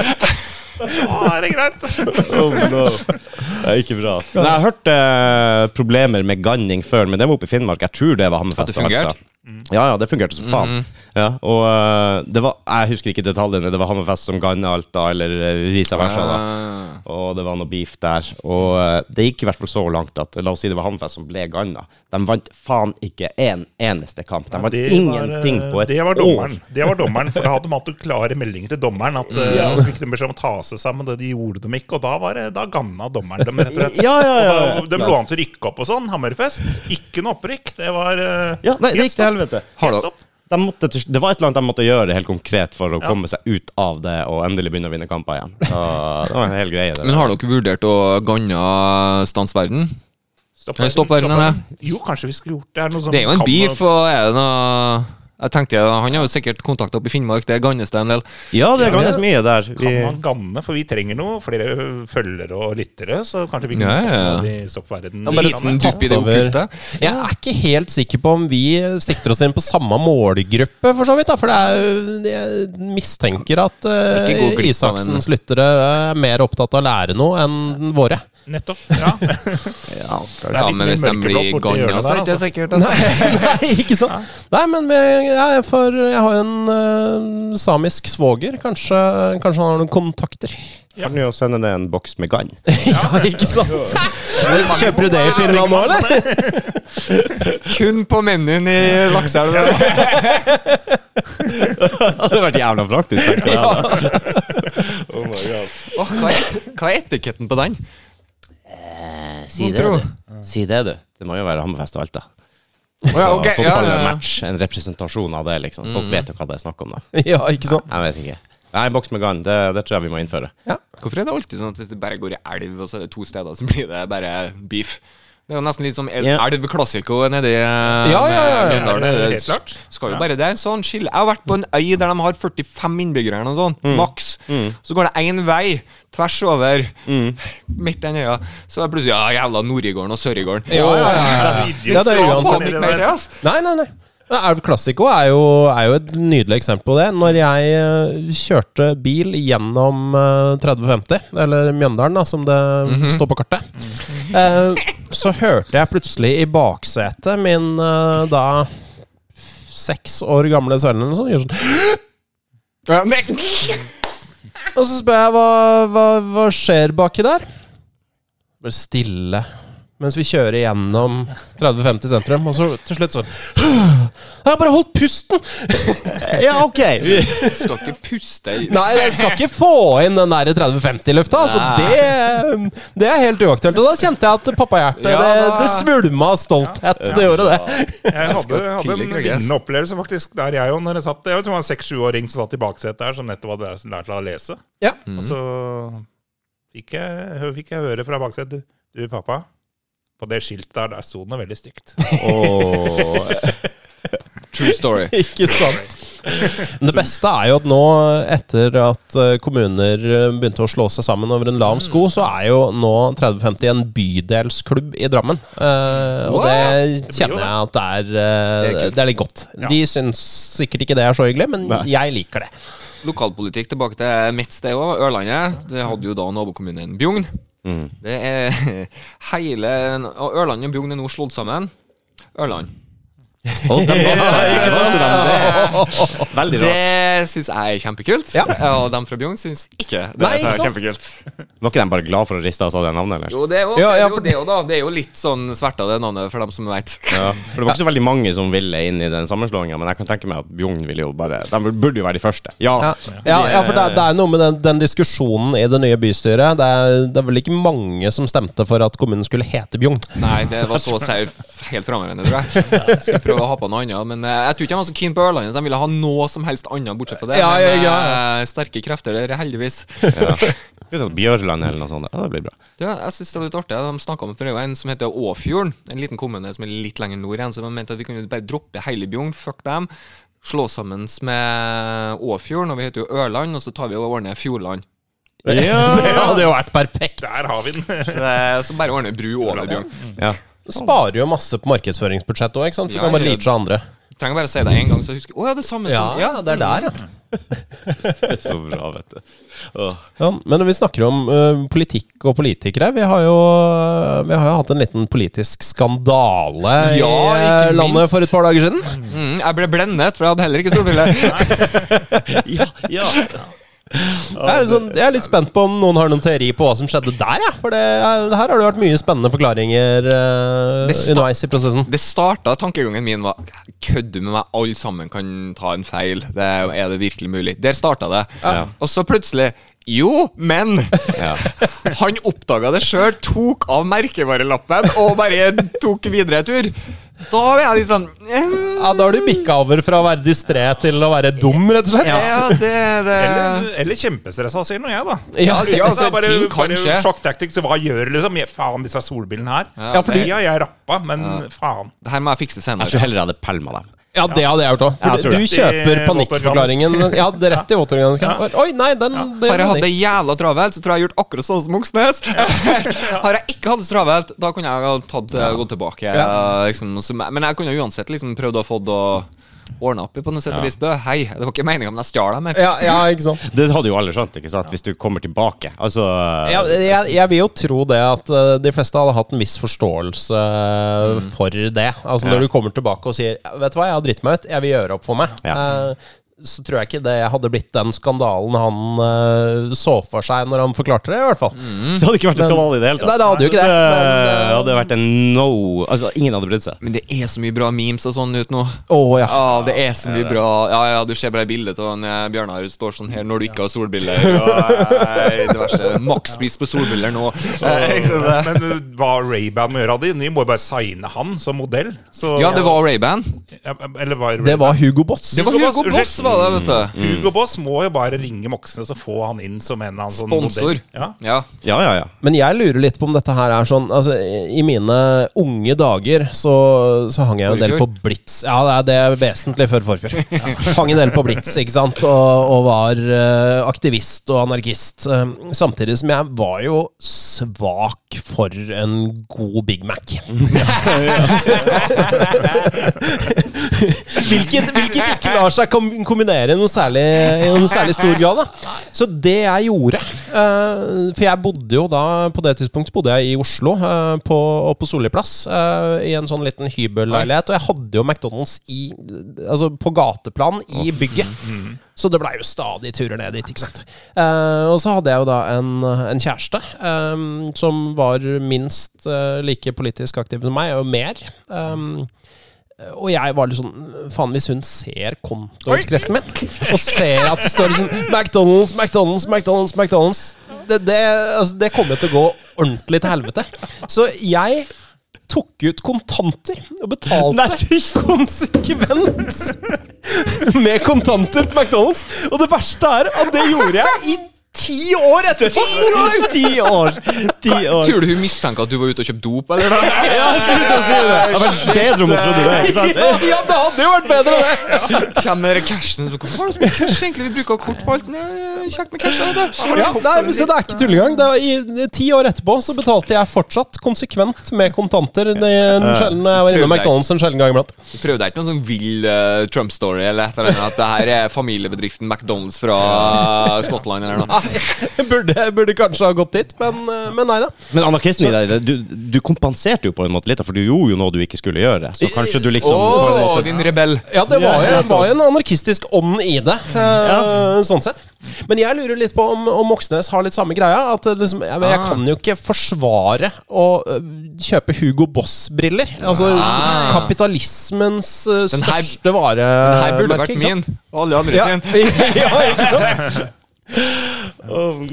[SPEAKER 3] Da er det greit.
[SPEAKER 1] Oh, no. Det er ikke bra. ass. Men jeg har hørt eh, problemer med ganning før, men det var oppe i Finnmark. Jeg tror det var Hammerfest.
[SPEAKER 2] At det fungerte?
[SPEAKER 1] og Alta. Ja, ja, det fungerte som faen.
[SPEAKER 3] Mhm.
[SPEAKER 1] ja, og eh, det var, jeg husker ikke detaljene. Det var Hammerfest som ganna Alta, eller eh, vice versa. da
[SPEAKER 3] Ah.
[SPEAKER 2] Eh,
[SPEAKER 1] og det var noe beef der. Og eh, det gikk i hvert fall så langt at la oss si det var Hammerfest som ble ganna. De vant faen ikke en eneste kamp. De vant
[SPEAKER 3] Det
[SPEAKER 1] ingenting
[SPEAKER 3] var, eh,
[SPEAKER 1] på et
[SPEAKER 3] det var
[SPEAKER 1] år.
[SPEAKER 3] dommeren. Det var dommeren, For da hadde de hatt noen klare meldinger til dommeren. At eh, så fikk de beskjed om å ta seg sammen, det de gjorde de ikke. Og da, var, det- da ganna dommeren dem, rett og slett.
[SPEAKER 1] Ja, ja, ja.
[SPEAKER 3] Og da- De lå an til å rykke opp og sånn. Hammerfest. Ikke noe opprykk. Det var eh,
[SPEAKER 1] Ja, nei,
[SPEAKER 3] helt
[SPEAKER 1] det gikk til
[SPEAKER 3] stopp.
[SPEAKER 1] helvete.
[SPEAKER 3] Helt stopp.
[SPEAKER 1] De måtte, til- det var et eller annet de måtte gjøre helt konkret for å komme seg ut av det og endelig begynne å vinne kamper igjen. Så, det var en hel greie. Det.
[SPEAKER 2] Men har dere vurdert å ganne Stans verden?
[SPEAKER 3] Stopp
[SPEAKER 2] Nei, stopp verden,
[SPEAKER 3] Jo, kanskje vi skulle gjort det. Er noe som
[SPEAKER 2] Det er jo en
[SPEAKER 3] kan-
[SPEAKER 2] beef, og er det noe Jeg tenkte, Han har jo sikkert kontakter oppe i Finnmark, det gannes det en del.
[SPEAKER 1] ja, det er ganske mye der. Vi,
[SPEAKER 3] Kan man ganne? For vi trenger noe. Flere følgere og lyttere. Så kanskje vi kan
[SPEAKER 2] Ja,
[SPEAKER 3] få
[SPEAKER 2] ja, ja.
[SPEAKER 3] ta de stopp verden.
[SPEAKER 2] En liten dupp i det
[SPEAKER 4] over.
[SPEAKER 2] okkulte.
[SPEAKER 4] Jeg er ikke helt sikker på om vi sikter oss inn på samme målgruppe, for så vidt. da For det er, jo- jeg mistenker at eh,
[SPEAKER 2] Ikke gå glipp av en-
[SPEAKER 4] Isaksens lyttere er mer opptatt av å lære noe enn våre.
[SPEAKER 3] Nettopp. Ja.
[SPEAKER 2] Ja,
[SPEAKER 3] det er litt
[SPEAKER 2] men
[SPEAKER 3] mye
[SPEAKER 2] hvis de
[SPEAKER 3] mørkeblått
[SPEAKER 2] blir
[SPEAKER 3] borti hjørnet
[SPEAKER 2] ganja, så er det
[SPEAKER 3] der,
[SPEAKER 2] ikke sikkert. Altså.
[SPEAKER 4] Nei, ikke sant? Nei, men vi, jeg, er for, jeg har en eh, samisk svoger. Kanskje, kanskje han har noen kontakter.
[SPEAKER 1] Kan jo sende ned en boks med gann.
[SPEAKER 4] Ja, ikke sant? Kjøper du det i Finland nå, eller?
[SPEAKER 2] Kun på menyen i Lakseelva.
[SPEAKER 1] Det hadde vært jævla praktisk. tenker jeg da. Oh my god.
[SPEAKER 2] Åh, hva, er- hva er etiketten på den?
[SPEAKER 1] Si
[SPEAKER 2] det, du.
[SPEAKER 1] Si det, du. Det må jo være Hammerfest og Alta.
[SPEAKER 2] Å ja, ok,
[SPEAKER 1] Så
[SPEAKER 2] ja,
[SPEAKER 1] fotball er
[SPEAKER 2] ja,
[SPEAKER 1] en
[SPEAKER 2] ja.
[SPEAKER 1] match, en representasjon av det, liksom. Folk vet jo hva det er snakk om, da.
[SPEAKER 4] Ja, ikke sant?
[SPEAKER 1] Jeg vet ikke. Nei, boks med gann, det, det tror jeg vi må innføre.
[SPEAKER 2] Hvorfor er det alltid sånn at hvis det bare går i elv, og så er det to steder, så blir det bare beef? Det er jo nesten litt som el
[SPEAKER 1] Ja.
[SPEAKER 2] elv classico nedi eh,
[SPEAKER 4] Ja, ja, ja, ja.
[SPEAKER 2] Mjøndalen.
[SPEAKER 3] Ja, det er
[SPEAKER 2] Det
[SPEAKER 3] helt klart.
[SPEAKER 2] Skal jo bare det er en sånn skille. Jeg har vært på en øy der de har 45 innbyggere eller noe sånt, maks. Så går det én vei tvers over midt i den øya. Så er det plutselig ja, jævla Nordøygarden og Sørøygarden.
[SPEAKER 4] Ja, ja, ja, ja. Ja, det er
[SPEAKER 2] Skal
[SPEAKER 4] uansett.
[SPEAKER 2] faen ikke mer til, ass.
[SPEAKER 4] Nei, nei, nei. Men Elv Classico er jo, er jo et nydelig eksempel på det. Når jeg eh, kjørte bil gjennom eh, 3050, eller Mjøndalen, da, som det står på kartet, eh, så hørte jeg plutselig i baksetet min eh, da seks år gamle sønn eller noe sånt gjøre sånn
[SPEAKER 2] Ja, nei.
[SPEAKER 4] Og så spør jeg hva, hva, hva skjer baki der? Bare stille. Mens vi kjører gjennom 3050 sentrum, og så til slutt sånn Jeg har bare holdt pusten!
[SPEAKER 1] Ja, ok!
[SPEAKER 2] Du skal ikke puste i
[SPEAKER 4] Nei, jeg skal ikke få inn den der 30-50-lufta. Altså, det, det er helt uaktuelt. Og da kjente jeg at pappahjertet
[SPEAKER 2] Ja,
[SPEAKER 4] det,
[SPEAKER 2] da-
[SPEAKER 4] det svulma av stolthet. Det gjorde det.
[SPEAKER 3] Jeg hadde,
[SPEAKER 2] skal
[SPEAKER 3] hadde
[SPEAKER 2] tidlig
[SPEAKER 3] en
[SPEAKER 2] krøkes.
[SPEAKER 3] lignende opplevelse faktisk der jeg òg, når jeg satt Jeg vet, det var en seks-sjuåring som satt i baksetet der, som nettopp hadde lært- lært seg å lese.
[SPEAKER 4] Ja.
[SPEAKER 3] Og så fikk jeg, hø- fikk jeg høre fra baksetet du, du, pappa, på det skiltet der, der sto det noe veldig stygt.
[SPEAKER 2] True story.
[SPEAKER 4] Ikke sant? Men det beste er jo at nå, etter at eh, kommuner eh, begynte å slå seg sammen over en lav sko, så er jo nå 30-50 en bydelsklubb i Drammen. Eh, og det
[SPEAKER 3] Det blir jo
[SPEAKER 4] kjenner jeg at det er, eh,
[SPEAKER 2] Det er kult.
[SPEAKER 4] det er litt godt.
[SPEAKER 3] Ja.
[SPEAKER 4] De syns sikkert ikke det er så hyggelig, men
[SPEAKER 1] Nei.
[SPEAKER 4] jeg liker det.
[SPEAKER 2] Lokalpolitikk tilbake til mitt sted òg, Ørlandet. Det hadde jo da nabokommunen Bjugn. Det er hele Og Ørland og Bjugn er nå slått sammen. Ørland.
[SPEAKER 1] Veldig rart.
[SPEAKER 2] Det syns jeg er kjempekult.
[SPEAKER 4] Ja.
[SPEAKER 2] Og dem fra Bjugn syns ikke det.
[SPEAKER 4] Nei,
[SPEAKER 2] er
[SPEAKER 4] ikke sant?
[SPEAKER 2] kjempekult.
[SPEAKER 1] Var ikke de bare glad for å riste av seg det navnet, eller?
[SPEAKER 2] Jo, det er jo,
[SPEAKER 4] Ja,
[SPEAKER 2] det
[SPEAKER 4] ja,
[SPEAKER 2] er
[SPEAKER 4] for-
[SPEAKER 2] jo, det er jo da. Det er jo litt sånn sverta, det navnet, for dem som veit.
[SPEAKER 1] Ja, for det var ikke så veldig mange som ville inn i den sammenslåinga, men jeg kan tenke meg at Bjugn ville jo bare De burde jo være de første. Ja.
[SPEAKER 4] Ja, ja, ja for det, er- det er noe med den, den diskusjonen i det nye bystyret. Det er, det er vel ikke mange som stemte for at kommunen skulle hete Bjugn.
[SPEAKER 2] Nei, det var så sau f- helt fraværende, tror jeg. jeg. Skulle prøve å ha på noe annet, men eh, jeg tror ikke de var så keen på Ørlandet. så De ville ha noe som helst annet bortsett fra det.
[SPEAKER 4] Ja, ja,
[SPEAKER 2] men,
[SPEAKER 4] ja.
[SPEAKER 2] eh, Sterke krefter der, heldigvis.
[SPEAKER 1] Ja. Skal vi ta Bjørland eller noe sånt? Ja, det blir bra.
[SPEAKER 2] Du, jeg synes det var litt artig. De snakka om for det er jo en som heter Åfjorden. En liten kommune som er litt lenger nord igjen. Så de mente at vi kunne bare droppe hele Bjugn, fuck dem. Slå sammen med Åfjorden, og vi heter jo Ørland, og så tar vi og ordner Fjordland.
[SPEAKER 4] Det hadde jo vært perfekt.
[SPEAKER 3] Der har vi den!
[SPEAKER 2] Så det- så bare ordner bru over Bjugn.
[SPEAKER 1] Ja.
[SPEAKER 4] Sparer jo masse på markedsføringsbudsjettet òg, ikke sant. For
[SPEAKER 2] Ja,
[SPEAKER 4] kan bare
[SPEAKER 2] ja.
[SPEAKER 4] leache andre.
[SPEAKER 2] Trenger bare å si det én gang, så husker jeg. Å ja, det er samme som
[SPEAKER 4] Ja, det er der, ja.
[SPEAKER 1] Så bra, vet du. Åh.
[SPEAKER 4] ja men når vi snakker om ø, politikk og politikere, vi har, jo, eh, vi har jo hatt en liten politisk skandale
[SPEAKER 2] Ja,
[SPEAKER 4] i
[SPEAKER 2] ikke
[SPEAKER 4] ø, landet
[SPEAKER 2] minst.
[SPEAKER 4] for et par dager siden.
[SPEAKER 2] Mm, jeg ble blendet, for jeg hadde heller ikke solbriller.
[SPEAKER 1] Ja, ja.
[SPEAKER 4] Jeg er, sånn, jeg er litt spent på om noen har noen teori på hva som skjedde der, ja. For det, er- her har det vært mye spennende forklaringer eh,
[SPEAKER 2] Det sta-
[SPEAKER 4] underveis i prosessen.
[SPEAKER 2] Det starta tankegangen min var Kødder du med meg? Alle sammen kan ta en feil. Det er, er det virkelig mulig? Der starta det.
[SPEAKER 1] Ja.
[SPEAKER 2] Og så plutselig Jo, men!
[SPEAKER 1] Ja.
[SPEAKER 2] Han oppdaga det sjøl, tok av merkevarelappen og bare tok videre tur. Da er jeg litt sånn ehm,
[SPEAKER 4] Ja, Da har du bikka over fra å være distré til å være dum, rett og slett.
[SPEAKER 2] Ja, det, det
[SPEAKER 3] Eller, eller kjempestressa, sier nå jeg, da.
[SPEAKER 4] Ja,
[SPEAKER 3] Jeg synes
[SPEAKER 2] ja,
[SPEAKER 3] det
[SPEAKER 2] altså,
[SPEAKER 3] er bare,
[SPEAKER 2] ting kan
[SPEAKER 3] bare
[SPEAKER 2] skje.
[SPEAKER 3] Sjokktaktikk, så hva gjør du, liksom? Ja, Faen, disse solbrillene her.
[SPEAKER 2] Ja,
[SPEAKER 3] Ja,
[SPEAKER 2] fordi-
[SPEAKER 3] jeg rappa, men faen.
[SPEAKER 2] Det her må jeg fikse
[SPEAKER 1] Jeg tror
[SPEAKER 2] senere.
[SPEAKER 1] heller jeg hadde pælma dem.
[SPEAKER 4] Ja, det hadde jeg gjort òg.
[SPEAKER 1] Ja, jeg tror
[SPEAKER 4] Du
[SPEAKER 1] det.
[SPEAKER 4] kjøper
[SPEAKER 3] I
[SPEAKER 4] panikkforklaringen. Ja, det er rett i våtorganisken. Oi, nei, den
[SPEAKER 2] Har
[SPEAKER 4] det
[SPEAKER 2] jeg
[SPEAKER 4] gjorde
[SPEAKER 2] hatt
[SPEAKER 4] jeg
[SPEAKER 2] det jævla travelt, så tror jeg jeg har gjort akkurat sånn som Moxnes. Har jeg ikke hatt det så travelt, da eh, kunne jeg ha tatt, gått tilbake. Liksom, så- men jeg kunne uansett liksom prøvd å få det å ordna opp i, på noe sett og vis. Du, hei, det var ikke meninga, men jeg stjal dem. her.
[SPEAKER 4] Ja, ja, ikke sant?
[SPEAKER 1] Det hadde jo alle skjønt, ikke sant? Hvis du kommer tilbake. Altså
[SPEAKER 4] Ja, jeg, jeg vil jo tro det at eh, de fleste hadde hatt en viss forståelse eh, for det. Altså
[SPEAKER 1] Mm. Ja.
[SPEAKER 4] Når du kommer tilbake og sier 'Vet du hva, jeg har dritt meg ut. Jeg vil gjøre opp for meg'.
[SPEAKER 1] Ja.
[SPEAKER 4] Eh, Så tror jeg ikke det hadde blitt den skandalen han eh, så for seg når han forklarte det, i hvert fall.
[SPEAKER 1] Det hadde ikke vært en
[SPEAKER 4] Men-
[SPEAKER 1] skandale i det hele tatt.
[SPEAKER 4] Nei, det hadde jo ikke det.
[SPEAKER 1] Det
[SPEAKER 4] Men, eh,
[SPEAKER 1] hadde vært en no Altså, ingen hadde brydd seg.
[SPEAKER 2] Men det er så mye bra memes og sånn ut nå.
[SPEAKER 4] Å, ja.
[SPEAKER 2] Ja, det er så mye bra. Ja, ja, du ser bare bildet av han, eh, Bjørnar står sånn her når du ikke har solbriller. Og eh, diverse makspris på solbriller nå. Eh, ikke sant det?
[SPEAKER 3] Men uh, hva Ray-Ban må gjøre av det? Vi må jo bare signe han som modell. Så,
[SPEAKER 2] Ja, det var Ray-Ban.
[SPEAKER 3] Ja, Eller var
[SPEAKER 4] Det var Hugo Boss.
[SPEAKER 2] Det var Mm.
[SPEAKER 3] Hugo Boss,
[SPEAKER 2] Hugo Boss,
[SPEAKER 3] unnskyld.
[SPEAKER 2] var det, vet du.
[SPEAKER 3] Hugo Boss må jo bare ringe Moxnes og få han inn som en av hans sånn
[SPEAKER 2] Sponsor.
[SPEAKER 3] modell. Ja.
[SPEAKER 2] Ja.
[SPEAKER 1] Ja, ja, ja.
[SPEAKER 4] Men jeg lurer litt på om dette her er sånn Altså, i mine unge dager så, så hang jeg jo en del på Blitz. Ja, det er, det er vesentlig før forfjor. Hang en del på Blitz, ikke sant, og, og var eh, aktivist og anarkist. Eh, samtidig som jeg var jo svak for en god Big Mac. Hvilket, hvilket ikke lar seg kom kombinere i noe særlig, i noe særlig stor grad. Da. Så det jeg gjorde eh, For jeg bodde jo da På det tidspunktet bodde jeg i Oslo eh, på, og på Solli plass. eh, I en sånn liten hybelleilighet. Og jeg hadde jo McDonald's i, altså på gateplan i bygget. Så det blei jo stadig turer ned dit. ikke sant? Eh, og så hadde jeg jo da en, en kjæreste eh, som var minst eh, like politisk aktiv som meg, og mer. Eh, og jeg var litt sånn Faen, hvis hun ser kontoutskriften min, og ser at det står sånn McDonald's, McDonald's, McDonald's, McDonald's Det, det, altså, det kommer til å gå ordentlig til helvete. Så jeg tok ut kontanter og betalte konsekvent med kontanter på McDonald's. Og det verste er at det gjorde jeg i ti år etterpå!
[SPEAKER 1] Ti år! Ti år.
[SPEAKER 2] Tror du hun mistenker at du var ute og kjøpte dop, eller? da?
[SPEAKER 4] Ja, jeg skulle til å si det.
[SPEAKER 1] Det hadde vært bedre om hun trodde det. ikke sant?
[SPEAKER 4] Ja, ja, det hadde jo vært bedre, det.
[SPEAKER 2] Kommer med den cashen. Hvorfor har du så mye cash, egentlig? Vi bruker kort på alt. Nei, Kjekt med cash. da, vet du.
[SPEAKER 4] Ja, nei, men så det er ikke tullegang. Det var i, i, ti år etterpå så betalte jeg fortsatt konsekvent med kontanter. Det er en sjelden, jeg var innom
[SPEAKER 2] Tullegang.
[SPEAKER 4] McDonald's en sjelden gang iblant.
[SPEAKER 2] Du prøvde ikke noen sånn vill eh, Trump-story eller et eller annet? At det her er familiebedriften McDonald's fra Skottland eller noe?
[SPEAKER 4] Jeg burde, jeg burde kanskje ha gått dit, men, eh, men nei da.
[SPEAKER 1] Men anarkisten i deg, du, du kompenserte jo på en måte litt, for du gjorde jo noe du ikke skulle gjøre. Så kanskje du liksom
[SPEAKER 2] Åh, din rebell.
[SPEAKER 4] Ja, det var jo, var jo en anarkistisk ånd i det, eh, sånn sett. Men jeg lurer litt på om, om Moxnes har litt samme greia. At det liksom, jeg, jeg
[SPEAKER 2] Ah.
[SPEAKER 4] kan jo ikke forsvare å eh, kjøpe Hugo Boss-briller. Altså
[SPEAKER 2] Ah.
[SPEAKER 4] kapitalismens eh,
[SPEAKER 2] Den her-
[SPEAKER 4] største vare...
[SPEAKER 2] Her burde det vært min. Og alle andre
[SPEAKER 4] Eh, Ja,
[SPEAKER 2] sin.
[SPEAKER 4] ja, ikke sant?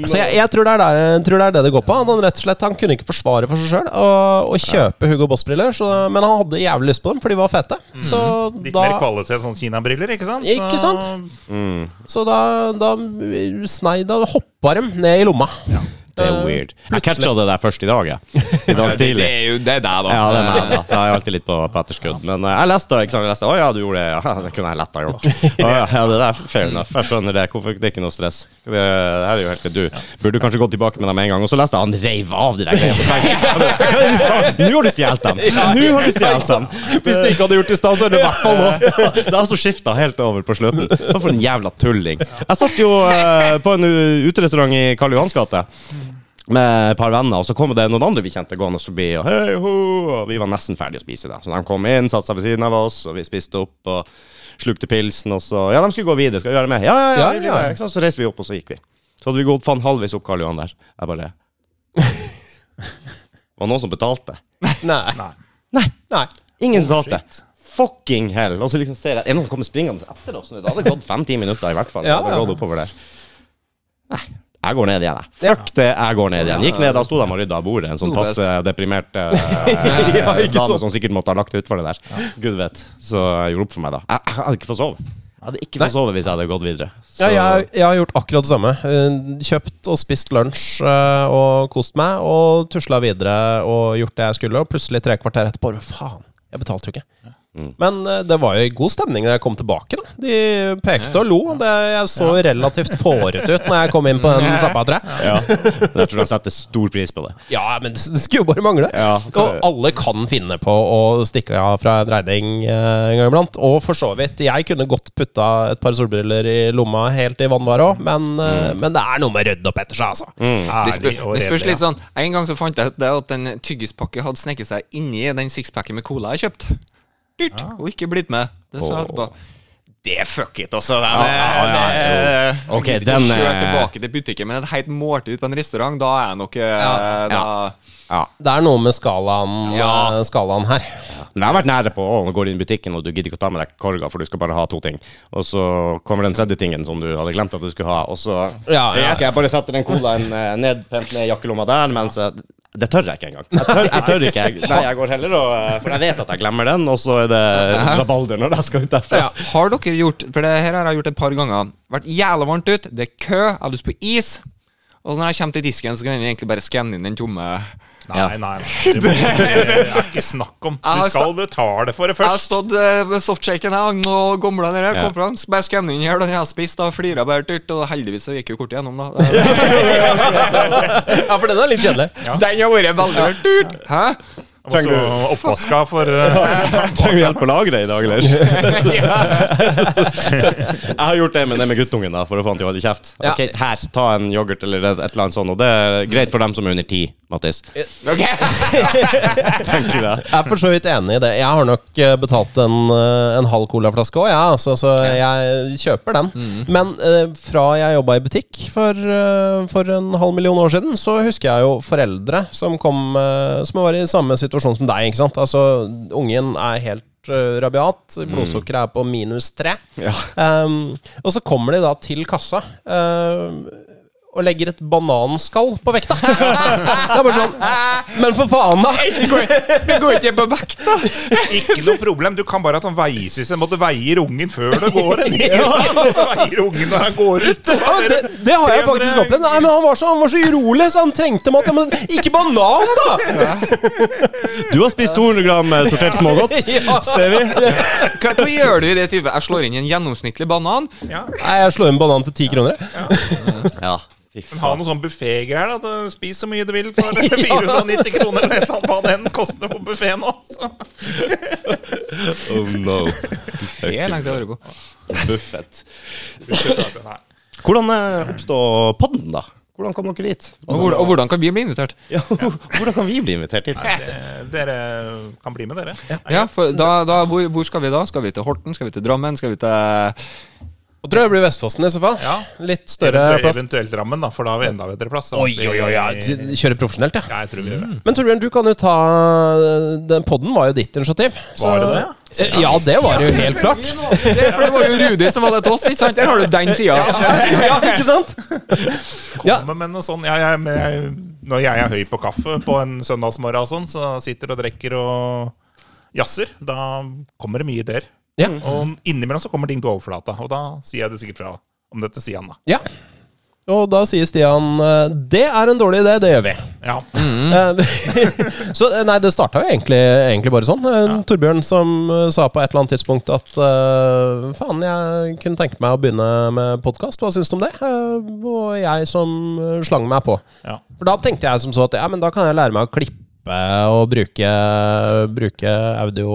[SPEAKER 4] Så jeg, jeg tror, det er der, jeg tror det er det det går på. At Han rett og slett Han kunne ikke forsvare for seg sjøl å kjøpe Hugo Boss-briller, så- men han hadde jævlig lyst på dem, for de var fete. Så
[SPEAKER 3] Litt mer
[SPEAKER 4] da,
[SPEAKER 3] kvalitet sånn Kina-briller, ikke sant?
[SPEAKER 4] Ikke sant? så da, da snei Da hoppa dem ned i lomma.
[SPEAKER 1] Det er weird. Jeg catcha det der først i dag, jeg. I dag
[SPEAKER 2] Det
[SPEAKER 1] tidlig.
[SPEAKER 2] er jo det er deg, da. Eh,
[SPEAKER 1] Ja, det er meg, da. Jeg er alltid litt på, på etterskudd. Men eh, jeg leste ikke sant? Jeg leste, Å ja, du gjorde det. Ja, det kunne jeg lett ha gjort. Å, ja, ja, det der, fair enough. Jeg skjønner det. Hvorfor, det er ikke noe stress. Det, det her er jo helt Du burde kanskje gått tilbake med dem med en gang. Og så leste jeg han reiv av de der greiene. Så tenkte jeg, Hva er det du faen? Nå har du stjålet dem! Nå har du stjålet dem!
[SPEAKER 4] Hvis du ikke hadde gjort det i stad, så er det i hvert fall nå.
[SPEAKER 1] Ja, Det har så skifta helt over på slutten. Hva for en jævla tulling. Jeg satt jo eh, på en u- uterestaurant i Karl Johans gate med et par venner, og så kom det noen andre vi kjente gående forbi, og hei ho, og vi var nesten ferdige å spise da. Så de kom inn, satte seg ved siden av oss, og vi spiste opp og slukte pilsen, og så Ja, de skulle gå videre, skal vi gjøre det med? Ja, ja, ja.
[SPEAKER 4] Ja,
[SPEAKER 1] vi
[SPEAKER 4] ja.
[SPEAKER 1] gjør det. Ikke sant? Så reiste vi opp, og så gikk vi. Så hadde vi gått faen halvveis opp Karl Johan der. Jeg bare Det var noen som betalte.
[SPEAKER 4] Nei.
[SPEAKER 1] Nei.
[SPEAKER 4] Nei. Oh,
[SPEAKER 1] Ingen betalte. Fucking hell. Og så liksom ser jeg Er det noen som kommer springende etter oss nå? Det hadde gått fem-ti minutter i hvert fall.
[SPEAKER 4] Ja,
[SPEAKER 1] Det hadde
[SPEAKER 4] ja.
[SPEAKER 1] gått oppover der. Nei. Jeg går ned igjen, jeg. Fuck det, jeg går ned igjen. Gikk ned, da sto de og rydda av bordet. En
[SPEAKER 4] Oh,
[SPEAKER 1] sånn
[SPEAKER 2] Godhet.
[SPEAKER 1] passe deprimert eh,
[SPEAKER 4] Ja, ikke sånn.
[SPEAKER 1] dame
[SPEAKER 4] sant.
[SPEAKER 1] som sikkert måtte ha lagt ut for det der. Gud vet. Så jeg gjorde opp for meg, da. Jeg, jeg hadde ikke fått sove. Jeg hadde ikke fått sove hvis jeg hadde gått videre. Så,
[SPEAKER 4] Ja, jeg, jeg har gjort akkurat det samme. Eh, Kjøpt og spist lunsj eh, og kost meg. Og tusla videre og gjort det jeg skulle, og plutselig tre kvarter etterpå Hva faen? Jeg betalte jo ikke. Men eh, det var jo god stemning da jeg kom tilbake. da De pekte og lo. Det, jeg så relativt fåret ut når jeg kom inn på den sjappa, tror jeg.
[SPEAKER 1] Ja. Men Jeg tror de setter stor pris på det.
[SPEAKER 4] Ja, men det skulle jo bare mangle.
[SPEAKER 1] Ja, det-
[SPEAKER 4] og alle kan finne på å stikke av fra en regning eh, en gang iblant. Og for så vidt, jeg kunne godt putta et par solbriller i lomma helt i vannvare òg, men, eh, men det er noe med å rydde opp etter seg, altså.
[SPEAKER 2] Det, spør,
[SPEAKER 3] Ærlig og
[SPEAKER 2] det spørs
[SPEAKER 3] redelig.
[SPEAKER 2] litt sånn En gang så fant jeg ut det at en tyggispakke hadde sneket seg inni den sixpacken med cola jeg kjøpte. Dyrt, og ikke blitt med. Det sa jeg etterpå. Det er fuck it, altså. Det,
[SPEAKER 1] ja, ja,
[SPEAKER 2] det-
[SPEAKER 1] jo. Ok,
[SPEAKER 2] Jeg gidder ikke
[SPEAKER 1] den
[SPEAKER 2] å kjøre
[SPEAKER 1] er-
[SPEAKER 2] tilbake til butikken med et helt måltid ut på en restaurant, da er jeg nok eh, da,
[SPEAKER 1] Ja.
[SPEAKER 4] Det er noe med skalaen,
[SPEAKER 2] Ja.
[SPEAKER 4] eh, skalaen her.
[SPEAKER 1] Men jeg har vært nære på å gå inn i butikken, og du gidder ikke å ta med deg korga, for du skal bare ha to ting. Og så kommer den tredje tingen som du hadde glemt at du skulle ha, og så
[SPEAKER 4] Ja, ja.
[SPEAKER 1] skal jeg bare sette den colaen eh, ned, pent ned i jakkelomma der, mens jeg det tør jeg ikke engang. Jeg tør, jeg tør ikke. Jeg, nei, jeg går heller og eh, For jeg vet at jeg glemmer den, og så er det rabalder når jeg skal ut derfra.
[SPEAKER 2] Ja. Har dere gjort For det her har jeg gjort et par ganger. Vært jævla varmt ut, det er kø, jeg har lyst på is. Og når jeg kommer til disken, så kan jeg egentlig bare skanne inn den tomme
[SPEAKER 3] Nei, nei, nei. Det må- det er ikke snakk om.
[SPEAKER 2] Jeg har
[SPEAKER 3] Du
[SPEAKER 4] altså-
[SPEAKER 3] skal betale for det
[SPEAKER 2] Jeg har
[SPEAKER 3] først.
[SPEAKER 2] stått eh, ved softshaken jeg, og gomla ned her.
[SPEAKER 1] Ja.
[SPEAKER 2] Kom fram, så bare skanne inn her, den jeg har spist, da flira bare turt. Og heldigvis så gikk jo kortet gjennom, da. Eh,
[SPEAKER 4] ja, for den er litt kjedelig.
[SPEAKER 2] Den har vært veldig turt. Hæ?
[SPEAKER 3] Og så oppvaska for eh,
[SPEAKER 1] Trenger du hjelp å lagre i dag, eller? jeg har gjort det med, det med guttungen, da, for å få han til å holde kjeft.
[SPEAKER 4] Ja.
[SPEAKER 1] Ok, Her, ta en yoghurt eller et, et eller annet sånt. Og det er greit for dem som er under ti, Mattis. Tenker jeg.
[SPEAKER 4] Jeg er for så vidt enig i det. Jeg har nok eh, betalt en, eh, en halv colaflaske òg, ja, altså, så jeg kjøper den. Men eh, fra jeg jobba i butikk for, eh, for en halv million år siden, så husker jeg jo foreldre som kom eh, Som var i samme situasjon som deg, ikke sant. Altså, ungen er helt eh, rabiat, blodsukkeret er på minus tre.
[SPEAKER 1] Ja.
[SPEAKER 4] Ehm, og så kommer de da til kassa ehm, og legger et bananskall på vekta. Det er bare sånn Men for faen, da!
[SPEAKER 2] Vi går ikke på vekt, da.
[SPEAKER 3] Ikke noe problem. Du kan bare ha sånn veiesystem. Måtte veier ungen før du går. inn, ikke sant? Og så veier ungen når han går ut.
[SPEAKER 4] Ja, men det, det har jeg faktisk opplevd. Nei, men han var så, han var så urolig, så han trengte mat. Jeg må- Ikke banan, da!
[SPEAKER 1] Du har spist 200 gram eh, sortert smågodt,
[SPEAKER 4] Ja.
[SPEAKER 1] ser vi.
[SPEAKER 2] Hva, hva gjør du i det tilfellet? Jeg slår inn en gjennomsnittlig banan.
[SPEAKER 4] Nei, jeg slår inn banan til ti kroner.
[SPEAKER 1] Ja.
[SPEAKER 3] Men ha noe sånn buffégreier. da. Du- Spis så mye du vil for 490 kroner eller noe, hva den koster på buffé nå. Så.
[SPEAKER 1] Oh no.
[SPEAKER 2] Det er lenge siden jeg har vært på.
[SPEAKER 1] Buffett.
[SPEAKER 3] Nei.
[SPEAKER 1] Hvordan eh, oppstår podden, da? Hvordan kom dere dit?
[SPEAKER 2] Og hvordan, og hvordan kan vi bli invitert?
[SPEAKER 1] Ja, hvordan kan vi bli invitert hit?
[SPEAKER 3] Eh, Dere kan bli med, dere.
[SPEAKER 2] Ja, for da, da, hvor, hvor skal vi da? Skal vi til Horten? Skal vi til Drammen? Skal vi til
[SPEAKER 4] Og tror jeg det blir Vestfossen i så fall.
[SPEAKER 3] Ja.
[SPEAKER 4] Litt større
[SPEAKER 3] Eventuelt,
[SPEAKER 4] plass.
[SPEAKER 3] eventuelt Drammen, da, for da har vi enda bedre plass.
[SPEAKER 4] Oi, oi, oi, ja.
[SPEAKER 3] ja,
[SPEAKER 4] Kjøre profesjonelt, ja.
[SPEAKER 3] jeg tror vi gjør det.
[SPEAKER 4] Men Torbjørn, du kan jo ta Den podden var jo ditt initiativ.
[SPEAKER 3] Var det det?
[SPEAKER 4] Eh, Ja, det var det jo helt klart.
[SPEAKER 2] Det, for det var jo Rudi som var det til oss, ikke sant? Der har du den sida.
[SPEAKER 4] Ja, ikke sant? Ja.
[SPEAKER 3] Komme med noe sånn. Ja, jeg, men jeg, når jeg er høy på kaffe på en søndagsmorgen og sånn, så sitter og drikker og jazzer, da kommer det mye ideer.
[SPEAKER 4] Ja.
[SPEAKER 3] Og innimellom så kommer ting på overflata, og da sier jeg det sikkert fra om dette, sier han da.
[SPEAKER 4] ja. Og da sier Stian eh, Det er en dårlig idé, det gjør vi.
[SPEAKER 3] Ja.
[SPEAKER 4] Mm. Eh, så eh, nei, det starta jo egentlig, egentlig bare sånn. Eh, Torbjørn som eh, sa på et eller annet tidspunkt at eh, faen, jeg kunne tenke meg å begynne med podkast, hva syns du om det? Eh, og jeg som eh, slang meg på.
[SPEAKER 3] ja.
[SPEAKER 4] For da tenkte jeg som så at ja, men da kan jeg lære meg å klippe. Og bruke, bruke audio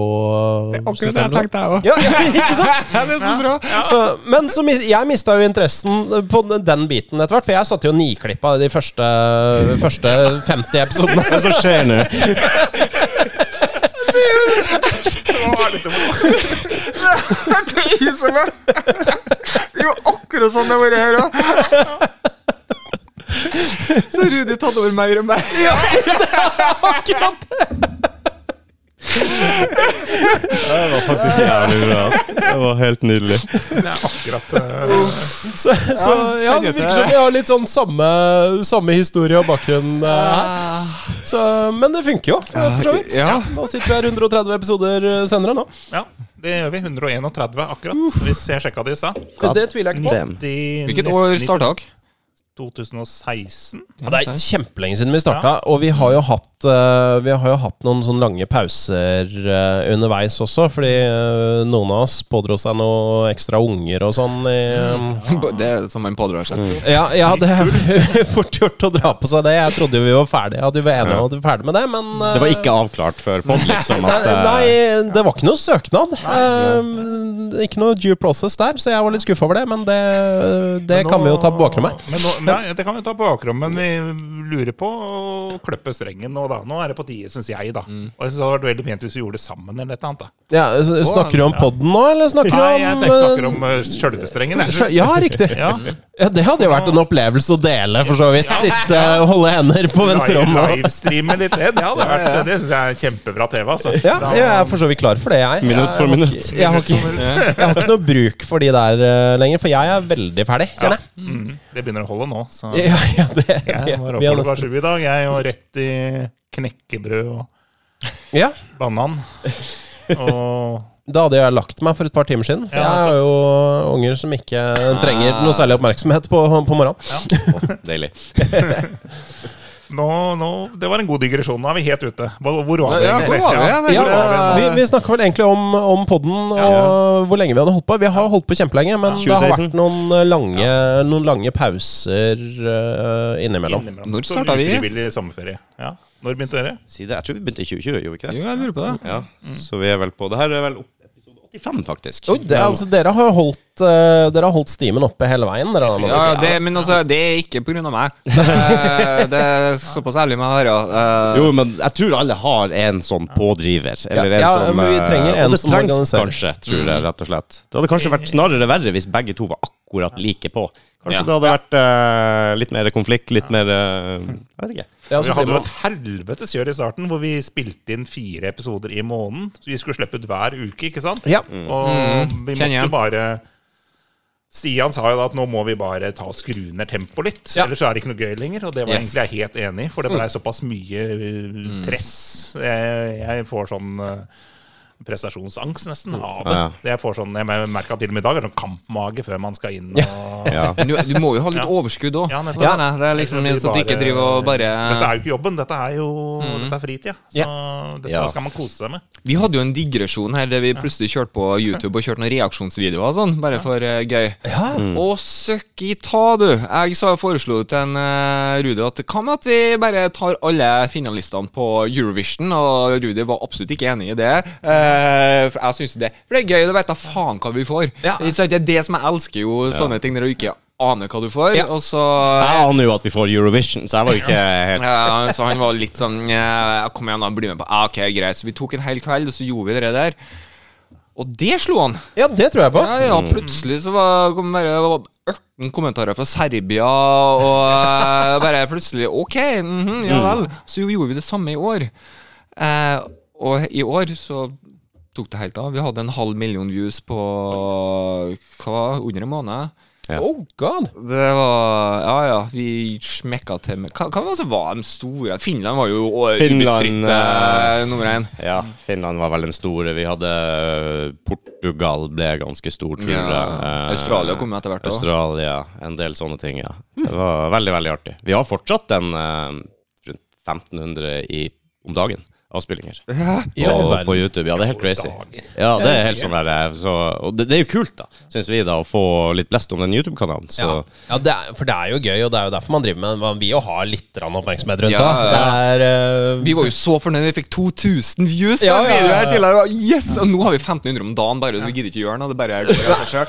[SPEAKER 2] tenkte jeg òg.
[SPEAKER 4] Ja, ja, ikke sant?
[SPEAKER 2] Det er så bra.
[SPEAKER 4] Så, men så, mis- jeg mista jo interessen på den- den biten etter hvert, for jeg satt jo og niklippa de første, første 50 episodene.
[SPEAKER 1] Hva er det som skjer nå?
[SPEAKER 2] Jo, akkurat sånn det har vært her òg. Så Rudi tatt over mer og mer. Ja, akkurat det!
[SPEAKER 1] Det var faktisk jævlig bra. Det var helt nydelig.
[SPEAKER 3] Det er akkurat eh,
[SPEAKER 4] Så, så ja, det virker som vi har litt sånn samme, samme historie og bakgrunn eh, her. Så, men det funker jo, eh, for så vidt.
[SPEAKER 2] Ja.
[SPEAKER 4] Nå sitter vi her 130 episoder eh, senere nå.
[SPEAKER 3] Ja, det gjør vi. 131 akkurat, hvis jeg sjekka det i stad.
[SPEAKER 4] Det, det tviler jeg ikke på.
[SPEAKER 1] Damn.
[SPEAKER 3] De-
[SPEAKER 2] Hvilket
[SPEAKER 3] nesten
[SPEAKER 2] år
[SPEAKER 3] i
[SPEAKER 2] starta dere?
[SPEAKER 3] 2016.
[SPEAKER 4] Ja, det er kjempelenge siden vi starta, og vi har jo hatt hatt, eh, vi har jo hatt noen sånne lange pauser eh, underveis også, fordi eh, noen av oss pådro seg noe ekstra unger og sånn. I,
[SPEAKER 2] Mm.
[SPEAKER 4] eh,
[SPEAKER 2] Det er som man pådrar seg.
[SPEAKER 3] Mm.
[SPEAKER 4] ja, ja, det er fort gjort å dra på seg det. Jeg trodde jo vi var ferdige, at vi var enige om at vi var ferdige med det, men eh,
[SPEAKER 1] Det var ikke avklart før pod, liksom. At,
[SPEAKER 4] Nei,
[SPEAKER 1] eh,
[SPEAKER 4] nei, det var ikke noe søknad. Eh, ikke noe due process der, så jeg var litt skuffa over det. Men det, det
[SPEAKER 3] Men nå-
[SPEAKER 4] kan vi jo ta på bakrommet.
[SPEAKER 3] Men nå, nei, det kan vi ta på bakrommet, men vi lurer på å kløppe strengen nå, da. Nå er det på tide, syns jeg, da.
[SPEAKER 4] Mm.
[SPEAKER 3] Og jeg synes det hadde vært veldig pent hvis vi gjorde det sammen eller et eller annet, da.
[SPEAKER 4] Ja, s- snakker du om podden nå, eller snakker du
[SPEAKER 3] Nei,
[SPEAKER 4] om
[SPEAKER 3] jeg tenkte
[SPEAKER 4] eh,
[SPEAKER 3] akkurat om eh, sjølve strengen. jeg.
[SPEAKER 4] Sjø- Ja, riktig.
[SPEAKER 3] Ja.
[SPEAKER 4] Ja, Det hadde jo vært en opplevelse å dele, for så vidt. Sitte og holde hender på venterommet.
[SPEAKER 3] Live- Livestreame litt. Det det hadde vært Det syns jeg er kjempebra TV, altså.
[SPEAKER 4] Ja,
[SPEAKER 3] Da-
[SPEAKER 4] jeg er for så vidt klar for det, jeg.
[SPEAKER 1] Minutt for
[SPEAKER 4] Jeg har
[SPEAKER 1] minutt.
[SPEAKER 4] ikke- Jeg har ikke, jeg har ikke noe bruk for de der eh, lenger, for jeg er veldig ferdig, kjenner jeg.
[SPEAKER 3] Mm, det begynner å holde nå, så jeg
[SPEAKER 4] Ja, ja, det,
[SPEAKER 3] var
[SPEAKER 4] vi
[SPEAKER 3] oppe
[SPEAKER 4] har
[SPEAKER 3] klokka
[SPEAKER 4] nesten-
[SPEAKER 3] sju i dag. Jeg og rett i knekkebrød og
[SPEAKER 4] ja.
[SPEAKER 3] banan. Og
[SPEAKER 4] Da hadde jeg lagt meg for et par timer siden. For
[SPEAKER 3] Ja,
[SPEAKER 4] jeg har jo unger som ikke trenger noe særlig oppmerksomhet på, på morgenen.
[SPEAKER 1] Deilig.
[SPEAKER 3] nå, nå Det var en god digresjon. Nå er vi helt ute. Hvor, hvor var vi?
[SPEAKER 2] Ja, hvor
[SPEAKER 3] egentlig?
[SPEAKER 2] var vi? Jeg vet
[SPEAKER 4] Ja,
[SPEAKER 2] ikke.
[SPEAKER 4] vi, vi snakker vel egentlig om, om podden og hvor lenge vi hadde holdt på. Vi har holdt på kjempelenge, men det har
[SPEAKER 1] 2016.
[SPEAKER 4] vært noen eh, lange, noen lange pauser eh, innimellom.
[SPEAKER 3] Innimellom.
[SPEAKER 2] Når
[SPEAKER 3] Så
[SPEAKER 2] starta vi?
[SPEAKER 3] Ufrivillig sommerferie. Ja. Når begynte dere?
[SPEAKER 1] Si det. Jeg tror vi begynte i 2020, gjorde vi ikke det?
[SPEAKER 2] Jo, jeg lurer på det.
[SPEAKER 1] Ja. Så vi er vel på Det her er vel opp- episode 85, faktisk.
[SPEAKER 4] Jo, det, altså, dere har holdt, eh, dere har holdt stimen oppe hele veien. Dere, da,
[SPEAKER 2] Ja, det, men altså, det er ikke pga. meg. Eh, Det er såpass ærlig med Harald. Eh,
[SPEAKER 1] Jo, men jeg tror alle har en sånn pådriver. Eller en
[SPEAKER 4] Ja, ja,
[SPEAKER 1] som,
[SPEAKER 4] men vi
[SPEAKER 1] eh,
[SPEAKER 4] trenger en
[SPEAKER 1] og det
[SPEAKER 4] som
[SPEAKER 1] trengs
[SPEAKER 4] organiserer. Mm.
[SPEAKER 1] Kanskje, tror jeg, rett og slett. Det hadde kanskje vært snarere verre hvis begge to var akkurat like på. Kanskje
[SPEAKER 2] Ja.
[SPEAKER 1] det hadde vært eh, litt mer konflikt, litt mer eh, Jeg vet ikke.
[SPEAKER 4] Ja,
[SPEAKER 3] Vi
[SPEAKER 4] så
[SPEAKER 3] hadde
[SPEAKER 4] blir
[SPEAKER 3] jo
[SPEAKER 4] man-
[SPEAKER 3] et helvetes kjør i starten, hvor vi spilte inn fire episoder i måneden. Så vi skulle slippe ut hver uke, ikke sant?
[SPEAKER 4] ja.
[SPEAKER 3] Og vi måtte
[SPEAKER 2] Kjenner Mm. igjen.
[SPEAKER 3] jo bare Stian sa jo da at nå må vi bare ta og skru ned tempoet litt,
[SPEAKER 4] Ja.
[SPEAKER 3] ellers er det ikke noe gøy lenger. Og det var
[SPEAKER 2] Yes. Mm.
[SPEAKER 3] egentlig jeg helt enig i, for det blei såpass mye uh, press. Jeg, jeg får sånn uh, prestasjonsangst nesten
[SPEAKER 2] Mm.
[SPEAKER 3] av det.
[SPEAKER 1] Ja,
[SPEAKER 3] Jeg får sånn, jeg merker at til og med i dag er det sånn kampmage før man skal inn og
[SPEAKER 1] Ja.
[SPEAKER 2] men Du, du må jo ha litt overskudd òg.
[SPEAKER 3] Ja, nettopp.
[SPEAKER 2] det er liksom
[SPEAKER 3] Eller
[SPEAKER 2] så at du ikke
[SPEAKER 3] bare-
[SPEAKER 2] driver
[SPEAKER 3] Dette
[SPEAKER 2] og bare Mm.
[SPEAKER 3] er jo ikke jobben, dette er jo Dette er fritida. Så det
[SPEAKER 1] Ja.
[SPEAKER 3] skal man kose seg med.
[SPEAKER 2] Vi hadde jo en digresjon her der vi plutselig kjørte på YouTube og kjørte noen reaksjonsvideoer og sånn, bare for eh, gøy. Og søkki ta, du! Jeg sa foreslo til en eh, Rudi at hva med at vi bare tar alle finalistene på Eurovision, og Rudi var absolutt ikke enig i det. Eh, for jeg synes det For det er gøy, du vet da faen hva vi får. Ikke sant? Det er det som jeg elsker jo, sånne ting der du ikke aner hva du får,
[SPEAKER 4] Ja.
[SPEAKER 2] og så
[SPEAKER 1] Jeg aner jo at vi får Eurovision, så jeg var jo ikke helt
[SPEAKER 2] ja, så han var litt sånn eh, Kom igjen, da, bli med på ah, Ok, greit. Så vi tok en hel kveld, og så gjorde vi det der. Og det slo han!
[SPEAKER 4] ja, det tror jeg på.
[SPEAKER 2] Ja, ja, plutselig så var, kom bare det var 18 kommentarer fra Serbia, og eh, bare plutselig OK, mhm, ja vel. Så jo, gjorde vi det samme i år. Eh, og i år så tok det helt av. Vi hadde en halv million views på hva, under en måned.
[SPEAKER 1] Ja.
[SPEAKER 4] Oh god.
[SPEAKER 2] Det var Ja, ja. Vi smekka til med Hva, hva var det som var de store? Finland var jo å-
[SPEAKER 1] Finland,
[SPEAKER 2] ubestridte
[SPEAKER 1] eh,
[SPEAKER 2] nummer én.
[SPEAKER 1] Ja, Finland var vel den store. Vi hadde eh, Portugal ble ganske stor, tror jeg.
[SPEAKER 2] Ja,
[SPEAKER 1] Eh,
[SPEAKER 2] Australia kom jo etter hvert også.
[SPEAKER 1] Australia, en del sånne ting, ja. Det var veldig, veldig artig. Vi har fortsatt en eh, rundt 1500 i, om dagen avspillinger på,
[SPEAKER 4] Ja, i verden.
[SPEAKER 1] på YouTube. Ja, det er helt crazy. Ja, det er helt sånn der, eh, så, Og det, det er jo kult, da, syns vi, da, å få litt blest om den YouTube-kanalen. Så
[SPEAKER 4] Ja, ja det er, for det er jo gøy, og det er jo derfor man driver med det. Man vil jo ha litt grann oppmerksomhet rundt
[SPEAKER 2] Ja,
[SPEAKER 4] det. Det er eh,
[SPEAKER 2] Vi var jo så fornøyd. Vi fikk 2000 views på
[SPEAKER 4] Ja,
[SPEAKER 2] en
[SPEAKER 4] ja,
[SPEAKER 2] video
[SPEAKER 4] ja,
[SPEAKER 2] her
[SPEAKER 4] ja.
[SPEAKER 2] tidligere. og Yes! Og nå har vi 1500 om dagen, bare. Vi gidder ikke gjøre noe. Det bare går av seg selv.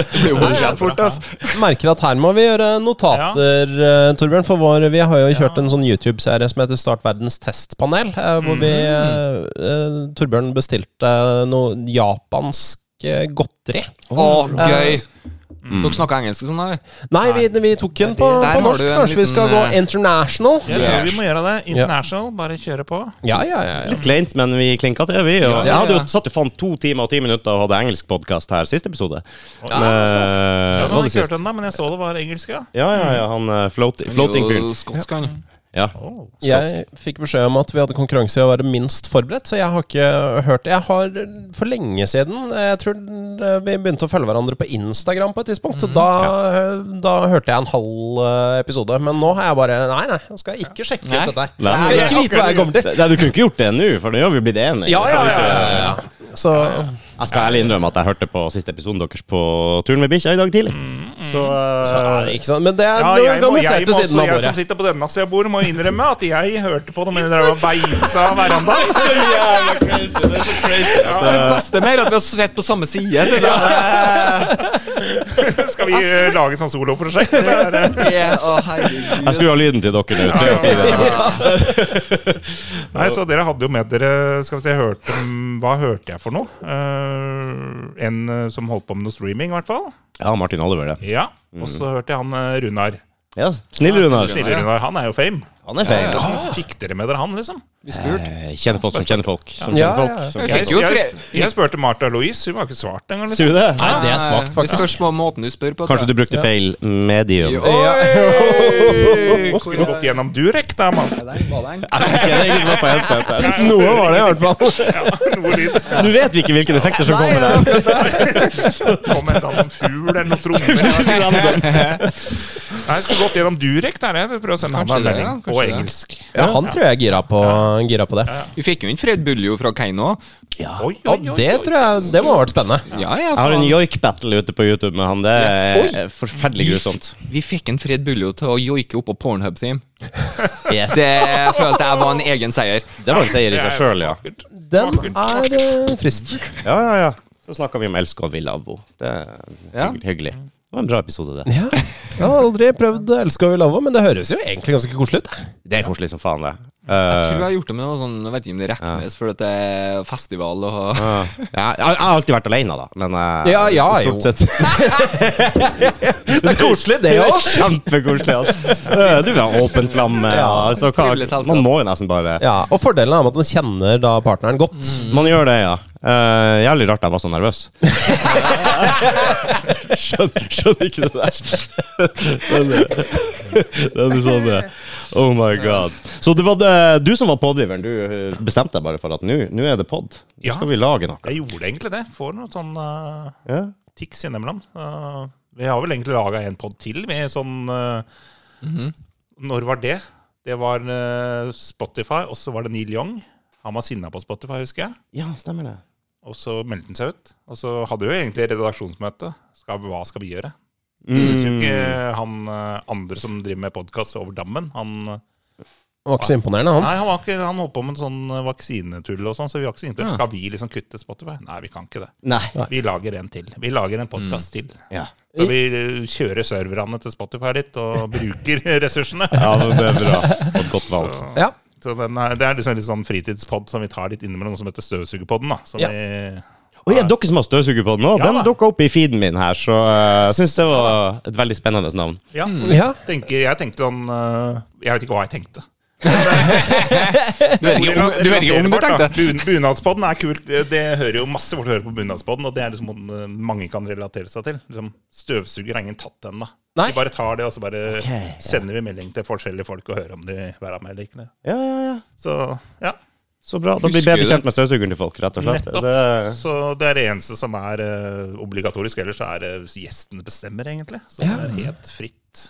[SPEAKER 2] Det blir jo bullshit fort, ass.
[SPEAKER 4] merker at her må vi gjøre notater, eh, Torbjørn. For vår, vi har jo kjørt en sånn YouTube-serie som heter Start verdens testpanel. eh, Hvor vi,
[SPEAKER 2] Mhm.
[SPEAKER 4] eh, eh, Torbjørn bestilte noe japansk eh, godteri.
[SPEAKER 2] Å, gøy. Dere snakker engelsk og sånn, eller?
[SPEAKER 4] Nei, vi, vi tok den på,
[SPEAKER 2] Der har
[SPEAKER 4] på norsk.
[SPEAKER 2] du en
[SPEAKER 4] Kanskje vi skal
[SPEAKER 2] liten,
[SPEAKER 4] gå
[SPEAKER 2] eh,
[SPEAKER 4] international?
[SPEAKER 3] Jeg tror vi må gjøre det.
[SPEAKER 4] Ja.
[SPEAKER 3] International, bare kjøre på.
[SPEAKER 4] Ja, ja, ja. ja.
[SPEAKER 1] Litt kleint, men vi klinka til, vi. Og
[SPEAKER 2] Ja,
[SPEAKER 1] jeg
[SPEAKER 2] ja,
[SPEAKER 1] hadde jo
[SPEAKER 2] ja.
[SPEAKER 1] satt jo faen to timer og ti minutter og hadde engelsk podkast her sist episode. Men,
[SPEAKER 3] Ja, nå
[SPEAKER 1] eh, var
[SPEAKER 3] har jeg
[SPEAKER 1] det
[SPEAKER 3] ikke hørt
[SPEAKER 1] sist?
[SPEAKER 3] den da, men jeg så det var engelsk, ja.
[SPEAKER 1] Ja, ja, ja, han eh, float, floating fyren.
[SPEAKER 2] Jo, skotsk, han.
[SPEAKER 1] Ja.
[SPEAKER 3] Åh.
[SPEAKER 4] Jeg fikk beskjed om at vi hadde konkurranse i å være minst forberedt, så jeg har ikke hørt det. Jeg har for lenge siden Jeg tror eh, vi begynte å følge hverandre på Instagram på et tidspunkt.
[SPEAKER 3] Mhm,
[SPEAKER 4] Så da, eh, da hørte jeg en halv eh, episode. Men nå har jeg bare Nei, nei, jeg skal ikke sjekke
[SPEAKER 2] Nei.
[SPEAKER 4] ut dette her.
[SPEAKER 1] Nei.
[SPEAKER 4] Jeg skal ikke vite hva jeg kommer til.
[SPEAKER 1] Nei, du kunne ikke gjort det nå, for nå har vi blitt enige.
[SPEAKER 4] Ja, ja, ja. ja, ja. Så
[SPEAKER 1] Jeg skal ærlig innrømme at jeg hørte på siste episoden deres på turen med bikkja i dag tidlig.
[SPEAKER 4] Mm,
[SPEAKER 1] Så, eh,
[SPEAKER 4] så er det ikke sånn. Men det er
[SPEAKER 3] Ja,
[SPEAKER 4] den
[SPEAKER 3] jeg, må, jeg, må
[SPEAKER 4] organiserte
[SPEAKER 3] også,
[SPEAKER 4] siden av
[SPEAKER 3] jeg som
[SPEAKER 4] året.
[SPEAKER 3] sitter på denne sida av bordet, må innrømme at jeg hørte på det mens dere var beisa av verandaen.
[SPEAKER 1] så jævla crazy! Det er så crazy.
[SPEAKER 2] Det beste med er at vi har sett på samme side. Synes jeg.
[SPEAKER 3] Skal vi eh, lage et sånt soloprosjekt? eh, eller?
[SPEAKER 2] Ja, å, herregud.
[SPEAKER 1] Jeg skrur av lyden til dere nå. Tre og fire.
[SPEAKER 3] Nei, så dere hadde jo med dere Skal vi se, jeg hørte, om- hva hørte jeg for noe? Eh, en eh, som holdt på med noe streaming, i hvert fall.
[SPEAKER 1] Ja, Martin Oliver, det.
[SPEAKER 3] Ja. Og så hørte jeg han eh, Runar.
[SPEAKER 1] Ja, snill, Runar.
[SPEAKER 3] Snille Runar. Han er jo fame.
[SPEAKER 1] Han er feil.
[SPEAKER 3] Fikk dere med dere han, liksom?
[SPEAKER 2] Vi spurte.
[SPEAKER 1] Eh, Kjenner folk som kjenner folk. Som
[SPEAKER 4] Ja,
[SPEAKER 1] kjenner
[SPEAKER 4] ja, ja.
[SPEAKER 1] folk. Som kjenner
[SPEAKER 2] Jeg
[SPEAKER 3] Jeg,
[SPEAKER 2] fikk jo
[SPEAKER 1] folk.
[SPEAKER 3] jeg,
[SPEAKER 2] fre-
[SPEAKER 3] jeg spurte Martha Louise, hun har ikke svart engang. Liksom.
[SPEAKER 1] Sier du det?
[SPEAKER 4] Nei, det er svakt,
[SPEAKER 2] Det
[SPEAKER 4] faktisk.
[SPEAKER 2] spørs på måten du spør på. tror
[SPEAKER 1] Kanskje du
[SPEAKER 2] jeg.
[SPEAKER 1] brukte feil medium?
[SPEAKER 2] Oi!
[SPEAKER 3] Nå skulle du gått gjennom Durek, da, mann.
[SPEAKER 2] Var det en? Var det
[SPEAKER 1] Jeg vet ikke, det er
[SPEAKER 2] en?
[SPEAKER 1] ingen som er på headset her.
[SPEAKER 4] Noe var det i hvert fall.
[SPEAKER 3] Ja, noe lyd.
[SPEAKER 1] Nå vet vi ikke hvilke effekter som kommer der.
[SPEAKER 3] Kom en annen fugl eller noen trommer. Nei, jeg skulle gått gjennom Durek der, jeg. Prøv å sende han
[SPEAKER 2] Kanskje
[SPEAKER 3] meg en
[SPEAKER 2] det,
[SPEAKER 3] melding
[SPEAKER 2] ja,
[SPEAKER 3] på
[SPEAKER 2] kanskje det.
[SPEAKER 3] engelsk.
[SPEAKER 4] Ja, han tror jeg er gira på, gira på det.
[SPEAKER 2] Vi fikk jo inn Fred Buljo fra Keiino.
[SPEAKER 3] Oi, oi,
[SPEAKER 4] Og
[SPEAKER 3] oi,
[SPEAKER 4] det
[SPEAKER 3] oi.
[SPEAKER 4] tror jeg Det må ha vært spennende.
[SPEAKER 2] Ja, ja,
[SPEAKER 1] Jeg har en
[SPEAKER 2] faen.
[SPEAKER 1] joik-battle ute på YouTube med han. Det
[SPEAKER 4] Yes.
[SPEAKER 1] er forferdelig grusomt.
[SPEAKER 2] Vi fikk en Fred Buljo til å joike opp på Pornhub-team.
[SPEAKER 1] Yes.
[SPEAKER 2] Det følte jeg var en egen seier.
[SPEAKER 1] Det var en seier i seg sjøl, ja.
[SPEAKER 3] Vakkert.
[SPEAKER 4] Den
[SPEAKER 3] Vakkert.
[SPEAKER 4] er eh, frisk.
[SPEAKER 1] Ja, ja, ja. Så snakka vi om Elsk og Villavo. Det er
[SPEAKER 2] Ja.
[SPEAKER 1] hygg- hyggelig. Det var en bra episode, det.
[SPEAKER 4] Ja. Jeg har aldri prøvd Elska vi lava, men det høres jo egentlig ganske koselig ut.
[SPEAKER 1] Det er koselig som faen, det.
[SPEAKER 2] Jeg
[SPEAKER 1] Eh,
[SPEAKER 2] tror jeg har gjort det med noe sånn, jeg vet ikke om det regnes, for at det er festival og
[SPEAKER 1] Eh, ja, jeg, jeg har alltid vært aleine, da. Men eh,
[SPEAKER 4] Ja, ja, jo.
[SPEAKER 1] stort sett
[SPEAKER 4] Det er koselig, det
[SPEAKER 1] Det er
[SPEAKER 4] òg.
[SPEAKER 1] Kjempekoselig, altså. Eh, Du vil ha åpen flamme.
[SPEAKER 4] Ja.
[SPEAKER 1] Ja. Så
[SPEAKER 2] Trivelig
[SPEAKER 1] hva,
[SPEAKER 2] selskap.
[SPEAKER 1] man må jo nesten bare
[SPEAKER 4] Ja, og fordelen er at man kjenner da partneren godt.
[SPEAKER 1] Mm. Man gjør det, ja. Eh, jævlig rart jeg var så nervøs. skjønner, skjønner ikke det der. Den, den er sånn eh, Oh my god. Så det var det, du som var pådriveren. Du eh, bestemte deg bare for at nå nå er det pod. Nå
[SPEAKER 3] Ja.
[SPEAKER 1] skal vi lage noe.
[SPEAKER 3] Jeg gjorde egentlig det. Får noen sånn eh,
[SPEAKER 1] Ja.
[SPEAKER 3] tics innimellom. Eh, vi har vel egentlig laga en pod til med sånn eh,
[SPEAKER 2] Mhm.
[SPEAKER 3] Når var det? Det var eh, Spotify, og så var det Neil Young. Han var sinna på Spotify, husker jeg.
[SPEAKER 1] ja, stemmer det.
[SPEAKER 3] Og så meldte han seg ut. Og så hadde vi jo egentlig redaksjonsmøte. Skal, hva skal vi gjøre?
[SPEAKER 1] Mm.
[SPEAKER 3] Jeg syns jo ikke han eh, andre som driver med podkast over dammen han, eh,
[SPEAKER 4] Det var ikke så imponerende, han.
[SPEAKER 3] Nei, han, var ikke, han holdt på med sånn eh, vaksinetull og sånn, så vi var ikke så innstilt. Skal vi liksom kutte Spotify? Nei, vi kan ikke det.
[SPEAKER 1] Nei. Mm.
[SPEAKER 3] Vi lager en til. Vi lager en podkast til.
[SPEAKER 1] Ja.
[SPEAKER 3] Så vi eh, kjører serverne til Spotify litt og bruker ressursene.
[SPEAKER 1] ja, men det er bra. Et godt valg.
[SPEAKER 4] Ja.
[SPEAKER 3] Så den er, det er liksom litt sånn fritidspod som vi tar litt innimellom, som heter Støvsugerpodden. da. Som
[SPEAKER 4] Ja.
[SPEAKER 3] vi,
[SPEAKER 1] Og ja, dere som har støvsuger på den nå,
[SPEAKER 3] Ja,
[SPEAKER 1] den
[SPEAKER 3] da.
[SPEAKER 1] dukka opp i feeden min her, så eh, jeg syns det var et veldig spennende navn.
[SPEAKER 3] ja,
[SPEAKER 4] Ja.
[SPEAKER 3] tenker, jeg tenkte sånn eh, Jeg vet ikke hva jeg tenkte.
[SPEAKER 2] Du vet ikke om du, vet ikke om du
[SPEAKER 3] Relaterbart, da.
[SPEAKER 2] tenkte
[SPEAKER 3] Bun- Bunadspodden er kult. Det det hører jo masse folk hører på Bunadspodden, og det er liksom noe mange kan relatere seg til. Liksom, støvsuger har ingen tatt ennå.
[SPEAKER 4] Nei.
[SPEAKER 3] De bare tar det, og så bare
[SPEAKER 1] ja.
[SPEAKER 3] sender vi melding til forskjellige folk og hører om de vil være med eller ikke.
[SPEAKER 1] Ja, ja, ja.
[SPEAKER 3] Så ja.
[SPEAKER 1] Så bra. Da blir
[SPEAKER 2] Husker
[SPEAKER 1] bedre
[SPEAKER 2] du
[SPEAKER 1] kjent med støvsugeren til folk, rett og slett.
[SPEAKER 3] Nettopp.
[SPEAKER 1] Det-
[SPEAKER 3] Så det er det eneste som er eh, obligatorisk. Ellers så er det gjestene bestemmer, egentlig. Så det er helt fritt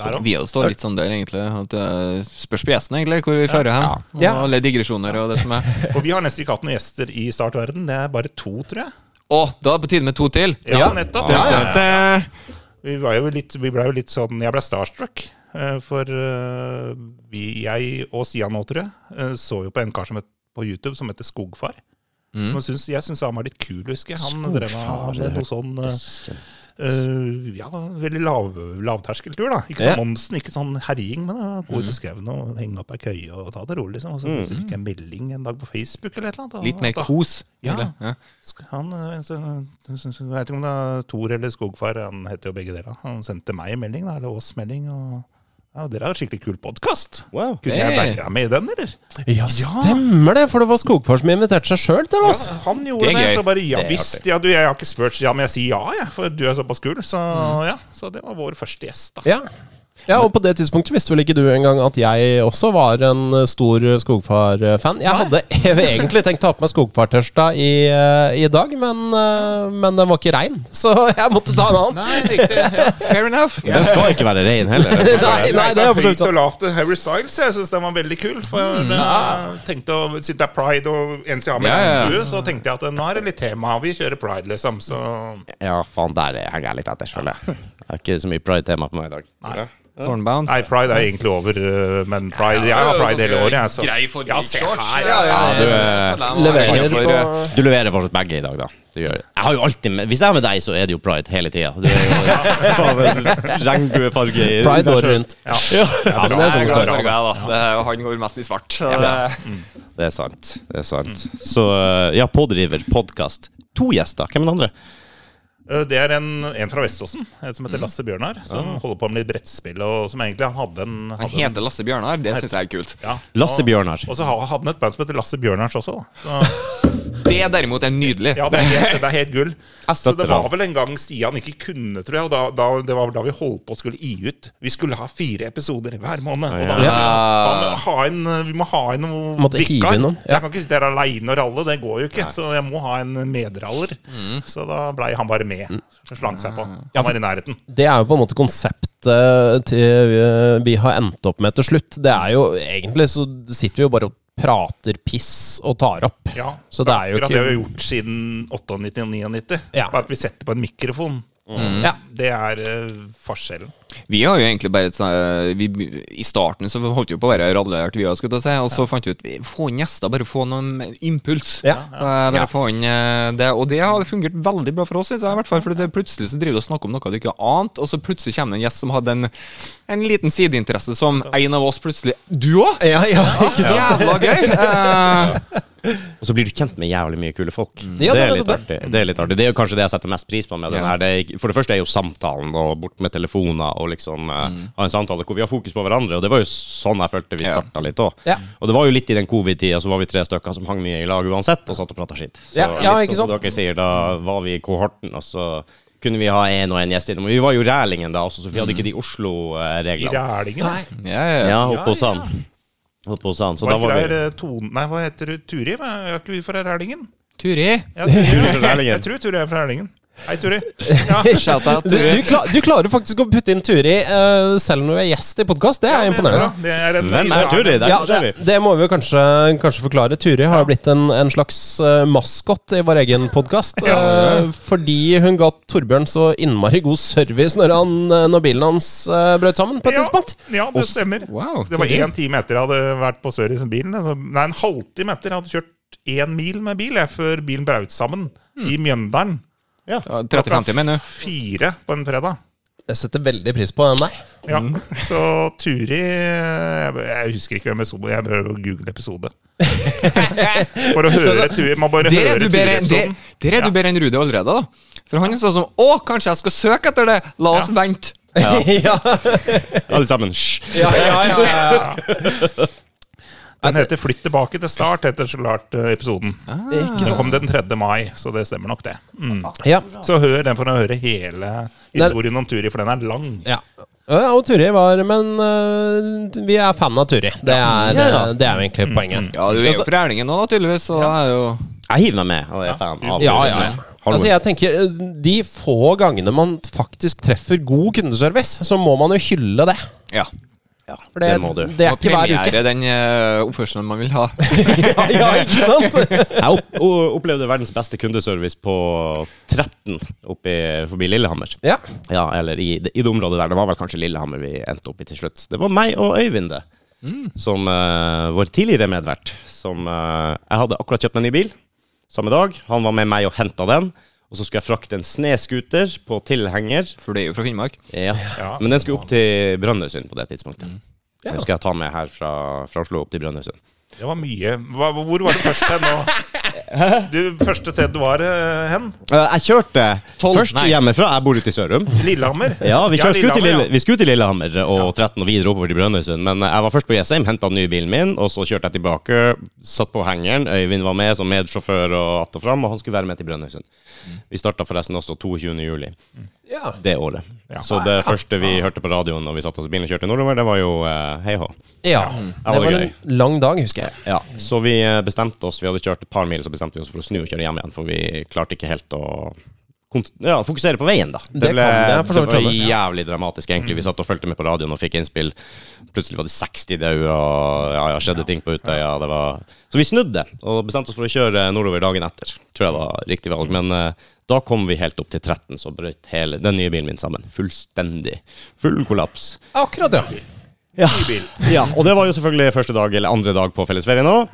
[SPEAKER 3] der òg.
[SPEAKER 2] vi også står litt sånn der, egentlig. At det spørs på gjesten, egentlig, hvor vi fører hen. Og
[SPEAKER 4] Ja.
[SPEAKER 2] alle digresjoner og det som er.
[SPEAKER 3] For vi har nesten ikke hatt noen gjester i Startverden. Det er bare to, tror jeg.
[SPEAKER 2] Å, da er det på tide med to til.
[SPEAKER 3] Ja, nettopp.
[SPEAKER 2] Ja, ja.
[SPEAKER 3] Vi, var jo litt, vi ble jo litt sånn Jeg ble starstruck. eh, For eh, vi, jeg og Stian nå, tror jeg, eh, så jo på en kar som het, på YouTube som heter Skogfar. Men syns, jeg syns han var litt kul, husker jeg. Han drev
[SPEAKER 1] Skogfar,
[SPEAKER 3] med noe sånn eh, eh, Ja, veldig lav, lavterskeltur, da. Ikke
[SPEAKER 4] Ja.
[SPEAKER 3] sånn Monsen, ikke sånn herjing, men eh, gå ut i skauen og henge opp ei køye og ta det rolig, liksom. Og så plutselig fikk jeg en melding en dag på Facebook eller et eller annet. og-
[SPEAKER 2] Litt mer
[SPEAKER 3] da-
[SPEAKER 2] kos.
[SPEAKER 3] Ja.
[SPEAKER 2] egentlig. ja.
[SPEAKER 3] Sk- Han, eh, så- jeg vet ikke om det er Thor eller Skogfar, han heter jo begge deler. Han sendte meg en melding, da, eller oss melding. Og, ja, dere har jo skikkelig kul podkast.
[SPEAKER 1] Wow.
[SPEAKER 3] Kunne jeg
[SPEAKER 2] Hey.
[SPEAKER 3] være med i den, eller?
[SPEAKER 4] ja, stemmer det, for det var Skogfar som inviterte seg sjøl til oss.
[SPEAKER 3] Ja, han gjorde
[SPEAKER 2] Det
[SPEAKER 3] det,
[SPEAKER 2] er gøy.
[SPEAKER 3] så bare ja
[SPEAKER 1] Det er
[SPEAKER 3] visst. Ja, du, jeg har ikke spurt, ja, men jeg sier ja, jeg, for du er såpass kul. Så ja, så det var vår første gjest, da.
[SPEAKER 4] Ja. Ja, og på det tidspunktet visste vel ikke du engang at jeg også var en eh, stor skogfar-fan. Jeg hadde egentlig tenkt å ha på meg skogfartørsta i, eh, i dag, men, eh, men den var ikke rein, så jeg måtte ta en annen.
[SPEAKER 2] Nei, riktig. Fair enough.
[SPEAKER 1] Den skal ikke være rein heller.
[SPEAKER 4] Nei, nei, det er for så vidt
[SPEAKER 3] Høyt og
[SPEAKER 4] sant.
[SPEAKER 3] lavt til Harry Styles. Jeg syns den var veldig kul. For jeg tenkte å Siden det er pride og NCA med
[SPEAKER 2] Ja, ja, ja.
[SPEAKER 3] regnbue, så tenkte jeg at eh, nå er det litt tema. Vi kjører pride, liksom. Så
[SPEAKER 1] Ja, faen, der henger jeg litt etter, føler jeg. Det er ikke så mye pride-tema på meg i dag.
[SPEAKER 2] Thornbound.
[SPEAKER 3] Nei, pride er egentlig over, øh, men pride Jeg har pride hele året, jeg. Så.
[SPEAKER 2] Grei for
[SPEAKER 3] Ja, se
[SPEAKER 2] shorts.
[SPEAKER 3] her,
[SPEAKER 2] Ja, ja,
[SPEAKER 1] Ja, du eh,
[SPEAKER 4] Leverer
[SPEAKER 2] for,
[SPEAKER 4] på
[SPEAKER 1] Du leverer fortsatt begge i dag, da. Du gjør det. Jeg har jo alltid med, hvis jeg er med deg, så er det jo pride hele tida. Du er jo faen, regnbuefarge i
[SPEAKER 4] sånn. pride året rundt.
[SPEAKER 3] Ja.
[SPEAKER 1] Ja, men det er sånn det
[SPEAKER 2] Glad
[SPEAKER 1] står.
[SPEAKER 2] for det, da. Det er jo han går mest i svart. så det-
[SPEAKER 1] Det er sant. det er sant Så eh, ja, pådriver, podkast. To gjester. Hvem er den andre?
[SPEAKER 3] Øh, Det er en, en fra Veståsen eh, som
[SPEAKER 2] Mm.
[SPEAKER 3] heter Lasse Bjørnar, som holder på med litt brettspill, og som egentlig han hadde en
[SPEAKER 2] Han
[SPEAKER 3] hadde en-
[SPEAKER 2] heter Lasse Bjørnar. Det syns jeg er kult.
[SPEAKER 3] ja.
[SPEAKER 1] Lasse
[SPEAKER 3] Og-
[SPEAKER 1] Bjørnar.
[SPEAKER 3] Og så ha- hadde han et band som heter Lasse Bjørnars også. Da. Så,
[SPEAKER 2] Det derimot er nydelig.
[SPEAKER 3] ja, det er helt, det er helt gull.
[SPEAKER 4] Altså,
[SPEAKER 3] Så det
[SPEAKER 1] støtter
[SPEAKER 3] var
[SPEAKER 1] han.
[SPEAKER 3] vel en gang Stian ikke kunne, tror jeg. Og da, da, det var vel da vi holdt på å skulle gi ut. Vi skulle ha fire episoder hver måned. Og da,
[SPEAKER 1] Ja.
[SPEAKER 3] da må vi, ha en, vi må ha en noe
[SPEAKER 4] Måtte hive inn noen,
[SPEAKER 3] Jeg
[SPEAKER 4] ja.
[SPEAKER 3] kan ikke sitte her aleine og ralle, det går jo ikke. Så jeg må ha en medraller. Så da blei han bare med.
[SPEAKER 4] Mm.
[SPEAKER 3] Slang seg på. Han var i nærheten.
[SPEAKER 4] Det er jo på en måte konseptet til eh, vi- vi har endt opp med til slutt. Det er jo egentlig så sitter vi jo bare og prater piss og tar opp.
[SPEAKER 3] Ja.
[SPEAKER 4] Så det er jo
[SPEAKER 3] Akkurat det vi har
[SPEAKER 4] ikke
[SPEAKER 3] gjort siden 98 og 99.
[SPEAKER 4] Ja.
[SPEAKER 3] Bare at vi setter på en mikrofon.
[SPEAKER 4] Ja.
[SPEAKER 3] Det er eh, forskjellen.
[SPEAKER 2] Vi har jo egentlig bare et sånn vi, I starten så holdt vi på å være radlert, vi òg, skulle jeg til å si. Og så fant vi ut vi- få inn gjester, bare få noen impuls.
[SPEAKER 4] Ja.
[SPEAKER 2] Eh, Bare få inn eh, det. Og det har fungert veldig bra for oss, syns jeg. i hvert fall For det, plutselig så driver du og snakker om noe du ikke ante, og så plutselig kommer det en gjest som hadde en, en liten sideinteresse som en av oss plutselig Du òg!
[SPEAKER 4] Ja, ja, ikke sant?
[SPEAKER 2] Jævla gøy! Eh,
[SPEAKER 1] Og så blir du kjent med jævlig mye kule folk.
[SPEAKER 4] Mm. Ja,
[SPEAKER 1] det,
[SPEAKER 4] det er
[SPEAKER 1] er litt
[SPEAKER 4] det.
[SPEAKER 1] artig. det er litt artig. Det er jo kanskje det jeg setter mest pris på med den
[SPEAKER 2] Ja.
[SPEAKER 1] her. Det er, ikke- for det første er jo samtalen, og bort med telefoner, og liksom eh, ha en samtale hvor vi har fokus på hverandre. Og det var jo sånn jeg følte vi
[SPEAKER 2] Ja.
[SPEAKER 1] starta litt òg.
[SPEAKER 4] Mm. Ja.
[SPEAKER 1] Og det var jo litt i den covid-tida, så var vi tre stykker som hang mye i lag uansett, og satt og prata skitt. Så
[SPEAKER 4] Ja, ja,
[SPEAKER 1] litt
[SPEAKER 4] ikke
[SPEAKER 1] sånn som
[SPEAKER 4] sant?
[SPEAKER 1] dere sier, da var vi i kohorten, og så kunne vi ha én og én gjest innom. Vi var jo Rælingen da også, så vi hadde
[SPEAKER 4] Mm.
[SPEAKER 1] ikke de
[SPEAKER 3] I
[SPEAKER 1] Oslo-reglene.
[SPEAKER 3] Rælingen. Nei,
[SPEAKER 2] ja, ja, ja.
[SPEAKER 1] Ja, oppe hos han. Oppe hos han. Så
[SPEAKER 3] var
[SPEAKER 1] da
[SPEAKER 3] ikke
[SPEAKER 1] var
[SPEAKER 3] der
[SPEAKER 1] vi
[SPEAKER 3] eh, Tone Nei, hva heter du? Turi? Hva- Er ikke vi fra Rælingen?
[SPEAKER 2] Turi.
[SPEAKER 3] Ja, Turi.
[SPEAKER 1] fra Rælingen.
[SPEAKER 3] Jeg tror Turi er fra Rælingen. Hei, Turi.
[SPEAKER 2] Shout-out,
[SPEAKER 4] Du, du,
[SPEAKER 2] Turi.
[SPEAKER 4] kla du klarer faktisk å putte inn Turi eh, selv når du er gjest i podkast. Det er imponerende.
[SPEAKER 3] Det er en-
[SPEAKER 1] Hvem er Turi? Der
[SPEAKER 4] Ja,
[SPEAKER 1] ser vi.
[SPEAKER 4] det, det må vi jo kanskje, kanskje forklare. Turi har jo blitt en, en slags uh, maskot i vår egen podkast. fordi hun ga Torbjørn så innmari god service når, han, eh, når bilen hans eh, brøt sammen. på et
[SPEAKER 3] Ja,
[SPEAKER 4] tidspunkt.
[SPEAKER 3] ja, det stemmer.
[SPEAKER 2] Wow,
[SPEAKER 3] det var
[SPEAKER 2] Turi.
[SPEAKER 3] én time etter jeg hadde vært på service med bilen. altså- Nei, en halvtime etter jeg hadde kjørt én mil med bil jeg, før bilen braut sammen i Mjøndalen.
[SPEAKER 2] Ja, 30-50, mener du?
[SPEAKER 3] Fire på en fredag.
[SPEAKER 4] Jeg setter veldig pris på den der.
[SPEAKER 3] Ja,
[SPEAKER 1] Mm.
[SPEAKER 3] Så Turi Jeg, jeg husker ikke hvem episode Jeg behøver å google episode. For å høre Turi. Man bare
[SPEAKER 2] Der er
[SPEAKER 3] hører
[SPEAKER 2] du bedre, der,
[SPEAKER 3] Turi-episoden.
[SPEAKER 4] liksom.
[SPEAKER 2] der er du bedre enn Rudi allerede, da. For han er sånn som Å, kanskje jeg skal søke etter det! La oss
[SPEAKER 3] Ja.
[SPEAKER 2] vente!
[SPEAKER 4] ja.
[SPEAKER 1] Alle sammen. Hysj.
[SPEAKER 4] Ja, ja, ja, ja.
[SPEAKER 3] Den heter 'Flytt tilbake til start', heter så klart eh, episoden.
[SPEAKER 1] Ah.
[SPEAKER 3] Så kom den 3. mai, så det stemmer nok, det. Mm.
[SPEAKER 4] ja.
[SPEAKER 3] Så hør den for å høre hele historien om Turi, for den er lang.
[SPEAKER 4] Ja. Ja, og Turi var Men eh, vi er fan av Turi. Det er, eh, det er jo egentlig poenget.
[SPEAKER 2] Ja, du er jo fra Erlingen nå, da, tydeligvis. Så det er jo
[SPEAKER 1] Jeg hiver meg med. og Jeg er fan av
[SPEAKER 4] Ja, ja,
[SPEAKER 1] Ulrikke.
[SPEAKER 4] ja.
[SPEAKER 1] Hallo.
[SPEAKER 4] Altså jeg tenker eh, De få gangene man faktisk treffer god kundeservice, så må man jo hylle det.
[SPEAKER 2] Ja.
[SPEAKER 1] Ja,
[SPEAKER 4] For
[SPEAKER 1] det,
[SPEAKER 4] det,
[SPEAKER 1] må du.
[SPEAKER 4] det er
[SPEAKER 2] Og
[SPEAKER 4] ikke hver uke.
[SPEAKER 2] premiere den eh, oppførselen man vil ha.
[SPEAKER 4] ja, ja, ikke sant?
[SPEAKER 1] Jeg opp, o- opplevde verdens beste kundeservice på 13 oppe i- forbi Lillehammer.
[SPEAKER 4] Ja.
[SPEAKER 1] Ja, eller i, det- i det området der. Det var vel kanskje Lillehammer vi endte opp i til slutt. Det var meg og Øyvind, det.
[SPEAKER 4] Mm.
[SPEAKER 1] Som eh, vår tidligere medvert. Som eh, Jeg hadde akkurat kjøpt meg en ny bil samme dag. Han var med meg og henta den. Og så skulle jeg frakte en snescooter på tilhenger
[SPEAKER 2] For du er jo fra Finnmark.
[SPEAKER 1] Ja.
[SPEAKER 3] Ja.
[SPEAKER 1] Men den skulle opp til Brønnøysund på det tidspunktet.
[SPEAKER 2] Mm.
[SPEAKER 1] Den skal jeg ta med her fra, fra Oslo opp til Brønnøysund.
[SPEAKER 3] Det var mye. Hva, hvor var det første hen nå? Du, første sted du var eh, hen?
[SPEAKER 1] Eh, Jeg kjørte
[SPEAKER 2] Tolv,
[SPEAKER 1] først
[SPEAKER 2] nei.
[SPEAKER 1] hjemmefra. Jeg bor ute i Sørum.
[SPEAKER 3] Lillehammer?
[SPEAKER 1] Ja, Vi, kjørte, skulle, til
[SPEAKER 3] Lillehammer,
[SPEAKER 1] Lille, vi skulle til Lillehammer og 13 og videre oppover til Brønnøysund. Men jeg var først på Jessheim, henta den nye bilen min, og så kjørte jeg tilbake. Satt på hengeren. Øyvind var med som
[SPEAKER 2] Mm.
[SPEAKER 1] medsjåfør og att og fram, og han skulle være med til Brønnøysund. Vi starta forresten også 22. juli.
[SPEAKER 4] Ja.
[SPEAKER 1] det året.
[SPEAKER 3] Ja.
[SPEAKER 1] Så det første vi hørte på radioen når vi satte oss i bilen og kjørte nordover, det var jo eh, Hei Hå.
[SPEAKER 4] Mm. ja.
[SPEAKER 1] var
[SPEAKER 4] Det var
[SPEAKER 1] gøy.
[SPEAKER 4] en lang dag, husker jeg.
[SPEAKER 1] Ja. Så vi eh, bestemte oss, vi hadde kjørt et par mil, så bestemte vi oss for å snu og kjøre hjem igjen, for vi klarte ikke helt å kont- ja, fokusere på veien, da. Det,
[SPEAKER 4] Det
[SPEAKER 1] ble,
[SPEAKER 4] kan jeg for
[SPEAKER 1] det
[SPEAKER 4] så vidt
[SPEAKER 1] var
[SPEAKER 4] skjønne.
[SPEAKER 1] jævlig dramatisk, egentlig. Vi satt og fulgte med på radioen og fikk innspill. Plutselig var det 60 døde, og ja, ja, skjedde ting på Utøya. Det var Så vi snudde, og bestemte oss for å kjøre nordover dagen etter. Tror jeg var riktig valg. Men eh, da kom vi helt opp til 13, så brøt hele den nye bilen min sammen. Fullstendig. Full kollaps.
[SPEAKER 4] Akkurat, ja.
[SPEAKER 1] Ja.
[SPEAKER 3] bil.
[SPEAKER 1] ja, og det var jo selvfølgelig første dag eller andre dag på fellesferie nå.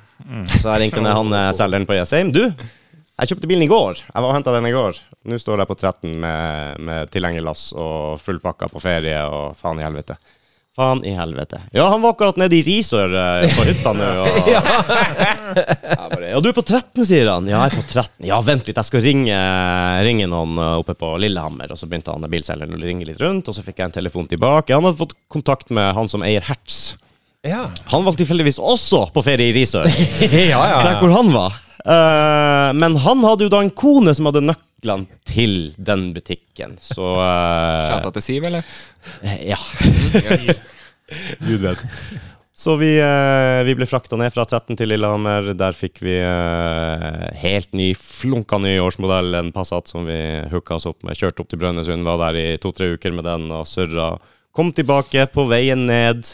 [SPEAKER 1] Så jeg ringte ned han eh, selgeren på Jessheim. Du, jeg kjøpte bilen i går. Jeg var og henta den i går. Nå står jeg på 13 med, med tilhengerlass og fullpakka på ferie og faen i helvete. Faen i helvete. Ja, han var akkurat nede i Risør eh, på hytta nå. Og... Ja. bare, ja, du er på 13, sier han. Ja, jeg er på 13. Ja, vent litt, jeg skal ringe, ringe noen eh, oppe på Lillehammer. Og så begynte han eh, bilselgeren å ringe litt rundt, og så fikk jeg en telefon tilbake. Han hadde fått kontakt med han som eier Hertz.
[SPEAKER 4] Ja,
[SPEAKER 1] Han var tilfeldigvis også på ferie i Risør,
[SPEAKER 4] ja.
[SPEAKER 1] der hvor han var. Eh, men han hadde jo da en kone som hadde nøklene til den butikken, så
[SPEAKER 2] Chatta til Siv, eller?
[SPEAKER 1] eh, Ja. Gud vet. Så vi, eh, vi ble frakta ned fra 13 til Lillehammer. Der fikk vi eh, helt ny, flunka ny årsmodell, en Passat som vi hooka oss opp med. Kjørte opp til Brønnøysund, var der i to-tre uker med den og surra. Kom tilbake på veien ned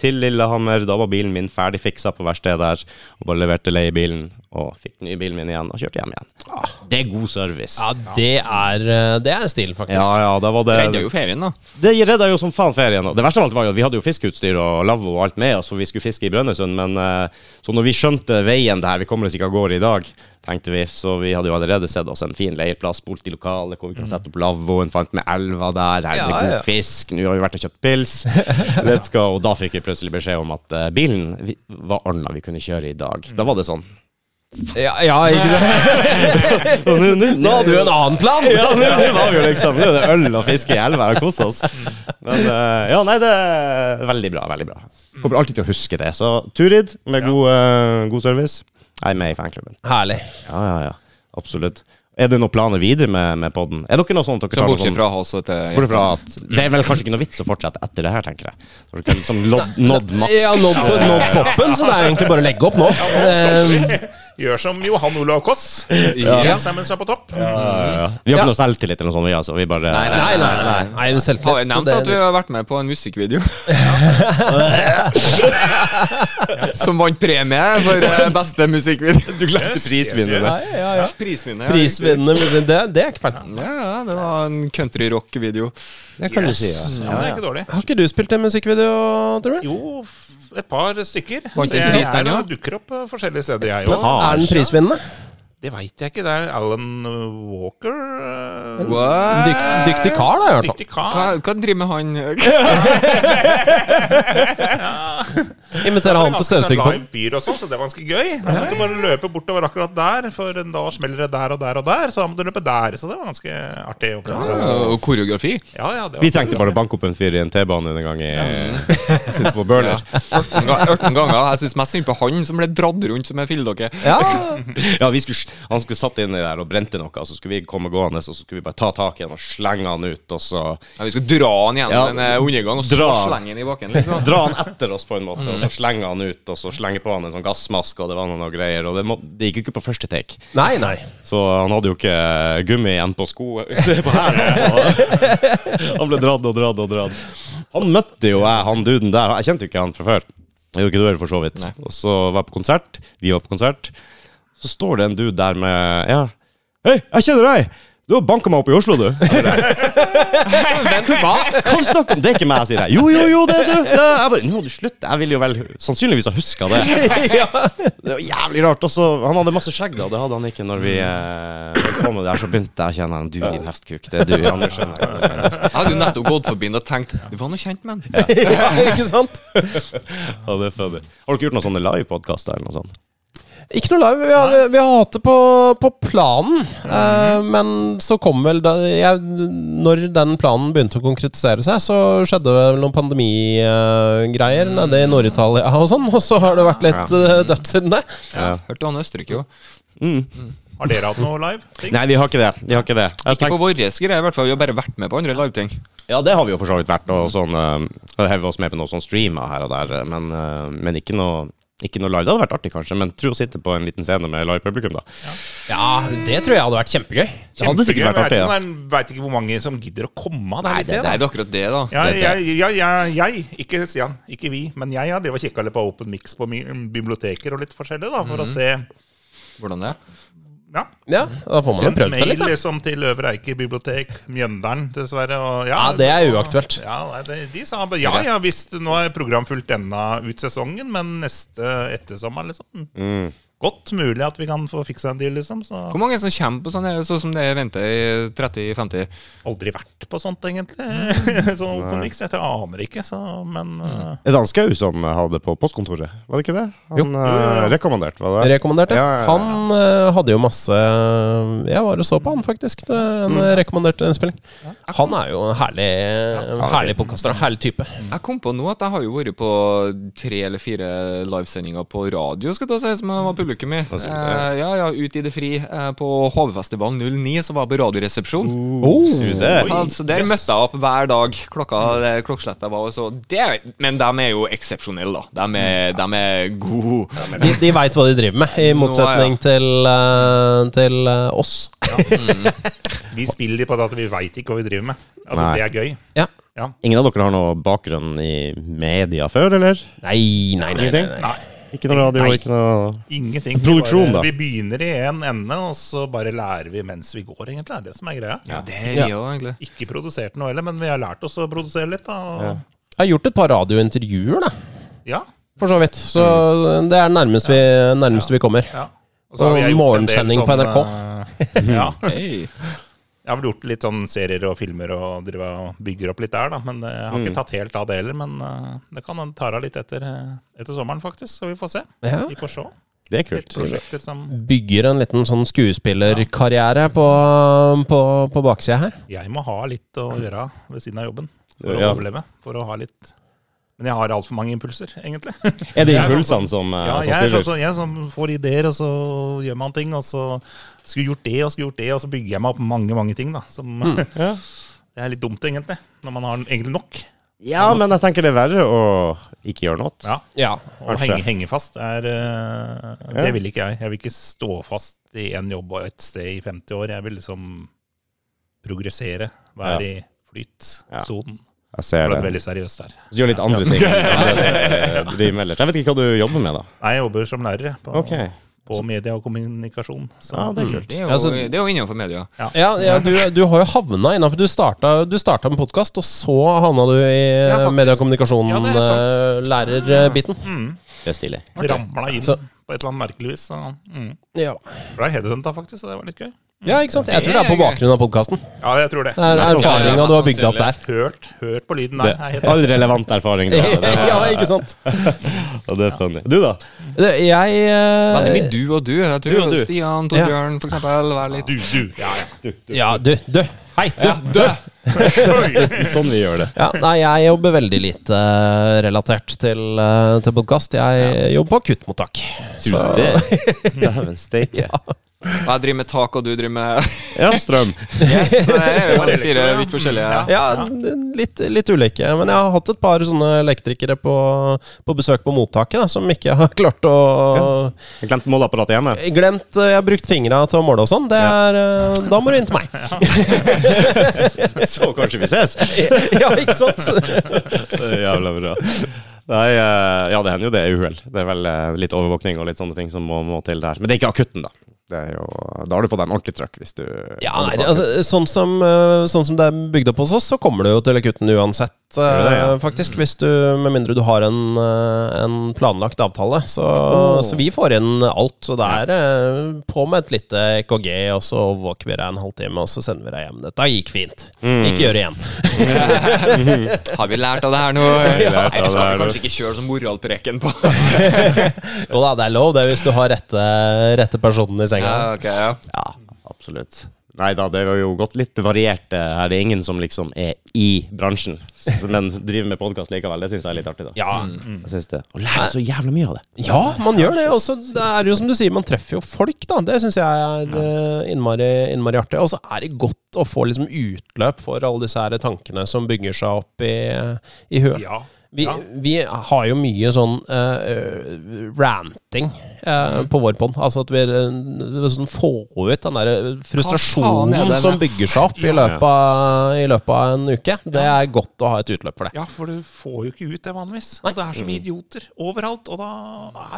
[SPEAKER 1] til Lillehammer. Da var bilen min ferdig fiksa på verkstedet der. Og bare leverte leiebilen og fikk ny bilen min igjen og kjørte hjem igjen. Ah, Det er god service.
[SPEAKER 4] ja det, er, eh, det er stil, faktisk.
[SPEAKER 1] Ja, ja, da var det
[SPEAKER 2] Redda jo ferien, da.
[SPEAKER 1] det redda jo som faen ferien. og Det verste av alt var jo at vi hadde jo fiskeutstyr og lavvo og alt med oss, for vi skulle fiske i Brønnøysund. Men eh, så når vi skjønte veien det her, vi kommer oss ikke av gårde i dag, tenkte vi. Så vi hadde jo allerede sett oss en fin leirplass, spolt i lokalet hvor vi kan sette opp lavvoen, fant med elva der, her er det
[SPEAKER 4] Mm. Ja, ja.
[SPEAKER 1] god fisk, nå har vi vært og kjøpt pils. Let's go. Og da fikk vi plutselig beskjed om at eh, bilen vi- var ordna, vi kunne kjøre i dag. Da var det sånn.
[SPEAKER 4] Ja, ja, ikke sant? Mm. Nå hadde du en annen plan!
[SPEAKER 1] Ja, nå det var vi jo liksom Nå er det øl og fiske i elva og kose oss. Men eh, ja, nei, det er veldig bra. Veldig bra.
[SPEAKER 4] Mm.
[SPEAKER 1] Kommer alltid til å huske det. Eh, Så Turid, med god, eh, god service, jeg er med i fanklubben.
[SPEAKER 4] Herlig.
[SPEAKER 1] Ja, ja, ja. Absolutt. Er det noen planer videre med, med podden? Er dere noe sånt dere
[SPEAKER 2] Så
[SPEAKER 1] tar noe
[SPEAKER 2] bortsett
[SPEAKER 1] sånn-
[SPEAKER 2] fra oss og til
[SPEAKER 1] Bortsett fra at Det er vel kanskje ikke noe vits å fortsette etter det her, tenker jeg. Så dere har liksom nådd, nådd maks.
[SPEAKER 4] Ja, nådd nådd toppen, så det er egentlig bare å legge opp nå. Eh,
[SPEAKER 3] Gjør som Johan Olav Koss.
[SPEAKER 4] Ja.
[SPEAKER 3] Ja. Sammen seg på topp.
[SPEAKER 1] Vi har
[SPEAKER 4] Ja.
[SPEAKER 1] ikke noe selvtillit eller noe sånt, vi, altså. Vi bare
[SPEAKER 2] Nei,
[SPEAKER 4] Nei, nei, nei. nei selvfølgelig.
[SPEAKER 2] Har jeg nevnt at vi har vært med på en musikkvideo? Som vant premie for eh, beste musikkvideo. Du glemte
[SPEAKER 1] Prisvinnende.
[SPEAKER 4] Nei, ja, ja.
[SPEAKER 2] prisvinner.
[SPEAKER 4] Prisvinnende musikk, det, det er ikke feil.
[SPEAKER 2] Ja, ja, det var en countryrock-video.
[SPEAKER 1] Det kan
[SPEAKER 3] Yes.
[SPEAKER 1] du si, ja.
[SPEAKER 3] Ja, men det er ikke dårlig.
[SPEAKER 4] Har ikke du spilt en musikkvideo, tror du?
[SPEAKER 3] Jo, f- et par stykker.
[SPEAKER 2] Var ikke
[SPEAKER 3] Jeg
[SPEAKER 2] sist
[SPEAKER 3] er-
[SPEAKER 2] den, ja?
[SPEAKER 3] dukker opp eh, forskjellige steder, jeg òg.
[SPEAKER 1] Ah,
[SPEAKER 4] Er den prisvinnende?
[SPEAKER 3] Det veit jeg ikke. Det er Alan Walker. eh,
[SPEAKER 2] Hva,
[SPEAKER 4] Dyk, dyktig kar, da, i hvert fall.
[SPEAKER 3] Dyktig kar.
[SPEAKER 2] hva driver med han
[SPEAKER 4] Inviterer han til støvsugerpodden.
[SPEAKER 3] Live Byr og sånn, så det var ganske gøy. Da måtte du bare løpe bortover akkurat der, for da smeller det der og der og der. Så da må du løpe der. Så det var ganske artig opplevelse.
[SPEAKER 2] Og koreografi.
[SPEAKER 3] Ja, ja, det var
[SPEAKER 1] Vi trengte bare å banke opp en fyr i en T-bane en gang i, sitte på burner.
[SPEAKER 2] 18 ga- 18 ganger. Jeg syns mest synd på han som ble dratt rundt som en filledokke.
[SPEAKER 4] Ja,
[SPEAKER 1] Ja, vi skulle, han skulle satt inni der og brente noe, og så skulle vi komme gående, og så skulle vi bare ta tak i han og slenge han ut, og så
[SPEAKER 2] Ja, vi skal dra han gjennom
[SPEAKER 1] Ja,
[SPEAKER 2] en eh, undergang og så
[SPEAKER 1] dra han.
[SPEAKER 2] slenge han i bakken. Liksom.
[SPEAKER 1] dra han etter oss på en måte, og så slenge han ut, og så slenge på han en sånn gassmaske, og det var noe greier, og det, må, det gikk jo ikke på første take.
[SPEAKER 4] Nei, nei.
[SPEAKER 1] Så han hadde jo ikke gummi igjen på sko på hælen. og Han ble dratt og dratt og dratt. Han møtte jo jeg, han duden der. Jeg kjente jo ikke han fra før. Jeg gjorde ikke det heller, for så vidt. Og så var jeg på konsert. Vi var på konsert. Så står det en dude der med Ja. Hei, jeg kjenner deg! Du har banka meg opp i Oslo, du. Jeg bare, Vent, hva? Hva snakker du om? Det er ikke meg, sier jeg. Jo, jo, jo, det er du. Det er. Jeg bare, Nå, du slutt. Jeg vil jo vel sannsynligvis ha huska det. Det var jævlig rart. Også, han hadde masse skjegg, da. Det hadde han ikke når vi eh, holdt på med det her. Så begynte jeg å kjenne han. Du, din hestkuk. Det er du, Anders.
[SPEAKER 2] Jeg hadde jo nettopp gått forbi han og tenkt Du var noe kjent med han.
[SPEAKER 4] Ja, ikke sant?
[SPEAKER 1] Ja, det er funny. Har dere gjort noen sånne livepodkaster eller noe sånt?
[SPEAKER 4] Ikke noe live. Vi har, vi har hatt det på, på planen. eh, men så kom vel da jeg, Når den planen begynte å konkretisere seg, så skjedde det vel noen pandemigreier nede i Nord-Italia og sånn. Og så har det vært litt eh, dødt siden det.
[SPEAKER 1] Ja.
[SPEAKER 2] Hørte han Østerrike òg.
[SPEAKER 1] Mm.
[SPEAKER 3] Har dere hatt noe live? ting?
[SPEAKER 1] Nei, vi har ikke det. Vi har ikke det. Jeg
[SPEAKER 2] Ikke
[SPEAKER 1] tenk,
[SPEAKER 2] på vår greie, i hvert fall. Vi har bare vært med på andre liveting.
[SPEAKER 1] ja, det har vi jo for så vidt vært, og sånn uh, hevet oss med på noen sånn streamer her og der, men, eh, men ikke noe ikke noe live. Det hadde vært artig, kanskje, men tro å sitte på en liten scene med live publikum, da.
[SPEAKER 4] Ja, det tror jeg hadde vært kjempegøy.
[SPEAKER 1] Det hadde sikkert vært artig.
[SPEAKER 3] Kjempegøy, men Jeg
[SPEAKER 1] Ja.
[SPEAKER 3] vet ikke- vet ikke hvor mange som gidder å komme. Det er
[SPEAKER 2] Nei,
[SPEAKER 3] litt det,
[SPEAKER 2] det, det
[SPEAKER 3] da.
[SPEAKER 2] er jo akkurat det, da.
[SPEAKER 3] Ja,
[SPEAKER 1] det-
[SPEAKER 3] jeg, jeg, jeg, jeg, ikke Stian, ikke vi, men jeg ja, det var kikka litt på Open Mix på mi- biblioteker og litt forskjellig, da, for å se
[SPEAKER 2] Hvordan det er.
[SPEAKER 3] ja.
[SPEAKER 4] Ja, Da får man jo
[SPEAKER 3] Sendt
[SPEAKER 4] prøvd seg
[SPEAKER 3] mail
[SPEAKER 4] litt, da.
[SPEAKER 3] liksom til Øvre Eiker bibliotek, Mjøndalen dessverre. Og, ja,
[SPEAKER 4] Ja, det er uaktuelt.
[SPEAKER 3] Ja, nei, det, de sa bare ja, ja visst, nå er programfullt denne ut sesongen, men neste ettersommer, liksom. Godt mulig at vi kan få fiksa en deal, liksom. Så
[SPEAKER 2] Hvor mange som kommer på sånn sånn som det er venta i 30-50?
[SPEAKER 3] aldri vært på sånt, egentlig. sånn Open Mix. Jeg aner ikke, så Men eh,
[SPEAKER 1] Det er Danskaug som hadde det på postkontoret, var det ikke det? Han eh, rekommandert, var det?
[SPEAKER 4] Rekommandert, ja.
[SPEAKER 1] Ja, ja, ja.
[SPEAKER 4] Han eh, hadde jo masse eh, Jeg var og så på han, faktisk. Det er En eh, rekommandert innspilling. Han er jo en herlig, herlig podkaster. og Herlig type.
[SPEAKER 2] Jeg kom på nå at jeg har jo vært på tre eller fire livesendinger på radio, skal jeg ta si, som jeg var publikum i.
[SPEAKER 1] Altså,
[SPEAKER 2] Eh, ja, ja, Ut i det fri. Eh, på HV-festivalen 09 så var jeg på Radioresepsjon.
[SPEAKER 4] Oh.
[SPEAKER 1] Sier du det?
[SPEAKER 2] Ja, så der møtte jeg opp hver dag. Klokka, det- klokkeslettet var og så det, Men de er jo eksepsjonelle, da. De er, dem er gode.
[SPEAKER 4] De, de veit hva de driver med, i motsetning til, eh, til eh, oss.
[SPEAKER 3] vi spiller på det at vi veit ikke hva vi driver med. At
[SPEAKER 1] Nei.
[SPEAKER 3] det er gøy.
[SPEAKER 4] Ja.
[SPEAKER 3] Ja.
[SPEAKER 1] Ingen av dere har noe bakgrunn i media før, eller?
[SPEAKER 4] Nei, nei, nei. nei,
[SPEAKER 1] Ingenting?
[SPEAKER 4] nei.
[SPEAKER 3] Nei.
[SPEAKER 1] Ikke noe radio,
[SPEAKER 3] Nei.
[SPEAKER 1] ikke noe
[SPEAKER 3] Ingenting. Vi
[SPEAKER 1] Produksjon,
[SPEAKER 3] bare,
[SPEAKER 1] da.
[SPEAKER 3] Vi begynner i en ende, og så bare lærer vi mens vi går, egentlig. Det er det som er greia.
[SPEAKER 2] Ja, det er vi òg, egentlig.
[SPEAKER 3] Ikke produsert noe heller, men vi har lært oss å produsere litt, da. og-
[SPEAKER 4] Jeg har gjort et par radiointervjuer, da.
[SPEAKER 3] Ja.
[SPEAKER 4] For så vidt. Så det er nærmest vi, nærmest vi kommer.
[SPEAKER 3] ja. jeg
[SPEAKER 4] Og
[SPEAKER 3] gjort en del sånn,
[SPEAKER 4] morgensending på
[SPEAKER 3] eh, ja.
[SPEAKER 2] Hey.
[SPEAKER 3] Jeg har vel gjort litt sånn serier og filmer og driver og bygger opp litt der, da. Men eh, jeg har ikke tatt helt av det heller. Men eh, det kan en ta av litt etter, eh, etter sommeren, faktisk. Så vi får se.
[SPEAKER 4] Ja.
[SPEAKER 3] Vi får se.
[SPEAKER 1] Det er
[SPEAKER 3] Litt
[SPEAKER 1] kult.
[SPEAKER 3] prosjekter som
[SPEAKER 4] Bygger en liten sånn skuespillerkarriere på, på, på baksida her.
[SPEAKER 3] Jeg må ha litt å gjøre ved siden av jobben for å
[SPEAKER 1] Ja.
[SPEAKER 3] overleve. For å ha litt Men jeg har altfor mange impulser, egentlig.
[SPEAKER 1] Er det impulsene som, eh,
[SPEAKER 3] Ja,
[SPEAKER 1] som
[SPEAKER 3] jeg er
[SPEAKER 1] styrer?
[SPEAKER 3] sånn som jeg som får ideer, og så gjør man ting. Og så skulle gjort det og skulle gjort det, og så bygger jeg meg opp mange, mange ting, da. Som
[SPEAKER 1] Ja.
[SPEAKER 3] Det er litt dumt, egentlig. Når man har egentlig nok.
[SPEAKER 1] ja, men jeg tenker det er verre å ikke gjøre noe.
[SPEAKER 3] Ja.
[SPEAKER 4] Ja.
[SPEAKER 3] Å
[SPEAKER 1] Kanskje.
[SPEAKER 3] henge, henge fast er eh,
[SPEAKER 1] Ja.
[SPEAKER 3] Det vil ikke jeg. Jeg vil ikke stå fast i en jobb og et sted i 50 år. Jeg vil liksom progressere. Være i
[SPEAKER 1] Ja.
[SPEAKER 3] flytsonen.
[SPEAKER 1] Jeg
[SPEAKER 3] Det
[SPEAKER 1] ser
[SPEAKER 3] ble
[SPEAKER 1] det.
[SPEAKER 3] veldig seriøst der.
[SPEAKER 1] Så gjør litt andre ting. enn det du driver med ellers. Jeg vet ikke hva du jobber med, da.
[SPEAKER 3] Nei, jeg jobber som lærer jeg, på,
[SPEAKER 1] Ok,
[SPEAKER 3] på media og kommunikasjon. Så
[SPEAKER 1] ja, det er kult.
[SPEAKER 2] Det er jo,
[SPEAKER 4] Altså-
[SPEAKER 2] det er jo innenfor media.
[SPEAKER 4] Ja, ja du, du har jo havna innafor. Du starta, du starta med podkast, og så havna du
[SPEAKER 2] faktisk.
[SPEAKER 4] i eh,
[SPEAKER 2] Ja, det er sant.
[SPEAKER 4] mediekommunikasjon-lærerbiten.
[SPEAKER 1] Det er stilig.
[SPEAKER 3] det ramla Mm. inn
[SPEAKER 4] Så-
[SPEAKER 3] på et eller annet merkelig vis. Så, mm.
[SPEAKER 4] ja.
[SPEAKER 3] Ble headhunta, faktisk, så det var litt gøy.
[SPEAKER 4] ja, ikke sant. Jeg tror det er på bakgrunn av podkasten.
[SPEAKER 3] Ja, jeg tror det.
[SPEAKER 4] Det er
[SPEAKER 2] sannsynlig,
[SPEAKER 4] erfaringa
[SPEAKER 2] mest
[SPEAKER 4] du har bygd opp
[SPEAKER 2] sannsynlig.
[SPEAKER 4] der.
[SPEAKER 3] Hørt, hørt på lyden
[SPEAKER 1] Det,
[SPEAKER 3] der. Jeg er helt-
[SPEAKER 1] all relevant erfaring. Da. Det,
[SPEAKER 4] Ja, ikke sant.
[SPEAKER 1] og det er funny. Du, da?
[SPEAKER 4] Det, jeg eh,
[SPEAKER 2] Veldig mye du og du. Jeg tror
[SPEAKER 1] Du og du.
[SPEAKER 2] Stian,
[SPEAKER 4] Ja.
[SPEAKER 2] Torbjørn, for eksempel. Vær litt
[SPEAKER 3] Du, du. Ja, ja.
[SPEAKER 4] Ja, du. Du. Hei, du.
[SPEAKER 2] Dø!
[SPEAKER 1] Sånn vi gjør det.
[SPEAKER 4] Ja, nei, jeg jobber veldig lite eh, relatert til, eh, til podkast. Jeg jobber på akuttmottak.
[SPEAKER 1] Du,
[SPEAKER 4] Så-
[SPEAKER 1] det Dæven steike.
[SPEAKER 2] Og jeg driver med tak, og du driver med
[SPEAKER 1] Ja, strøm.
[SPEAKER 2] Så det er jo bare
[SPEAKER 3] Det er
[SPEAKER 2] fire
[SPEAKER 3] litt-
[SPEAKER 2] vidt
[SPEAKER 3] Ja.
[SPEAKER 2] forskjellige.
[SPEAKER 4] Ja, n- litt, litt ulike. Men jeg har hatt et par sånne elektrikere på, på besøk på mottaket da, som ikke har klart å
[SPEAKER 1] Jeg glemte måleapparatet hjemme.
[SPEAKER 4] Glemt eh, Jeg har brukt fingra til å måle og sånn. Det er, eh, Da må du inn til meg.
[SPEAKER 1] Så kanskje vi ses.
[SPEAKER 4] Ja, ikke sant?
[SPEAKER 1] Det er Jævla bra. Nei, eh, ja, det hender jo det er uhell. Det er vel eh, litt overvåkning og litt sånne ting som må, må til der. Men det er ikke akutten, da. Det er jo, da har du fått deg en ordentlig trøkk hvis du
[SPEAKER 4] Ja, nei, det- altså, sånn, som, eh, sånn som det er bygd opp hos oss, så kommer du jo til akutten uansett.
[SPEAKER 1] Gjør det,
[SPEAKER 4] eh,
[SPEAKER 1] ja.
[SPEAKER 4] Faktisk, hvis du, Med mindre du har en, eh, en planlagt avtale. Så,
[SPEAKER 1] Oh.
[SPEAKER 4] så vi får inn alt. Så det er eh, på med et lite EKG, og så våker vi deg en halvtime, og så sender vi deg hjem. Dette gikk fint.
[SPEAKER 1] Mm.
[SPEAKER 4] Ikke gjør det igjen.
[SPEAKER 2] Har vi lært av det her nå?
[SPEAKER 1] vi lært av
[SPEAKER 2] Nei, vi
[SPEAKER 1] det
[SPEAKER 2] skal
[SPEAKER 1] her
[SPEAKER 2] vi
[SPEAKER 1] nå.
[SPEAKER 2] kanskje ikke kjøre som moralpreken på.
[SPEAKER 4] Jo da, det er lov, det, er hvis du har rette, rette personen i
[SPEAKER 1] altså-
[SPEAKER 4] senga.
[SPEAKER 2] Ja, ok, ja.
[SPEAKER 1] Ja, absolutt. Nei da, det har jo gått litt variert. eh, Her det er ingen som liksom er i bransjen, s- men driver med podkast likevel. Det syns jeg er litt artig, da.
[SPEAKER 4] Ja.
[SPEAKER 3] Mm.
[SPEAKER 1] Jeg synes det. Og lærer så jævla mye av det.
[SPEAKER 4] ja, man gjør det. Og så det er jo som du sier, man treffer jo folk, da. Det syns jeg er eh, innmari, innmari artig. Og så er det godt å få liksom utløp for alle disse her tankene som bygger seg opp i, i huet.
[SPEAKER 3] Ja.
[SPEAKER 4] Vi,
[SPEAKER 3] ja.
[SPEAKER 4] vi har jo mye sånn eh, ranting eh,
[SPEAKER 3] Mm.
[SPEAKER 4] på vår pond. Altså at vi eh, sånn får ut den
[SPEAKER 2] faen er
[SPEAKER 4] der eh,
[SPEAKER 2] det
[SPEAKER 4] frustrasjonen
[SPEAKER 2] med?
[SPEAKER 4] som bygger seg opp i, løpet av, i løpet av en uke. Det er godt å ha et utløp for det.
[SPEAKER 3] Ja, for du får jo ikke ut det vanligvis. Og det er så
[SPEAKER 1] Mm.
[SPEAKER 3] mye idioter overalt, og da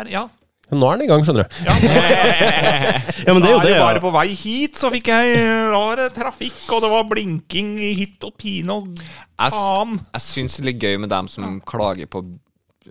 [SPEAKER 3] er Ja.
[SPEAKER 4] Nå er den i gang, skjønner du.
[SPEAKER 3] ja.
[SPEAKER 1] Ja, men det er jo
[SPEAKER 3] da er
[SPEAKER 1] det.
[SPEAKER 3] jeg bare
[SPEAKER 1] ja.
[SPEAKER 3] på vei hit, så fikk jeg Da var det trafikk, og det var blinking i hytt og pine og
[SPEAKER 2] Jeg, s-
[SPEAKER 3] faen.
[SPEAKER 2] jeg syns det er litt gøy med dem som klager på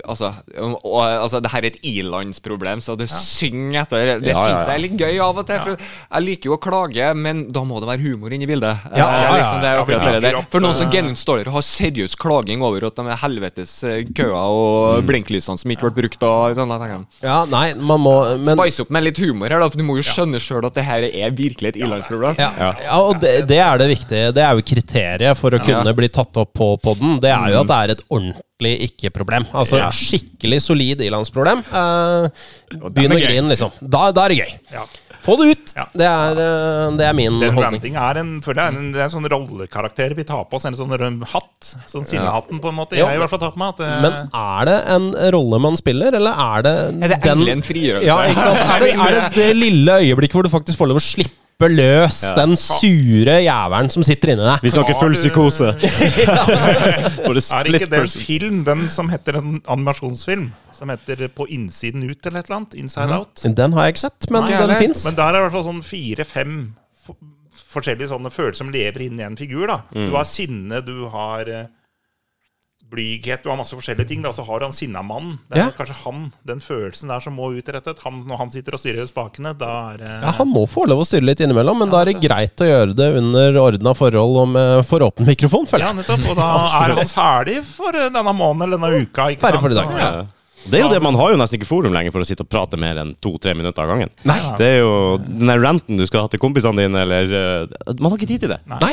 [SPEAKER 2] Altså, og, og, altså det her er et ilandsproblem, så du synger etter. Det
[SPEAKER 1] ja,
[SPEAKER 2] syns
[SPEAKER 1] ja.
[SPEAKER 2] jeg er litt gøy av og til. For jeg liker jo å klage, men da må det være humor inni bildet.
[SPEAKER 4] Ja,
[SPEAKER 2] Eh,
[SPEAKER 4] ja, ja,
[SPEAKER 2] liksom, det er
[SPEAKER 3] ja,
[SPEAKER 2] akkurat
[SPEAKER 3] ja,
[SPEAKER 2] det der.
[SPEAKER 3] akkurat.
[SPEAKER 2] For noen som genuint står der og har seriøs klaging over at de er helvetes eh, køer og blinklysene som ikke ble brukt da. Sånn, da tenker jeg.
[SPEAKER 4] Ja, nei, man må men,
[SPEAKER 2] Spice opp med litt humor her, da, for du må jo skjønne sjøl at det her er virkelig et ilandsproblem.
[SPEAKER 4] ja, ja, og det, det er det viktige. Det er jo kriteriet for å kunne bli tatt opp på podden. Det er jo at det er et ordentlig ikke-problem. Altså
[SPEAKER 1] Ja.
[SPEAKER 4] skikkelig solid ilandsproblem. Uh,
[SPEAKER 1] dem er
[SPEAKER 4] Begynn å
[SPEAKER 1] gøy.
[SPEAKER 4] grine, liksom. Da, da er det gøy.
[SPEAKER 3] Ja.
[SPEAKER 4] Få det ut!
[SPEAKER 3] Ja.
[SPEAKER 4] Det, er, eh, det er min
[SPEAKER 3] Den
[SPEAKER 4] holdning.
[SPEAKER 3] ranting er en, føler jeg, er en, det er en sånn rollekarakter vi tar på oss, en sånn røm hatt. Sånn sinnehatten, på en måte.
[SPEAKER 4] Jo.
[SPEAKER 3] Jeg har i hvert fall tatt på meg at eh,
[SPEAKER 4] Men er det en rolle man spiller, eller er det
[SPEAKER 2] Er det endelig en frigjørelse?
[SPEAKER 4] Ja, ikke sant? Er det, er det det lille øyeblikket hvor du faktisk får lov å slippe løs den sure jævelen som sitter inni deg?
[SPEAKER 1] Vi snakker full psykose. Bare
[SPEAKER 3] er det
[SPEAKER 1] split
[SPEAKER 3] ikke det en
[SPEAKER 1] person.
[SPEAKER 3] film, den som heter en animasjonsfilm, som heter eh, På innsiden ut eller et eller annet? Inside Out?
[SPEAKER 4] Den har jeg ikke sett, men
[SPEAKER 2] Nei,
[SPEAKER 4] den
[SPEAKER 2] det-
[SPEAKER 4] fins.
[SPEAKER 3] Men der er det i hvert fall sånn fire-fem f- forskjellige sånne følelser som lever inni en figur. da. Du har sinne, du har eh, blyghet, du har masse forskjellige ting. da, Så har du han sinna mannen. Det er
[SPEAKER 4] Ja.
[SPEAKER 3] vel kanskje han, den følelsen der som må utrettet. Han, når han sitter og styrer spakene, da er det
[SPEAKER 4] Ja, Han må få lov å styre litt innimellom, men da er det greit å gjøre det under ordna forhold og med for åpen mikrofon, føler
[SPEAKER 3] Ja,
[SPEAKER 4] jeg.
[SPEAKER 3] nettopp. Og da er han ferdig for eh, denne måneden eller denne uka. ikke
[SPEAKER 4] Ferdig for i dag.
[SPEAKER 3] Så-
[SPEAKER 4] Ja.
[SPEAKER 1] Ja. Det er jo det, Man har jo nesten ikke forum lenger for å sitte og prate mer enn to-tre minutter av gangen.
[SPEAKER 4] Nei.
[SPEAKER 1] Det er jo den der ranten du skal ha til kompisene dine, eller eh, Man har ikke tid til det.
[SPEAKER 4] Nei.
[SPEAKER 3] eh,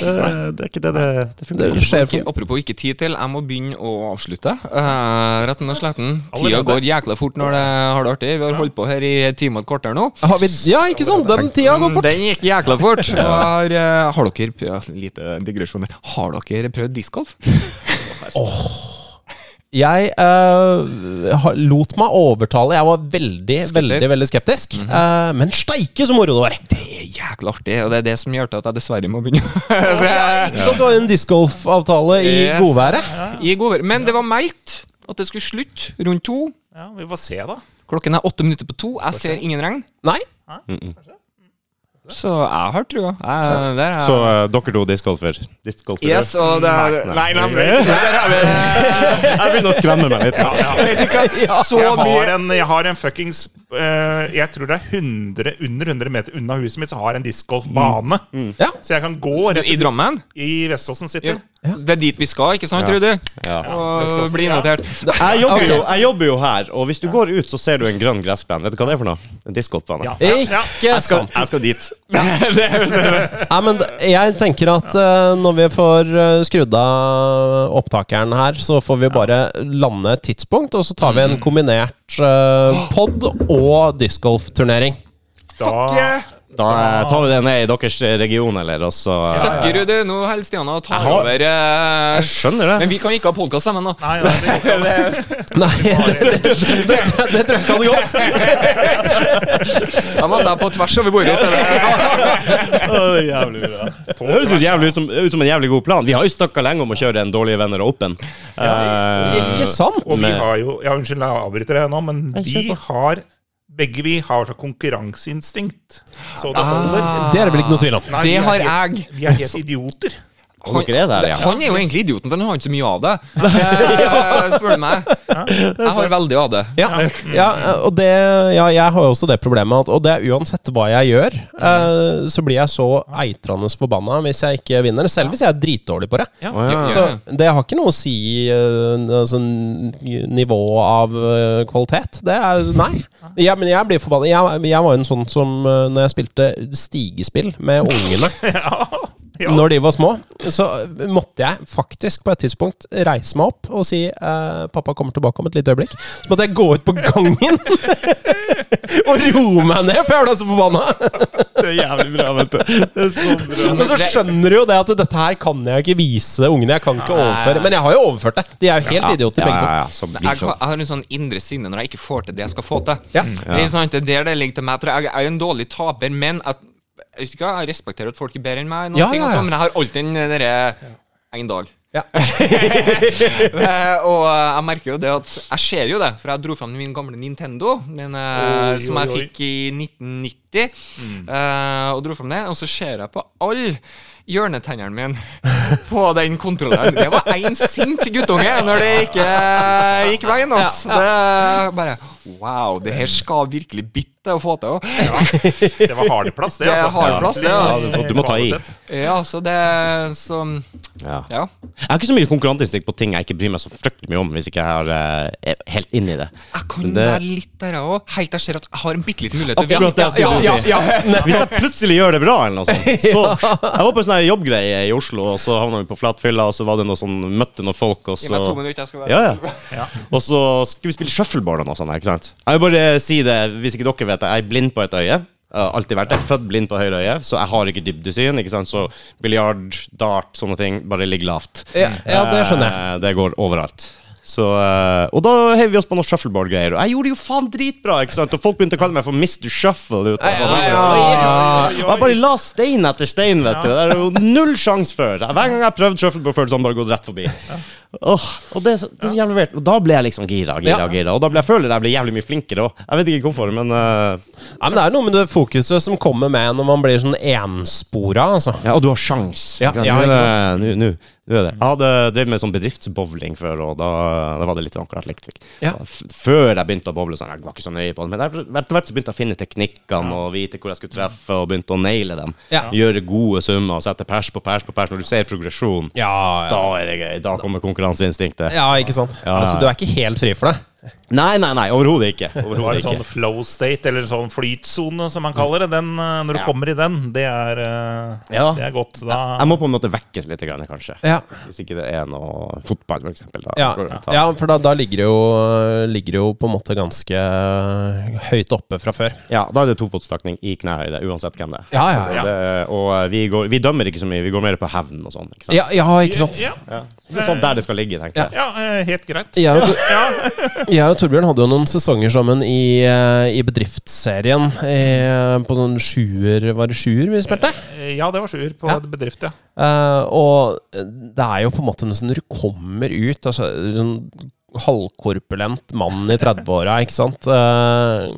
[SPEAKER 1] Det, det er ikke det det, det
[SPEAKER 4] Det
[SPEAKER 1] funker.
[SPEAKER 4] skjer
[SPEAKER 2] Ikke,
[SPEAKER 4] for
[SPEAKER 2] apropos ikke tid til, jeg må begynne å avslutte. eh, retten og sletten. Tida
[SPEAKER 3] Allerede?
[SPEAKER 2] går jækla fort når det har det artig. Vi har holdt på her i en time og et kvarter nå.
[SPEAKER 4] har vi, Ja, ikke sant? Den tida har gått fort.
[SPEAKER 2] Den gikk jækla fort. Og Har, eh, har dere prøvd, ja, Lite digresjon der. Har dere prøvd discgolf?
[SPEAKER 4] Jeg eh, har- lot meg overtale. Jeg var veldig, veldig veldig skeptisk. Eh, men steike så moro det var!
[SPEAKER 2] Det er jækla artig, og det er det som gjør til at jeg dessverre må begynne. Det-
[SPEAKER 4] Ikke sant, det var en discgolfavtale i
[SPEAKER 2] Yes.
[SPEAKER 4] godværet.
[SPEAKER 2] I godvær. Men det var meldt at det skulle slutte rundt to.
[SPEAKER 3] Ja, vi får se, da.
[SPEAKER 2] Klokken er åtte minutter på to. Jeg ser ingen regn.
[SPEAKER 4] Nei?
[SPEAKER 2] Så jeg har trua. Jeg, der er jeg.
[SPEAKER 1] Så eh, dere to discgolfer. discgolfere.
[SPEAKER 2] Yes, og det er Nei, nei, nei, der er vi.
[SPEAKER 1] Jeg begynner å skremme meg litt. nå.
[SPEAKER 2] Så
[SPEAKER 3] jeg har
[SPEAKER 2] mye
[SPEAKER 3] en, jeg har en fuckings eh, Jeg tror det er 100, under 100 meter unna huset mitt, så har jeg en discgolfbane.
[SPEAKER 4] Mm. Ja.
[SPEAKER 3] Så jeg kan gå rett
[SPEAKER 2] I Drammen?
[SPEAKER 3] I Veståsen City.
[SPEAKER 2] Det er dit vi skal, ikke sant, Trude?
[SPEAKER 1] Ja.
[SPEAKER 2] Og bli invitert.
[SPEAKER 1] Jeg, jobber jo, jeg jobber jo her, og hvis du går ut, så ser du en grønn gressplen. Vet du hva det er for noe? En discgolfbane.
[SPEAKER 3] Ja.
[SPEAKER 4] Ikke sant.
[SPEAKER 1] Jeg skal dit.
[SPEAKER 4] Nei, men d- jeg tenker at eh, når vi får eh, skrudd av opptakeren her, så får vi bare lande et tidspunkt, og så tar
[SPEAKER 3] Mm.
[SPEAKER 4] vi en kombinert uh, pod og discgolfturnering.
[SPEAKER 3] Da,
[SPEAKER 1] Da eh, tar vi det ned i deres region, eller, og så eh,
[SPEAKER 2] Søkkerud, nå holder Stiana og tar
[SPEAKER 1] Jeg har-
[SPEAKER 2] over eh,
[SPEAKER 1] skjønner det.
[SPEAKER 2] Men vi kan ikke ha podkast sammen, da.
[SPEAKER 3] nei, nei, det går ikke.
[SPEAKER 4] Nei, det, det, det, det tror jeg ikke hadde gått.
[SPEAKER 2] Da må jeg på tvers over bordet i stedet.
[SPEAKER 1] Å, det er jævlig bra. Det høres ut, jævlig ut, som, ut som en jævlig god plan. Vi har jo snakka lenge om å kjøre en Dårlige venner og Open. Eh,
[SPEAKER 4] Ikke sant?
[SPEAKER 3] Og vi
[SPEAKER 1] Med-
[SPEAKER 3] har jo Ja, unnskyld, jeg avbryter deg nå, men vi har begge vi har så konkurranseinstinkt. Så det holder.
[SPEAKER 4] Ah. Det er det vel ikke noe tvil om.
[SPEAKER 3] Nei, vi
[SPEAKER 2] Det
[SPEAKER 3] er
[SPEAKER 2] har
[SPEAKER 3] helt-
[SPEAKER 2] jeg.
[SPEAKER 3] Vi er helt idioter.
[SPEAKER 1] Han ikke er der, ja.
[SPEAKER 2] Han er jo egentlig idioten, for han har ikke så mye av det. Eh, Spør du meg. Jeg har veldig av det.
[SPEAKER 4] Ja, ja eh, og det Ja, jeg har jo også det problemet at Og det er uansett hva jeg gjør,
[SPEAKER 3] Mm.
[SPEAKER 4] eh, så blir jeg så eitrende forbanna hvis jeg ikke vinner. Selv hvis jeg er dritdårlig på det.
[SPEAKER 1] Å, ja.
[SPEAKER 4] Så Altså, det har ikke noe å si eh, altså, n- nivå av eh, kvalitet. Det er Nei. Ja, men jeg blir forbanna. Jeg, jeg var jo en sånn som eh, når jeg spilte stigespill med ungene
[SPEAKER 3] Ja.
[SPEAKER 4] når de var små, så måtte jeg faktisk på et tidspunkt reise meg opp og si eh, 'Pappa kommer tilbake om et lite øyeblikk'. Så måtte jeg gå ut på gangen og roe meg ned, for jeg ble så forbanna.
[SPEAKER 1] Det er jævlig bra, vet du. Det er så bra.
[SPEAKER 4] Men så skjønner du jo det at dette her kan jeg ikke vise ungene. Jeg kan ikke overføre Men jeg har jo overført det. De er jo helt idioter,
[SPEAKER 1] Ja,
[SPEAKER 4] begge to.
[SPEAKER 1] ja, ja. Så blir
[SPEAKER 2] jeg,
[SPEAKER 1] sånn.
[SPEAKER 2] jeg har en sånn indre sinne når jeg ikke får til det jeg skal få til.
[SPEAKER 4] Ja.
[SPEAKER 2] Det er sant, det er der det ligger til meg. For jeg er jo en dårlig taper, men at, jeg, husker ikke, jeg respekterer at folk er bedre enn meg, noen
[SPEAKER 4] Ja,
[SPEAKER 2] ting
[SPEAKER 4] ja,
[SPEAKER 2] og
[SPEAKER 4] ja.
[SPEAKER 2] sånn, men jeg har alltid den derre en dag.
[SPEAKER 4] Ja.
[SPEAKER 2] Eh, og eh, jeg merker jo det at Jeg ser jo det, for jeg dro fram min gamle Nintendo, min, eh,
[SPEAKER 3] Oi,
[SPEAKER 2] som jeg
[SPEAKER 3] oi, oi.
[SPEAKER 2] fikk i 1990.
[SPEAKER 1] Mm.
[SPEAKER 2] eh, og dro fram det, og så ser jeg på alle hjørnetennene mine på den kontrolleren. Det var én sint guttunge når det ikke gikk veien. Ass. Det er bare Wow, det her skal virkelig bitte å få til. og-
[SPEAKER 3] Det var hardplass, det.
[SPEAKER 2] Det er hard plass, det, altså.
[SPEAKER 1] Ja, du må ta i.
[SPEAKER 2] Ja, så det Så
[SPEAKER 1] Ja.
[SPEAKER 2] Ja.
[SPEAKER 1] Jeg har ikke så mye konkurranseinstinkt på ting jeg ikke bryr meg så fryktelig mye om, hvis ikke jeg er eh, helt inne i det.
[SPEAKER 2] Jeg kan
[SPEAKER 1] Men det-
[SPEAKER 2] være litt der òg, helt til jeg ser at jeg har en bitte liten mulighet til å vinne.
[SPEAKER 1] Akkurat det jeg skulle til å si. Hvis jeg plutselig gjør det bra, eller noe sånt så, Jeg var på en sånn her jobbgreie i Oslo, og så havna vi på flatfylla, og så var det noe sånn, møtte noen folk, og
[SPEAKER 2] Gi
[SPEAKER 1] så
[SPEAKER 2] meg to minutter, jeg skal være
[SPEAKER 1] ja, ja. Og så skulle vi spille shuffleboard og noe sånt. her, ikke sant? Jeg vil bare si det, Hvis ikke dere vet det, jeg er blind på et øye. Jeg har alltid vært det. Jeg er født blind på høyre øye, så jeg har ikke dybdesyn. ikke sant? Så biljard, dart, sånne ting, bare ligg lavt.
[SPEAKER 4] Ja, ja, det skjønner jeg.
[SPEAKER 1] Eh, Det går overalt. Så, eh, og da heiv vi oss på noen shuffleboard-greier. Og jeg gjorde det jo faen dritbra! ikke sant? Og folk begynte å kalle meg for Mr. Shuffle. Ut, av sånne
[SPEAKER 4] Ja,
[SPEAKER 1] greier. og jeg bare la stein etter stein, vet du. Det er jo null sjanse før. Hver gang jeg har prøvd shuffleboard før, så har han bare gått rett forbi. Åh, og det er, så, det er så jævlig weird. Og da ble jeg liksom gira, gira,
[SPEAKER 4] Ja.
[SPEAKER 1] gira. Og da ble jeg føler jeg ble jævlig mye flinkere òg. Jeg vet ikke hvorfor, men eh,
[SPEAKER 4] Ja, men Det er noe med det fokuset som kommer med når man blir sånn enspora. Altså.
[SPEAKER 1] Ja, og du har sjans.
[SPEAKER 4] Ja,
[SPEAKER 1] ikke sant?
[SPEAKER 4] ja,
[SPEAKER 1] Nå er
[SPEAKER 4] ikke
[SPEAKER 1] det- Nå nå- nå er det. Jeg hadde drevet med sånn bedriftsbowling før, og da, da var det litt sånn akkurat likt.
[SPEAKER 4] Ja.
[SPEAKER 1] F- Før jeg begynte å bowle, sånn, jeg var ikke så nøye på det, men etter hvert så begynte jeg å finne teknikkene og vite hvor jeg skulle treffe, og begynte å naile dem.
[SPEAKER 4] Ja.
[SPEAKER 1] Gjøre gode summer og sette pers på pers på pers. Når du ser progresjon,
[SPEAKER 4] Ja, ja.
[SPEAKER 1] da er det gøy. Da kommer konkurranseinstinktet.
[SPEAKER 4] ja, ikke sant.
[SPEAKER 1] Ja, ja.
[SPEAKER 4] Altså, Du er ikke helt fri for det.
[SPEAKER 1] Nei, nei, nei, overhodet ikke.
[SPEAKER 3] Du har en
[SPEAKER 1] Overhodet
[SPEAKER 3] sånn
[SPEAKER 1] ikke.
[SPEAKER 3] flow state, eller en sånn flytsone, som man kaller det. Den, eh, når du kommer i den, det er, eh,
[SPEAKER 1] Ja.
[SPEAKER 3] det er godt. Da
[SPEAKER 1] Jeg må på en måte vekkes litt, grann, kanskje.
[SPEAKER 4] Ja.
[SPEAKER 1] Hvis ikke det er noe fotball, for eksempel. Da.
[SPEAKER 4] Ja,
[SPEAKER 1] går det å ta-
[SPEAKER 4] ja for da, da ligger det jo, ligger det jo på en måte ganske øh, høyt oppe fra før.
[SPEAKER 1] Ja, da er det tofotstakning i knehøyde, uansett hvem det er.
[SPEAKER 4] Ja, ja, ja.
[SPEAKER 1] Det, og eh, vi, går, vi dømmer ikke så mye, vi går mer på hevn og sånn. ikke sant?
[SPEAKER 4] Ja, ja ikke sant.
[SPEAKER 3] Ja,
[SPEAKER 1] Det er Sånn der det skal ligge, tenker jeg.
[SPEAKER 3] ja eh, helt greit.
[SPEAKER 4] Jeg og, Tor- jeg og Torbjørn hadde jo noen sesonger sammen i, eh, i bedriftsserien. eh, På sånn sjuer Var det sjuer vi spilte?
[SPEAKER 3] Eh, Ja, det var sjuer på bedrift, ja.
[SPEAKER 4] Eh, og det er jo på en måte nesten når du kommer ut altså, sånn Halvkorpulent mann i 30-åra, ikke sant. Eh,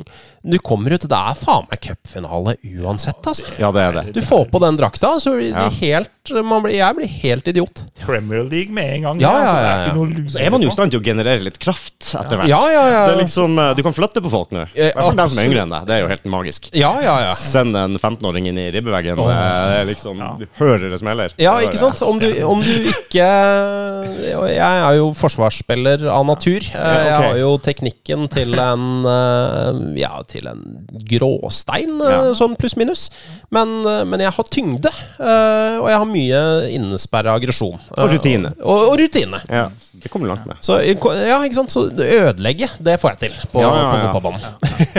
[SPEAKER 4] du kommer ut, det er faen meg cupfinale uansett, altså.
[SPEAKER 1] Ja, det er det.
[SPEAKER 4] Du får på den drakta, så blir
[SPEAKER 1] Ja.
[SPEAKER 4] det helt man blir, Jeg blir helt idiot.
[SPEAKER 3] Premier League med en gang.
[SPEAKER 4] Ja,
[SPEAKER 3] det,
[SPEAKER 4] ja,
[SPEAKER 3] altså, det
[SPEAKER 4] ja,
[SPEAKER 3] er
[SPEAKER 4] ja.
[SPEAKER 3] ikke noe å lure
[SPEAKER 1] Så er man jo i
[SPEAKER 3] på.
[SPEAKER 1] stand til å generere litt kraft etter hvert.
[SPEAKER 4] Ja, ja, ja.
[SPEAKER 1] Det er liksom, eh, Du kan flytte på folk nå. I
[SPEAKER 4] Eh,
[SPEAKER 1] hvert fall dem som er
[SPEAKER 4] absolutt.
[SPEAKER 1] yngre enn deg. Det er jo helt magisk.
[SPEAKER 4] Ja, ja, ja.
[SPEAKER 1] Send en 15-åring inn i ribbeveggen.
[SPEAKER 4] Åh.
[SPEAKER 1] eh, Det er liksom, Du hører det smeller.
[SPEAKER 4] Ja,
[SPEAKER 1] Det er bare-
[SPEAKER 4] ikke sant? Om du, om du ikke Jeg er jo forsvarsspiller av natur. Eh, Jeg
[SPEAKER 1] ok.
[SPEAKER 4] har jo teknikken til en eh, Ja, til en gråstein, eh,
[SPEAKER 1] Ja.
[SPEAKER 4] sånn pluss-minus. Men, eh, men jeg har tyngde, eh, og jeg har mye innesperra aggresjon.
[SPEAKER 1] Og
[SPEAKER 4] Eh,
[SPEAKER 1] rutine.
[SPEAKER 4] Og, og rutine.
[SPEAKER 1] Ja, det kommer du langt med.
[SPEAKER 4] Så, ja, ikke sant? Så ødelegge, det får jeg til på,
[SPEAKER 1] Ja, ja,
[SPEAKER 4] på
[SPEAKER 1] ja.
[SPEAKER 4] fotballbanen.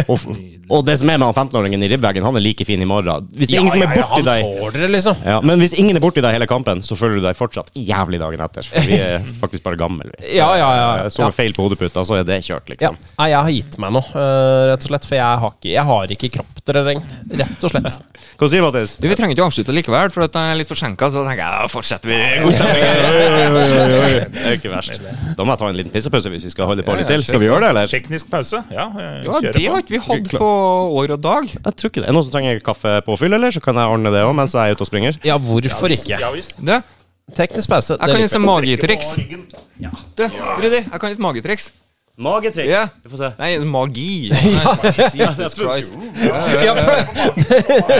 [SPEAKER 1] Og, og det som er med han 15-åringen i ribbeveggen, han er like fin i morgen. Hvis det er ingen som er borti deg
[SPEAKER 4] Han tåler det, liksom.
[SPEAKER 1] Ja, men hvis ingen er borti deg hele kampen, så føler du deg fortsatt jævlig dagen etter. For vi er faktisk bare gamle. vi.
[SPEAKER 4] Ja, ja, ja.
[SPEAKER 1] Eh, Så
[SPEAKER 4] ja.
[SPEAKER 1] du feil på hodeputa, så er det kjørt,
[SPEAKER 4] Ja.
[SPEAKER 1] liksom.
[SPEAKER 4] Nei, jeg har gitt meg nå, eh, rett og slett. For jeg har ikke, jeg har ikke kroppsterreng, rett og slett.
[SPEAKER 1] Hva sier Mattis?
[SPEAKER 2] Du, Vi trenger ikke å avslutte likevel, for at jeg er litt forsinka. Så da tenker jeg, ja, fortsetter vi i god stemning.
[SPEAKER 1] Det er jo ikke verst. Da må jeg ta en liten pissepause hvis vi skal holde på litt til. Skal vi gjøre det, eller?
[SPEAKER 3] Teknisk pause. Ja, eh,
[SPEAKER 2] Ja,
[SPEAKER 3] kjører
[SPEAKER 2] det
[SPEAKER 3] på.
[SPEAKER 2] har ikke vi hatt på år og dag.
[SPEAKER 1] Jeg tror ikke det. Er det noen som trenger kaffepåfyll, eller? Så kan jeg ordne det òg mens jeg er ute og springer.
[SPEAKER 4] Ja, hvorfor ikke?
[SPEAKER 3] Ja visst.
[SPEAKER 2] Du,
[SPEAKER 4] Teknisk pause.
[SPEAKER 2] Jeg kan liksom
[SPEAKER 4] det
[SPEAKER 2] gi et
[SPEAKER 4] liker
[SPEAKER 2] magitriks.
[SPEAKER 3] Ryggen.
[SPEAKER 2] Du, Rudi, jeg kan et magitriks.
[SPEAKER 1] Magetriks.
[SPEAKER 2] Ja.
[SPEAKER 1] Vi får se.
[SPEAKER 2] Nei, magi. Nei, Jesus Christ.
[SPEAKER 4] jeg. ja, for,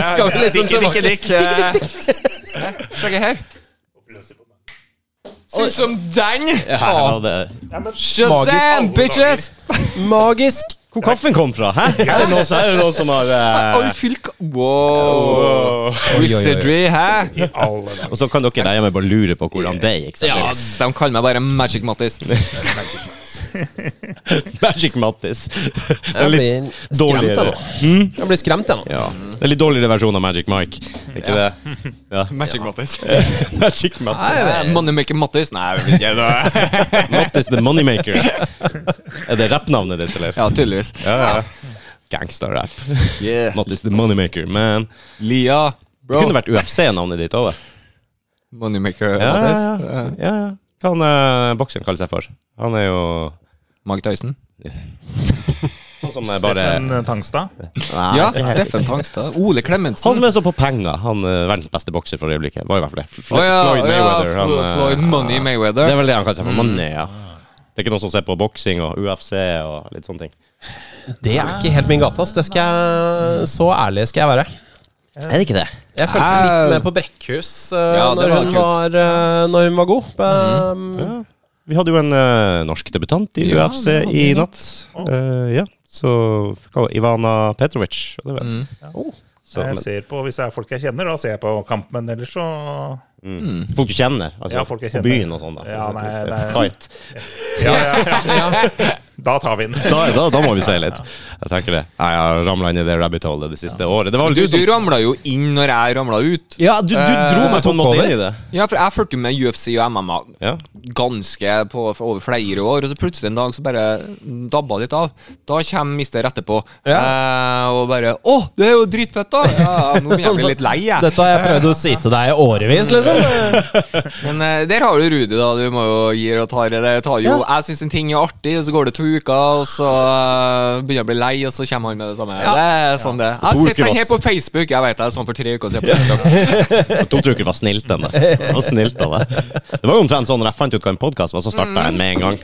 [SPEAKER 4] Skal vi liksom
[SPEAKER 2] Dikke, dikke,
[SPEAKER 4] tilbake?
[SPEAKER 2] dikk. eh. Hæ? Sjekk her. Sånn som den!
[SPEAKER 1] Her var det
[SPEAKER 3] Ja, men
[SPEAKER 2] Shazam,
[SPEAKER 3] Magisk
[SPEAKER 2] bitches!
[SPEAKER 4] Magisk
[SPEAKER 1] Hvor kaffen kom fra? Hæ? Er det noen, er det noen som har eh,
[SPEAKER 2] Alt fylk Wow. Wizardry, hæ?
[SPEAKER 3] i alle dager.
[SPEAKER 1] Og så kan dere der hjemme bare lure på hvordan det gikk.
[SPEAKER 2] Ja,
[SPEAKER 1] selvfølgelig.
[SPEAKER 2] de kaller meg bare Magic Mattis.
[SPEAKER 1] Magic Mattis.
[SPEAKER 4] Jeg
[SPEAKER 1] En litt
[SPEAKER 4] blir skremt, jeg nå.
[SPEAKER 1] dårligere.
[SPEAKER 4] Jeg blir skremt, jeg nå.
[SPEAKER 1] Ja. Det er litt dårligere versjon av Magic Mike. Er ikke det? Ja.
[SPEAKER 2] Magic Mattis.
[SPEAKER 1] Magic Mattis.
[SPEAKER 2] Moneymaker Mattis. Nei, jeg vet ikke.
[SPEAKER 1] Mattis the Moneymaker. Er det rappnavnet ditt, eller?
[SPEAKER 2] ja, tydeligvis.
[SPEAKER 1] Ja, ja. Gangsterrap. Mattis the Moneymaker. Men
[SPEAKER 2] Lia,
[SPEAKER 1] det
[SPEAKER 2] bro.
[SPEAKER 1] kunne vært UFC-navnet ditt òg, det.
[SPEAKER 2] Moneymaker
[SPEAKER 1] Ja,
[SPEAKER 2] Mattis.
[SPEAKER 1] ja, ja. ja. ja. Hva han eh, bokseren kaller seg for? Han er jo
[SPEAKER 2] Mark Tyson.
[SPEAKER 1] Han som er bare
[SPEAKER 3] Steffen eh, Tangstad.
[SPEAKER 1] Nei,
[SPEAKER 2] Ja,
[SPEAKER 1] det er-
[SPEAKER 2] Steffen Tangstad. Ole
[SPEAKER 1] Han
[SPEAKER 2] Klemetsen.
[SPEAKER 1] Sånn som er så på penger. Han eh, verdens beste bokser for øyeblikket. Var i hvert fall det. Fl-
[SPEAKER 2] Å ja,
[SPEAKER 1] Floyd Mayweather.
[SPEAKER 2] Ja,
[SPEAKER 1] han,
[SPEAKER 2] Flo-
[SPEAKER 1] eh,
[SPEAKER 2] Floyd Mm. Money
[SPEAKER 1] Det er
[SPEAKER 2] Mayweather.
[SPEAKER 1] vel det han kaller seg for. Money, ja. Det er ikke noen som ser på boksing og UFC og litt sånne ting.
[SPEAKER 4] Det er ikke helt min gate. ass. Det skal jeg, så ærlig skal jeg være.
[SPEAKER 1] Er det ikke det?
[SPEAKER 4] Jeg fulgte
[SPEAKER 2] Au.
[SPEAKER 4] litt med på Brekkhus uh,
[SPEAKER 2] Ja, det
[SPEAKER 4] når,
[SPEAKER 2] var
[SPEAKER 4] hun
[SPEAKER 2] kult. Mhm.
[SPEAKER 4] var, uh, når hun var god. Um,
[SPEAKER 1] Ja. Vi hadde jo en eh, norsk debutant i
[SPEAKER 2] Ja,
[SPEAKER 1] UFC
[SPEAKER 2] det hadde
[SPEAKER 1] i
[SPEAKER 2] vi
[SPEAKER 1] natt. Eh, ja, så hva- Ivana Petrovic. og Det vet.
[SPEAKER 2] Mm.
[SPEAKER 1] Oh. Så,
[SPEAKER 3] Jeg
[SPEAKER 1] men,
[SPEAKER 3] eh, ser på, hvis det er folk jeg kjenner, da ser jeg på kamp, men ellers så
[SPEAKER 2] Mm.
[SPEAKER 1] folk du kjenner? Altså,
[SPEAKER 3] Ja, folk jeg
[SPEAKER 1] på
[SPEAKER 3] kjenner.
[SPEAKER 1] byen og sånn? da.
[SPEAKER 3] Ja, nei,
[SPEAKER 1] Hvis det
[SPEAKER 3] det
[SPEAKER 1] er
[SPEAKER 3] er-
[SPEAKER 1] Tight.
[SPEAKER 3] ja, ja, ja. Da tar vi den.
[SPEAKER 1] Da, da, da må vi se litt. Jeg tenker det. Nei, Jeg har ramla inn i det rabbit holet det siste året. Det var vel
[SPEAKER 2] Du,
[SPEAKER 1] du,
[SPEAKER 2] du
[SPEAKER 1] som
[SPEAKER 2] ramla jo inn når jeg ramla ut.
[SPEAKER 1] liksom Ja, du, du dro
[SPEAKER 2] Eh,
[SPEAKER 1] meg på en måte inn i det.
[SPEAKER 2] Ja, for jeg fulgte jo med UFC og MMA
[SPEAKER 1] Ja.
[SPEAKER 2] ganske på, for over flere år, og så plutselig en dag så bare dabba litt av. Da kommer mister etterpå eh, og bare 'Å, det er jo dritfett, da!' Ja, nå begynner jeg å bli litt lei, jeg.
[SPEAKER 4] Dette har jeg prøvd å si til deg i årevis, liksom.
[SPEAKER 2] Men eh, der har du Rudi, da. Du må jo gi og ta i det. Det Tar jo, Jeg syns en ting er artig, og så går det to uker, og så eh, begynner jeg å bli lei, og så kommer han med det samme. Det er sånn det. Jeg
[SPEAKER 1] To
[SPEAKER 2] har
[SPEAKER 1] uker
[SPEAKER 2] sett den her
[SPEAKER 1] vass.
[SPEAKER 2] på Facebook. Jeg vet det er sånn for tre uker siden. på TikTok.
[SPEAKER 1] To tror ikke det var snilt, den der. Det var snilt av deg. Det var jo omtrent sånn når jeg fant ut hva en podkast var, så starta jeg den med en gang.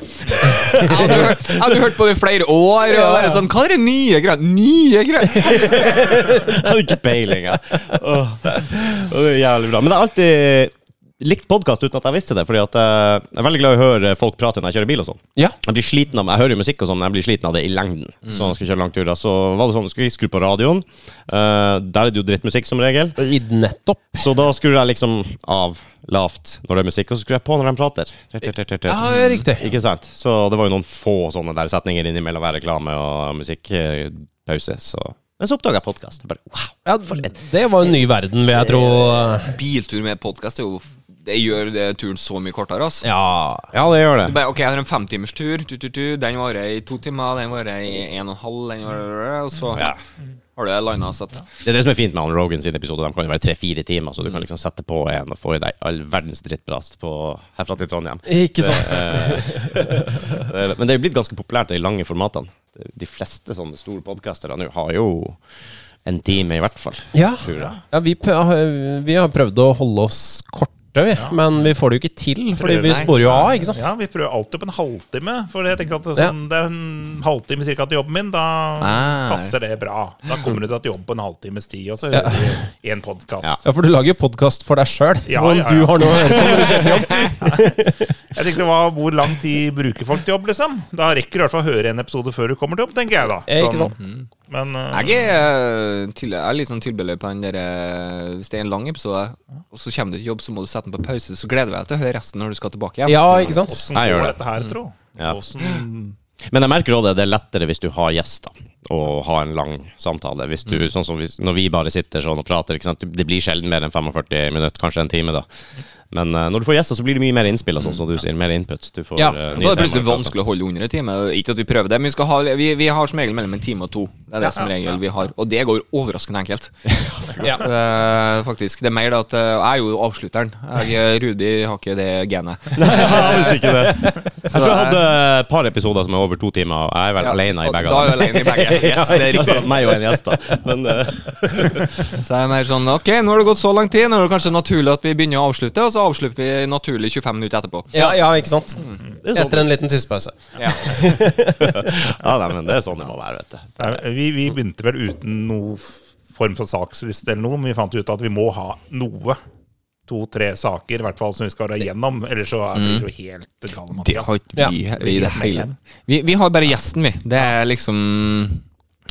[SPEAKER 2] Jeg hadde hørt, jeg hadde hørt på det i flere år. Og bare sånn, Hva er det nye greier? Nye greier?
[SPEAKER 1] Jeg hadde ikke peiling, jeg. Åh. Og det er jævlig bra. Men jeg har alltid likt podkast uten at jeg visste det, fordi at eh, jeg er veldig glad i å høre folk prate når jeg kjører bil og sånn.
[SPEAKER 4] Ja.
[SPEAKER 1] Jeg blir sliten av Jeg hører jo musikk og sånn, men jeg blir sliten av det i lengden. Så når jeg skal kjøre langturer, så var det sånn, skulle jeg skru på radioen. Eh, der er det jo drittmusikk som regel.
[SPEAKER 4] I- Nettopp.
[SPEAKER 1] Så da skrur jeg liksom av lavt når det er musikk, og så skrur jeg på når de prater. Tut, tut, tut, tut, tut.
[SPEAKER 4] Ja, det er riktig.
[SPEAKER 1] Ikke sant? Så det var jo noen få sånne der setninger innimellom hver reklame og musikkpause. Så. Men så oppdaga jeg podkast. Wow.
[SPEAKER 4] Ja, det var en ny verden, vil jeg tro.
[SPEAKER 2] Biltur med podkast det gjør det turen så mye kortere. ass.
[SPEAKER 4] Ja.
[SPEAKER 1] Ja, det gjør det.
[SPEAKER 2] Bare, ok, Jeg har en femtimers tur. Tu, tu, tu. Den varer i to timer, den varer i en og en halv, den varer Og så
[SPEAKER 1] Ja.
[SPEAKER 2] har du det lina. så at-
[SPEAKER 1] Det er det som er fint med han Rogan sin episode. De kan jo være tre-fire timer, så du kan liksom sette på en og få i deg all verdens drittprat på herfra til Trondheim. Eh,
[SPEAKER 4] Ikke sant.
[SPEAKER 1] Det er- Men det er jo blitt ganske populært, de lange formatene. De fleste sånne store podkastere nå har jo en time, i hvert fall.
[SPEAKER 4] Ja,
[SPEAKER 1] Tror jeg.
[SPEAKER 4] ja vi, prø- vi har prøvd å holde oss korte, vi. Men vi får det jo ikke til, fordi vi
[SPEAKER 3] Nei.
[SPEAKER 4] sporer jo av, ikke sant.
[SPEAKER 3] Ja, vi prøver alltid på en halvtime. For jeg tenker at det er
[SPEAKER 4] Ja.
[SPEAKER 3] sånn, det er en halvtime cirka til jobben min. Da
[SPEAKER 2] Ah.
[SPEAKER 3] passer det bra. Da kommer du til at jobb på en halvtimes tid, og så hører du en podkast.
[SPEAKER 1] Ja.
[SPEAKER 4] Ja, for du lager jo podkast for deg sjøl.
[SPEAKER 3] Ja,
[SPEAKER 4] om
[SPEAKER 3] ja, ja.
[SPEAKER 4] du har noe å høre på.
[SPEAKER 3] Jeg tenkte hva, Hvor lang tid bruker folk til jobb, liksom? Da rekker du i hvert fall å høre en episode før du kommer til jobb, tenker jeg da. Sånn.
[SPEAKER 4] Eh, ikke sant?
[SPEAKER 3] Men eh,
[SPEAKER 2] Jeg er, eh, til, jeg er litt sånn tilbøyelig på den der eh, Hvis det er en lang episode, og så kommer du til jobb, så må du sette den på pause. Så gleder jeg meg til å høre resten når du skal tilbake igjen.
[SPEAKER 4] Ja, ikke sant.
[SPEAKER 3] åssen
[SPEAKER 1] Jeg gjør
[SPEAKER 3] går
[SPEAKER 1] det.
[SPEAKER 3] dette her, tro?
[SPEAKER 1] Ja.
[SPEAKER 3] Åssen
[SPEAKER 1] Men jeg merker også det, det er lettere hvis du har gjester og har en lang samtale. Hvis du,
[SPEAKER 2] Mm.
[SPEAKER 1] sånn som hvis, når vi bare sitter sånn og prater, ikke sant? det blir sjelden mer enn 45 minutter, kanskje en time. da. Men eh, når du får gjester, så blir det mye mer innspill, og sånn som du sier, mer input. Du får,
[SPEAKER 4] Ja,
[SPEAKER 1] eh, nye
[SPEAKER 2] Mm. Da er det plutselig
[SPEAKER 1] temaer.
[SPEAKER 2] vanskelig å holde under en time. Ikke at vi prøver det, men vi, skal ha, vi, vi har som regel mellom en time og to. Det er det som regel vi har. Og det går overraskende enkelt.
[SPEAKER 4] Ja.
[SPEAKER 2] Eh, faktisk. Det er mer det at eh, jeg er jo avslutteren. Jeg, eh, Rudi har ikke det genet.
[SPEAKER 1] Nei, jeg visste ikke det. Jeg tror jeg hadde et par episoder som er over to timer, og jeg er vel alene i
[SPEAKER 2] eh, og
[SPEAKER 1] begge.
[SPEAKER 2] Da
[SPEAKER 1] av
[SPEAKER 2] er jeg
[SPEAKER 1] dem.
[SPEAKER 2] alene i begge. Yes,
[SPEAKER 1] Ja,
[SPEAKER 2] det er
[SPEAKER 1] ikke sant?
[SPEAKER 2] riktig.
[SPEAKER 1] Meg og en gjest, da. Men eh,
[SPEAKER 2] Så jeg er mer sånn Ok, nå har det gått så lang tid. Nå er det kanskje naturlig at vi begynner å avslutte, og så så avslutter vi naturlig 25 minutter etterpå.
[SPEAKER 4] Ja, ja, ikke sant?
[SPEAKER 3] Mm,
[SPEAKER 4] Etter en liten tissepause.
[SPEAKER 1] Ja, nei, men det er sånn det må være, vet du.
[SPEAKER 3] Nei, Vi, vi begynte vel uten noe form for saksliste eller noe, men vi fant ut at vi må ha noe. To-tre saker i hvert fall som vi skal igjennom, ellers så er
[SPEAKER 4] Mm.
[SPEAKER 3] vi jo helt gale,
[SPEAKER 2] Det
[SPEAKER 3] Mathias.
[SPEAKER 2] har ikke vi i det hele vi, vi har bare gjesten, vi. Det er liksom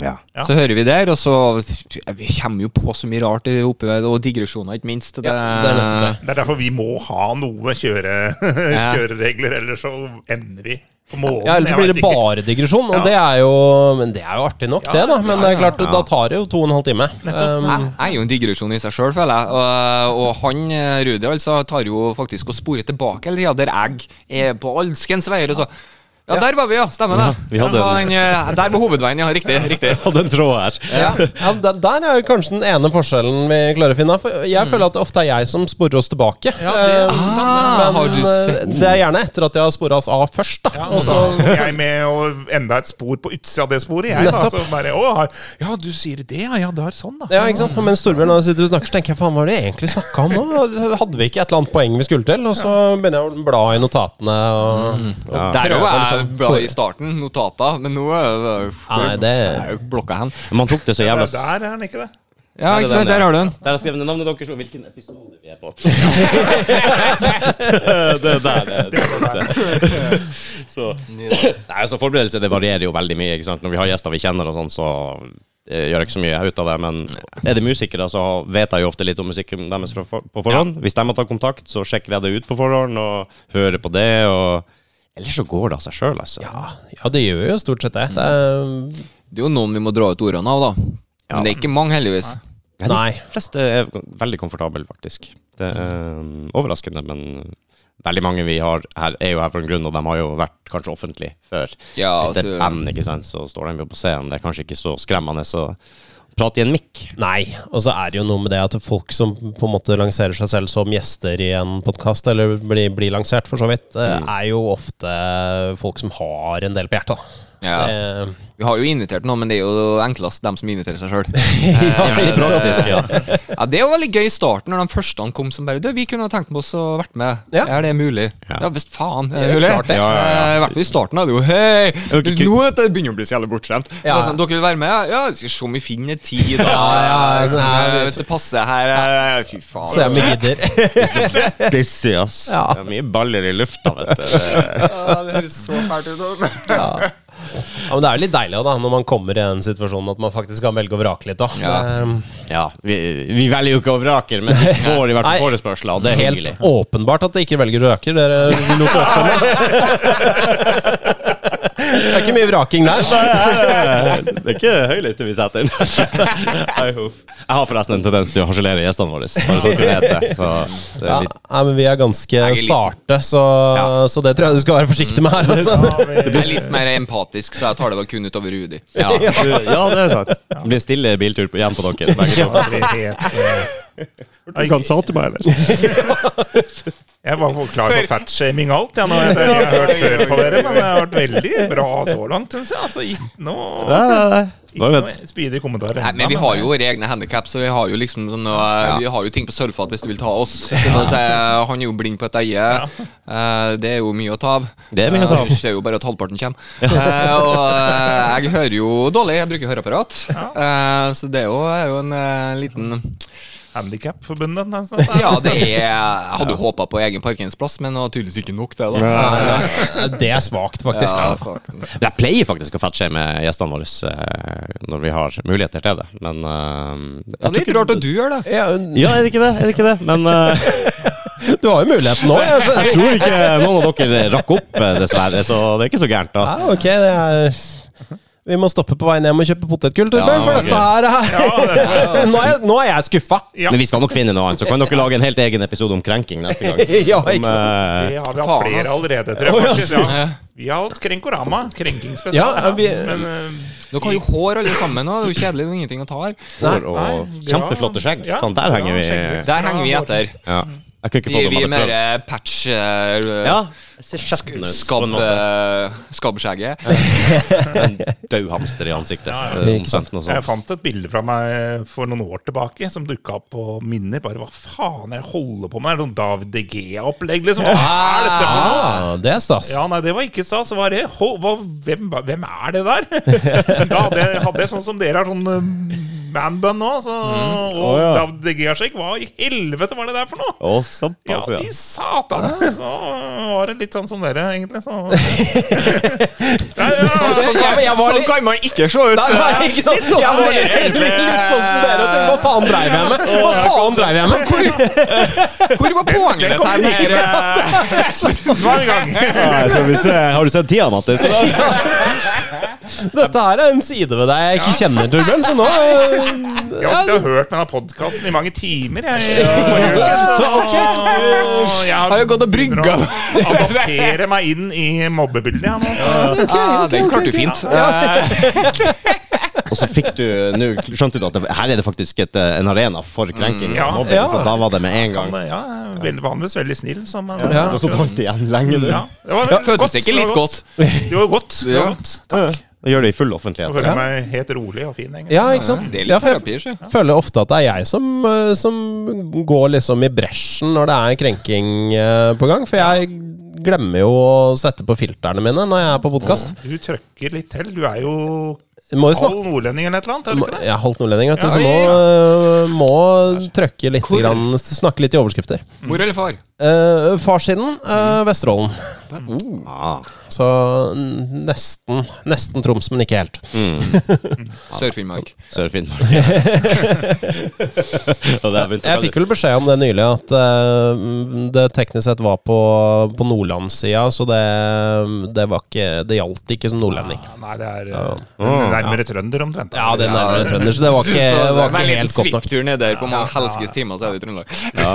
[SPEAKER 1] Ja.
[SPEAKER 3] Ja.
[SPEAKER 2] Så hører vi der, og så ja, Vi kommer jo på så mye rart i oppe, og digresjoner, ikke minst.
[SPEAKER 4] Ja, det
[SPEAKER 3] Eh,
[SPEAKER 4] er nettopp det.
[SPEAKER 3] Det er derfor vi må ha noe kjøre, kjøreregler, ellers så ender vi på månen.
[SPEAKER 4] Ja, ellers så
[SPEAKER 3] Jeg
[SPEAKER 4] blir
[SPEAKER 3] vet
[SPEAKER 4] det
[SPEAKER 3] ikke.
[SPEAKER 4] bare digresjon,
[SPEAKER 3] Ja.
[SPEAKER 4] og det er jo Men det er jo artig nok, det, da. Men det er klart, da tar det jo to og en halv time. Um,
[SPEAKER 2] Jeg jeg er jo en digresjon i seg sjøl, føler jeg. Og, og han, eh, Rudi, altså, tar jo faktisk og sporer tilbake hele tida, der jeg er på alskens veier. og så ja, der var vi, ja. Stemmer det.
[SPEAKER 1] vi hadde
[SPEAKER 2] der, var
[SPEAKER 1] en-
[SPEAKER 2] den, eh, der var hovedveien, ja. Riktig. riktig.
[SPEAKER 1] Og den tråden her.
[SPEAKER 4] ja, ja der, der er jo kanskje den ene forskjellen vi klarer å finne. For
[SPEAKER 3] Mm.
[SPEAKER 4] jeg føler at det ofte er jeg som sporer oss tilbake.
[SPEAKER 2] det-
[SPEAKER 4] Um,
[SPEAKER 2] Ah,
[SPEAKER 4] men
[SPEAKER 2] har du
[SPEAKER 4] eh,
[SPEAKER 2] sett-
[SPEAKER 4] det er gjerne etter at jeg har spora oss av først, da. og så
[SPEAKER 3] Da er jeg med og enda et spor på utsida av det sporet, jeg. Da,
[SPEAKER 4] Nettopp.
[SPEAKER 3] så bare, å, ja, du sier det, ja. Ja, da er det sånn, da.
[SPEAKER 4] ja, ikke sant? Og mens Torbjørn da sitter og snakker, så tenker jeg faen, hva var det jeg egentlig snakka om nå? Hadde vi ikke et eller annet poeng vi skulle til? Og så begynner jeg å bla i notatene. Og, og
[SPEAKER 2] Der er jo
[SPEAKER 4] prøver
[SPEAKER 2] jeg
[SPEAKER 4] liksom-
[SPEAKER 2] bra i starten, notater, men nå eh, er
[SPEAKER 4] Nei, det-
[SPEAKER 2] er jo blokka hen.
[SPEAKER 1] Man tok det så
[SPEAKER 3] Ja,
[SPEAKER 1] jævla
[SPEAKER 3] Der er den ikke det.
[SPEAKER 2] Ja,
[SPEAKER 1] Er det
[SPEAKER 2] ikke sant,
[SPEAKER 1] den, ja?
[SPEAKER 2] der har du den.
[SPEAKER 1] Der har jeg skrevet ned navnet deres og hvilken episode vi er på. det der, det, det, Så, nei, så forberedelse det varierer jo veldig mye. Ikke sant? Når vi har gjester vi kjenner, og sånn, så eh, gjør jeg ikke så mye ut av det. Men er det musikere, så vet jeg jo ofte litt om musikken deres fra for- på forhånd. Hvis de har tatt kontakt, så sjekker jeg det ut på forhånd og hører på det. og... Ellers så går det av seg sjøl, altså.
[SPEAKER 4] Ja, ja, det gjør jo stort sett det. det er,
[SPEAKER 2] Det er jo noen vi må dra ut ordene av, da. Men det er ikke mange, heldigvis.
[SPEAKER 4] nei.
[SPEAKER 1] De fleste er veldig komfortable, faktisk. Det er eh, overraskende, men veldig mange vi har her, er jo her for en grunn, og de har jo vært kanskje offentlig før.
[SPEAKER 2] Ja,
[SPEAKER 1] Hvis det er et
[SPEAKER 2] altså-
[SPEAKER 1] band, ikke sant, så står de jo på scenen. Det er kanskje ikke så skremmende å prate i en mikk.
[SPEAKER 4] Nei, og så er det jo noe med det at folk som på en måte lanserer seg selv som gjester i en podkast, eller blir, blir lansert for så vidt, eh,
[SPEAKER 2] Mm.
[SPEAKER 4] er jo ofte folk som har en del på hjertet. da.
[SPEAKER 2] Ja.
[SPEAKER 4] Eh,
[SPEAKER 2] Vi har jo invitert noen, men det er jo enklest dem som inviterer seg sjøl.
[SPEAKER 4] ikke sant?
[SPEAKER 2] Ja, det var veldig gøy i starten, når de første kom som bare Du, vi kunne ha tenkt på oss å vært med.
[SPEAKER 4] Ja.
[SPEAKER 2] Er det mulig?
[SPEAKER 1] Ja.
[SPEAKER 2] Ja, visst faen. Er det mulig?
[SPEAKER 4] klart det.
[SPEAKER 2] Ja, ja, ja. Eh, I hvert fall i starten er det jo Hei!
[SPEAKER 1] Ok,
[SPEAKER 2] Hvis
[SPEAKER 1] ok.
[SPEAKER 2] Nå vet du, det begynner å bli så jævlig bortskjemt.
[SPEAKER 4] Ja.
[SPEAKER 2] Det er Sånn, dere vil være med? Ja, skal vi se om vi finner tid, da.
[SPEAKER 4] Ja, ja,
[SPEAKER 2] Sånn,
[SPEAKER 4] ja.
[SPEAKER 2] eh, Hvis det passer her eh, Fy faen.
[SPEAKER 4] Så jeg gidder.
[SPEAKER 1] Busy, ass.
[SPEAKER 4] Ja.
[SPEAKER 1] Det er mye baller i lufta, vet du. Det-
[SPEAKER 2] Ja, det høres så fælt ut.
[SPEAKER 4] Ja, men det er jo litt deilig også, da, når man kommer i den situasjonen at man faktisk kan velge og vrake litt. da.
[SPEAKER 2] Ja.
[SPEAKER 4] Det er, um,
[SPEAKER 1] Ja, vi, vi velger jo ikke å vrake, men vi får i hvert
[SPEAKER 4] Nei.
[SPEAKER 1] fall forespørsler, og det er
[SPEAKER 4] Helt
[SPEAKER 1] hyggelig.
[SPEAKER 4] åpenbart at dere ikke velger vraker. Dere lot oss komme. Det er ikke mye vraking der.
[SPEAKER 1] Det er ikke høyliste vi setter. Nei, huff. Jeg har forresten en tendens til å harselere gjestene våre. Bare så dere vet det. Så det
[SPEAKER 4] Ja,
[SPEAKER 1] er litt,
[SPEAKER 4] nei, men vi er ganske
[SPEAKER 2] er litt-
[SPEAKER 4] sarte, så, så det tror jeg du skal være forsiktig med her. Altså.
[SPEAKER 2] Jeg er litt mer empatisk, så jeg tar det vel kun utover Rudi.
[SPEAKER 1] ja. ja, det er sant. Det blir stille biltur på- igjen på dere. begge to.
[SPEAKER 3] Det blir helt, eh,
[SPEAKER 1] Du kan sa til meg, eller?
[SPEAKER 3] Jeg var for klar for fatshaming og alt, jeg, nå, det har jeg hørt før på dere. Men det har vært veldig bra så langt, syns jeg. Altså, gitt noe,
[SPEAKER 1] Nei, nei, nei.
[SPEAKER 3] gitt
[SPEAKER 1] Bare vent.
[SPEAKER 3] noe speedy kommentarer.
[SPEAKER 2] Nei, men vi har jo våre egne handikap, så vi har jo liksom sånn, eh, Vi har jo ting på sølvfat hvis du vil ta oss. Så å si, eh, han er jo blind på et øye. Eh, det er jo mye å ta av.
[SPEAKER 1] Det er mye å ta av.
[SPEAKER 2] Eh, Du ser jo bare at halvparten kommer. Eh, og eh, jeg hører jo dårlig, jeg bruker høreapparat. Eh, så det er jo, er jo en eh, liten
[SPEAKER 3] Handikapforbundet, altså.
[SPEAKER 2] Ja, det er Jeg hadde jo håpa på egen parkeringsplass, men det var tydeligvis ikke nok, det, da.
[SPEAKER 4] Det er svakt, faktisk.
[SPEAKER 2] Ja, fuck.
[SPEAKER 1] Jeg pleier faktisk å fettshame gjestene våre eh, når vi har muligheter til det, men eh, jeg
[SPEAKER 2] Ja, det er
[SPEAKER 1] tror
[SPEAKER 2] litt
[SPEAKER 1] ikke-
[SPEAKER 2] rart at du gjør det.
[SPEAKER 4] Ja,
[SPEAKER 1] Ja, er det ikke det? Er det ikke det? Men eh,
[SPEAKER 4] du har jo muligheten nå. Jeg skjønner.
[SPEAKER 1] jeg tror ikke noen av dere rakk opp, eh, dessverre, så det er ikke så gærent, da.
[SPEAKER 4] Ja, ok, det er... Vi må stoppe på vei ned og kjøpe potetgull, Torbjørn,
[SPEAKER 2] Ja,
[SPEAKER 4] for
[SPEAKER 1] ok.
[SPEAKER 4] dette her er Nå er jeg, nå er jeg skuffa!
[SPEAKER 3] Ja.
[SPEAKER 1] Men vi skal nok finne noe annet, så kan dere lage en helt egen episode om krenking neste gang.
[SPEAKER 4] Ja,
[SPEAKER 1] Om,
[SPEAKER 4] ikke sant?
[SPEAKER 1] eh,
[SPEAKER 3] Det har vi hatt
[SPEAKER 2] Faen,
[SPEAKER 3] flere
[SPEAKER 2] ass.
[SPEAKER 3] allerede, tror jeg. faktisk, Ja. Vi har hatt Krenkorama. Krenkingsspesial.
[SPEAKER 4] Ja, vi-
[SPEAKER 3] Men eh,
[SPEAKER 2] Dere har jo hår alle sammen, og det er jo kjedelig, det er ingenting å ta her.
[SPEAKER 1] hår og
[SPEAKER 3] Nei, bra.
[SPEAKER 1] kjempeflotte skjegg.
[SPEAKER 3] Ja,
[SPEAKER 1] Sånn, der
[SPEAKER 3] bra
[SPEAKER 1] henger vi
[SPEAKER 2] liksom.
[SPEAKER 3] skjeggvekst.
[SPEAKER 2] Der henger vi etter.
[SPEAKER 1] ja. Jeg kunne ikke
[SPEAKER 2] Vi,
[SPEAKER 1] fått
[SPEAKER 2] vi
[SPEAKER 1] noe
[SPEAKER 2] er
[SPEAKER 1] med
[SPEAKER 2] mer
[SPEAKER 1] det prøvd.
[SPEAKER 2] eh, patch eh,
[SPEAKER 1] Ja,
[SPEAKER 2] sk skabb, eh, Skabbskjegget.
[SPEAKER 1] Død hamster i ansiktet.
[SPEAKER 3] Ja,
[SPEAKER 1] eh,
[SPEAKER 4] Ikke sant.
[SPEAKER 1] omtrent noe
[SPEAKER 3] Jeg
[SPEAKER 1] sånt.
[SPEAKER 3] fant et bilde fra meg for noen år tilbake som dukka opp på minner. Bare hva faen er det jeg holder på med? Er det noen David De Gea-opplegg, liksom? Hva er dette for noe?
[SPEAKER 4] Ah, det er stas.
[SPEAKER 3] Ja, nei, det var ikke stas. det var det. Hå- hva, hvem, hvem er det der? da hadde jeg, hadde jeg sånn som dere har sånn eh, man bun nå, så, og
[SPEAKER 1] Mm. Å, ja.
[SPEAKER 3] David De Gea-sjekk. Hva i helvete var det der for noe? Ja,
[SPEAKER 1] Å, såpass, ja.
[SPEAKER 3] i satan! Så var det litt sånn som dere, egentlig. Så. Nei, ja,
[SPEAKER 2] Sånn kan,
[SPEAKER 4] jeg var
[SPEAKER 2] sånn
[SPEAKER 4] litt-
[SPEAKER 2] kan man ikke se ut! eh,
[SPEAKER 4] Nei,
[SPEAKER 2] så-
[SPEAKER 4] nei, ikke sant?
[SPEAKER 2] sånn
[SPEAKER 4] Jeg var litt, litt sånn som dere. og tenkte, Hva faen dreiv jeg med? Hva faen dreiv jeg med?
[SPEAKER 2] Hvor var poenget ditt her? med, eh,
[SPEAKER 3] Hver gang.
[SPEAKER 1] Nei, skal vi se. Har du sett tida, Mattis?
[SPEAKER 4] Dette her er en side ved deg jeg ikke kjenner, Torbjørn, så nå eh,
[SPEAKER 3] Jeg har sittet og hørt på denne podkasten i mange timer. Jeg, i forrige uke,
[SPEAKER 4] Så ok, så
[SPEAKER 3] jeg
[SPEAKER 2] Har jo gått og brygga.
[SPEAKER 3] begynner å Adaptere meg inn i mobbebildet. Jeg, nå, så.
[SPEAKER 2] ah, Den klarte du fint. Eh,
[SPEAKER 1] Og så fikk du Nå skjønte du at det, her er det faktisk et, eh, en arena for krenking.
[SPEAKER 3] Mm, Ja.
[SPEAKER 1] av mobbing,
[SPEAKER 4] Ja.
[SPEAKER 1] Så da var det med en gang.
[SPEAKER 3] Kan, ja, jeg er veldig behandles veldig snill. Som, man-
[SPEAKER 1] Du har stått holdt igjen lenge, du.
[SPEAKER 3] Ja, det var
[SPEAKER 2] Føltes ikke litt godt?
[SPEAKER 3] Det var godt. Det var godt. Takk.
[SPEAKER 1] Og gjør det i full
[SPEAKER 3] Jeg
[SPEAKER 1] offentlighet.
[SPEAKER 3] føler meg helt rolig og fin. egentlig.
[SPEAKER 4] Ja, ikke sant?
[SPEAKER 2] Det er
[SPEAKER 4] sånn. Ja,
[SPEAKER 2] litt
[SPEAKER 4] for jeg-
[SPEAKER 2] terapi, sjø.
[SPEAKER 4] føler ofte at det er jeg som, eh, som går liksom i bresjen når det er en krenking eh, på gang. For jeg glemmer jo å sette på filterne mine når jeg er på podkast.
[SPEAKER 3] Du trøkker litt til. Du er jo
[SPEAKER 4] Må
[SPEAKER 3] halv
[SPEAKER 4] jo snakke
[SPEAKER 3] nordlending eller et eller annet? Er du
[SPEAKER 4] må-
[SPEAKER 3] ikke det?
[SPEAKER 4] Jeg har holdt nordlending, vet du,
[SPEAKER 2] Ja,
[SPEAKER 4] så må, eh, må trøkke litt,
[SPEAKER 2] Hvor?
[SPEAKER 4] grann, snakke litt i overskrifter.
[SPEAKER 2] Mor eller far?
[SPEAKER 4] Eh, farssiden eh, Vesterålen.
[SPEAKER 1] Ah.
[SPEAKER 4] Så n- nesten, nesten Troms, men ikke helt.
[SPEAKER 2] Sør-Finnmark.
[SPEAKER 1] Sør-Finnmark. Og der begynte
[SPEAKER 4] Jeg fikk vel beskjed om det nylig, at eh, det teknisk sett var på, på nordlandssida, så det, det var ikke Det gjaldt ikke som nordlending.
[SPEAKER 3] Ja, Nei, det er eh, nærmere trønder omtrent.
[SPEAKER 4] Ja, det er
[SPEAKER 2] Ja,
[SPEAKER 4] nærmere trønder, så det var ikke,
[SPEAKER 2] Så-
[SPEAKER 4] var
[SPEAKER 2] med en
[SPEAKER 4] ikke
[SPEAKER 2] liten
[SPEAKER 4] helt godt nok.
[SPEAKER 2] svipptur ned der på mange helskes timer, så er det i Trøndelag.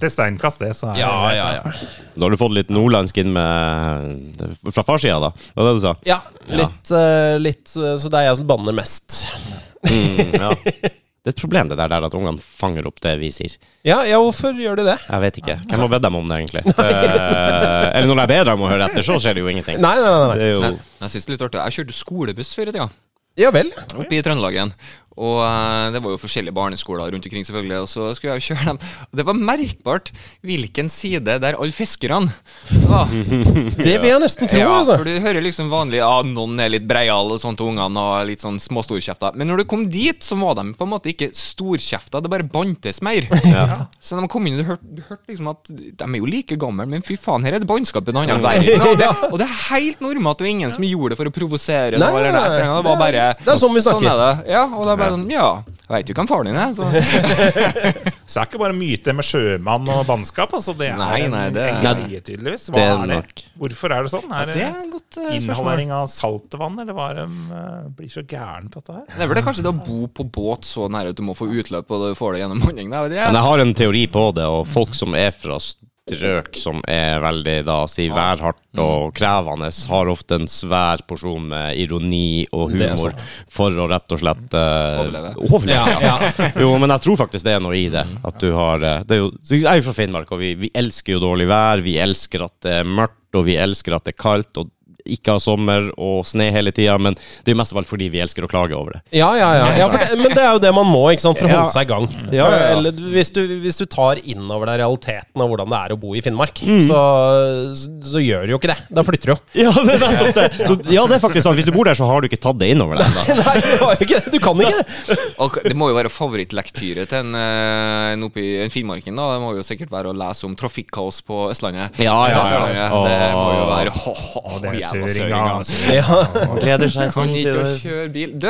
[SPEAKER 3] Litt steinkast, det. Så er
[SPEAKER 4] Ja, ja, ja.
[SPEAKER 1] Da har du fått litt nordlandsk inn med eh, Fra farssida, da. Det var det du sa?
[SPEAKER 4] ja litt, eh, litt eh, Så det er jeg som banner mest.
[SPEAKER 1] Mm, ja. Det er et problem det der, der at ungene fanger opp det vi sier.
[SPEAKER 4] Ja, ja, hvorfor gjør de det?
[SPEAKER 1] Jeg vet ikke. Hvem har bedt dem om det, egentlig? Eh, eller når det er bedre om å høre etter, så skjer det jo ingenting.
[SPEAKER 4] Nei, nei, nei. nei.
[SPEAKER 1] Det er jo
[SPEAKER 2] Men jeg synes det er litt artig. Jeg kjørte skolebuss før i tida.
[SPEAKER 4] Ja vel.
[SPEAKER 2] oppe i Trøndelag igjen. Og eh, det var jo forskjellige barneskoler rundt omkring, selvfølgelig. Og så skulle jeg jo kjøre dem. Og det var merkbart hvilken side der alle fiskerne var.
[SPEAKER 4] Det vil jeg nesten tro,
[SPEAKER 2] Ja,
[SPEAKER 4] altså.
[SPEAKER 2] for du hører liksom vanlig ja, noen er litt breiale og sånn til ungene, og litt sånn småstorkjefta. Men når du kom dit, så var de på en måte ikke storkjefta, det bare bantes mer. Så når de kom inn, du hørte, du hørte liksom at de er jo like gamle, men fy faen, her er det bannskap i en annen verden. Og det, og det er helt normalt, det var ingen som gjorde det for å provosere.
[SPEAKER 4] Nei,
[SPEAKER 2] noe eller
[SPEAKER 4] nei,
[SPEAKER 2] noe. det
[SPEAKER 4] det er-
[SPEAKER 2] var bare
[SPEAKER 4] det er sånn vi snakker.
[SPEAKER 2] er det. Ja, og det er bare sånn, ja, jeg veit jo hvem faren din er, så
[SPEAKER 3] Så det er ikke bare myte med sjømann og bannskap. Altså, det er
[SPEAKER 2] Nei, nei, det er-
[SPEAKER 3] en greie, tydeligvis. Hva
[SPEAKER 1] Det er
[SPEAKER 3] er,
[SPEAKER 1] nok.
[SPEAKER 3] det? Hvorfor er det sånn? Er
[SPEAKER 2] det
[SPEAKER 3] det
[SPEAKER 2] er et godt eh, spørsmål.
[SPEAKER 3] innholdning av saltvann, eller hva er det eh, blir så gæren på dette her?
[SPEAKER 2] Det er vel det kanskje det å bo på båt så nære at du må få utløp, og du får det gjennom vanning. da, vet
[SPEAKER 4] Sånn
[SPEAKER 2] jeg.
[SPEAKER 1] Men jeg har en teori på det, og folk som er fra strøk som er veldig da, si, værhardt
[SPEAKER 4] Mm.
[SPEAKER 1] og krevende, har ofte en svær porsjon med ironi og
[SPEAKER 4] Det er
[SPEAKER 1] humor for å rett og slett eh,
[SPEAKER 2] Overleve.
[SPEAKER 1] overleve. Ja, jo, men jeg tror faktisk det er noe i det.
[SPEAKER 4] Mm.
[SPEAKER 1] At du har eh, det er jo, Jeg er jo fra Finnmark, og vi, vi elsker jo dårlig vær. Vi elsker at det er mørkt, og vi elsker at det er kaldt. og ikke har sommer og sne hele tida, men det er mest av alt fordi vi elsker å klage over det.
[SPEAKER 4] Ja, ja, ja. ja for det, men det er jo det man må ikke sant, for å holde
[SPEAKER 1] Ja.
[SPEAKER 4] seg i gang.
[SPEAKER 1] Ja, ja, ja.
[SPEAKER 4] Eller hvis du, hvis du tar innover deg realiteten av hvordan det er å bo i Finnmark,
[SPEAKER 1] Mm.
[SPEAKER 4] så, så gjør du jo ikke det. Da flytter du jo.
[SPEAKER 1] Ja, det er nettopp det! Så, ja, det er faktisk sant. Hvis du bor der, så har du ikke tatt det innover deg. ennå.
[SPEAKER 4] Nei, du, har jo ikke det. du kan ikke det.
[SPEAKER 2] Og Det må jo være favorittlektyret til en, eh, en, oppi, en finnmarking. da Det må jo sikkert være å lese om trafikkaos på Østlandet.
[SPEAKER 1] Ja, ja, ja.
[SPEAKER 2] Østlandet, Det må jo være ho, ho, ho,
[SPEAKER 3] Det er
[SPEAKER 2] jævla
[SPEAKER 3] søringa.
[SPEAKER 2] søringa.
[SPEAKER 3] altså.
[SPEAKER 1] Gleder seg
[SPEAKER 2] Kan ikke å kjøre bil Du,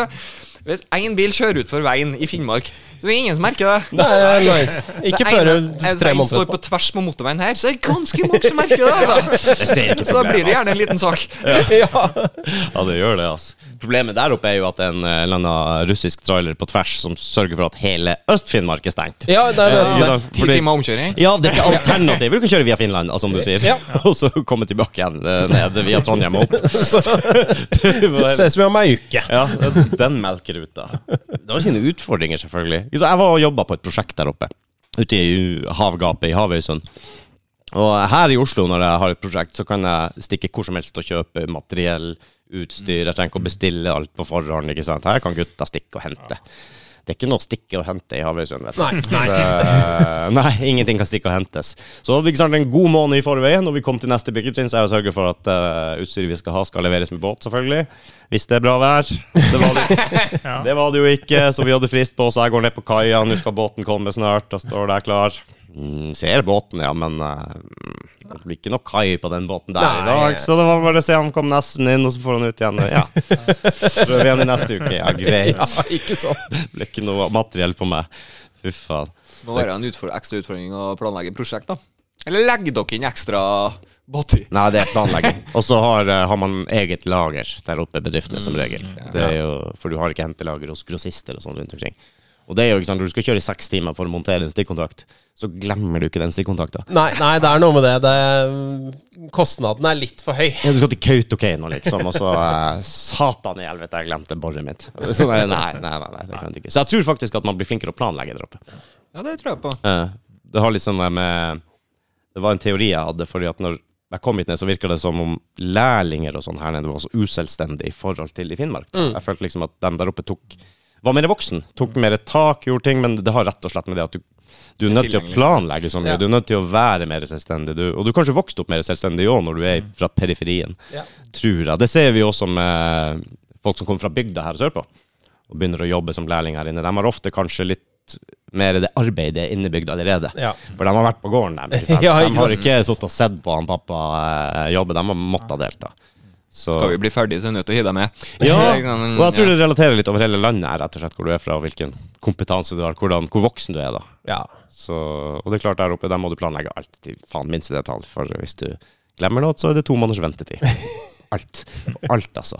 [SPEAKER 2] hvis én bil kjører utfor veien i Finnmark, så er det ingen som merker det.
[SPEAKER 4] Nei, nei, ikke
[SPEAKER 2] Det
[SPEAKER 4] før
[SPEAKER 2] ene- hvis
[SPEAKER 4] tre
[SPEAKER 2] en
[SPEAKER 4] måneder
[SPEAKER 2] står
[SPEAKER 4] etterpå.
[SPEAKER 2] på tvers på motorveien her, så er det ganske mange som merker det. Altså. Så da blir det gjerne en liten sak.
[SPEAKER 4] Ja.
[SPEAKER 1] Ja, det gjør det, altså. Problemet der oppe er jo at det er en eh, eller annen russisk trailer på tvers som sørger for at hele eh, Øst-Finnmark er stengt.
[SPEAKER 4] ja, det er
[SPEAKER 1] Ikke
[SPEAKER 4] det.
[SPEAKER 1] sant?
[SPEAKER 2] Ti
[SPEAKER 1] Fordi-
[SPEAKER 2] timer omkjøring.
[SPEAKER 1] Ja, det er ikke alternativ. Du kan kjøre via Finland, altså, som du sier,
[SPEAKER 4] Ja.
[SPEAKER 1] og så komme tilbake igjen eh, ned via Trondheim og opp.
[SPEAKER 4] Ses vi om ei uke.
[SPEAKER 1] Ja, den melkeruta. Det har sine utfordringer, selvfølgelig. Så jeg var og jobba på et prosjekt der oppe. ute i havgapet i Havøysund. Og her i Oslo, når jeg har et prosjekt, så kan jeg stikke hvor som helst og kjøpe materiell, utstyr. Jeg trenger ikke å bestille alt på forhånd. ikke sant? Her kan gutta stikke og hente. Det er ikke noe å stikke og hente i Havøysund. vet du.
[SPEAKER 4] Nei, nei.
[SPEAKER 1] Det- eh, nei, ingenting kan stikke og hentes. Så ikke sant, en god måned i forveien, når vi kom til neste byggetrinn, så er det å sørge for at eh, utstyret vi skal ha, skal leveres med båt, selvfølgelig. Hvis det er bra vær. Det var det, det, var det jo ikke, så vi hadde frist på oss. Jeg går ned på kaia, nå skal båten komme snart, og står der klar. Mm, ser båten, ja, men eh, det blir ikke noe kai på den båten der i
[SPEAKER 4] Nei.
[SPEAKER 1] dag, så det var bare å se han kom nesten inn, og så får han ut igjen. Ja. Prøver igjen i neste uke. Ja, greit.
[SPEAKER 4] Ja, ikke sant?
[SPEAKER 1] Det ble ikke noe materiell på meg. Fy faen.
[SPEAKER 2] Må være en utfor- ekstra utfordring å planlegge prosjekt, da. Eller legger dere inn ekstra båti?
[SPEAKER 1] Nei, det er planlegging. Og så har, eh, har man eget lager der oppe i bedriftene, som regel. Det er jo, for du har ikke hentelager hos grossister og sånn rundt omkring. Og det er jo ikke sant, Når du skal kjøre i seks timer for å montere en stikkontakt, så glemmer du ikke den stikkontakta.
[SPEAKER 4] Nei, nei, det er noe med det. det kostnaden er litt for høy.
[SPEAKER 1] Ja, du skal til Kautokeino, liksom, og så eh, Satan i helvete, jeg glemte boret mitt. Så nei, nei, nei, nei, nei, det kan du ikke. Så jeg tror faktisk at man blir flinkere å planlegge der oppe.
[SPEAKER 2] Ja, det tror jeg på.
[SPEAKER 1] Eh, Det har liksom det med Det var en teori jeg hadde, fordi at når jeg kom hit ned, så virka det som om lærlinger og sånn her nede var så uselvstendige i forhold til i Finnmark. da. Jeg følte liksom at de der oppe tok var mer voksen, tok mer tak, gjorde ting, men det har rett og slett med det at du du er nødt til å
[SPEAKER 2] tilgjengelig.
[SPEAKER 1] planlegge så mye,
[SPEAKER 4] Ja.
[SPEAKER 1] du er nødt til å være mer selvstendig. Du, og du er kanskje vokst opp mer selvstendig òg når du er fra periferien,
[SPEAKER 4] Ja.
[SPEAKER 1] tror jeg. Det ser vi jo også med folk som kommer fra bygda her sørpå og begynner å jobbe som lærling her inne. De har ofte kanskje litt mer det arbeidet innebygd allerede.
[SPEAKER 4] Ja.
[SPEAKER 1] For de har vært på gården, de. Ikke sant?
[SPEAKER 4] Ja, ikke
[SPEAKER 1] de har
[SPEAKER 4] sant?
[SPEAKER 1] ikke sittet og sett på han pappa eh, jobbe, de har måttet delta. Så.
[SPEAKER 2] Skal vi bli ferdige, så er vi nødt til å hive deg med.
[SPEAKER 1] Ja,
[SPEAKER 2] Ikke sant?
[SPEAKER 1] og jeg tror det relaterer litt over hele landet her, rett og slett, hvor du er fra, og hvilken kompetanse du har, hvordan, hvor voksen du er, da.
[SPEAKER 4] Ja.
[SPEAKER 1] Så, og det er klart der oppe, der må du planlegge alt til faen minste detalj, for hvis du glemmer noe, så er det to måneders ventetid. Alt. Alt, altså.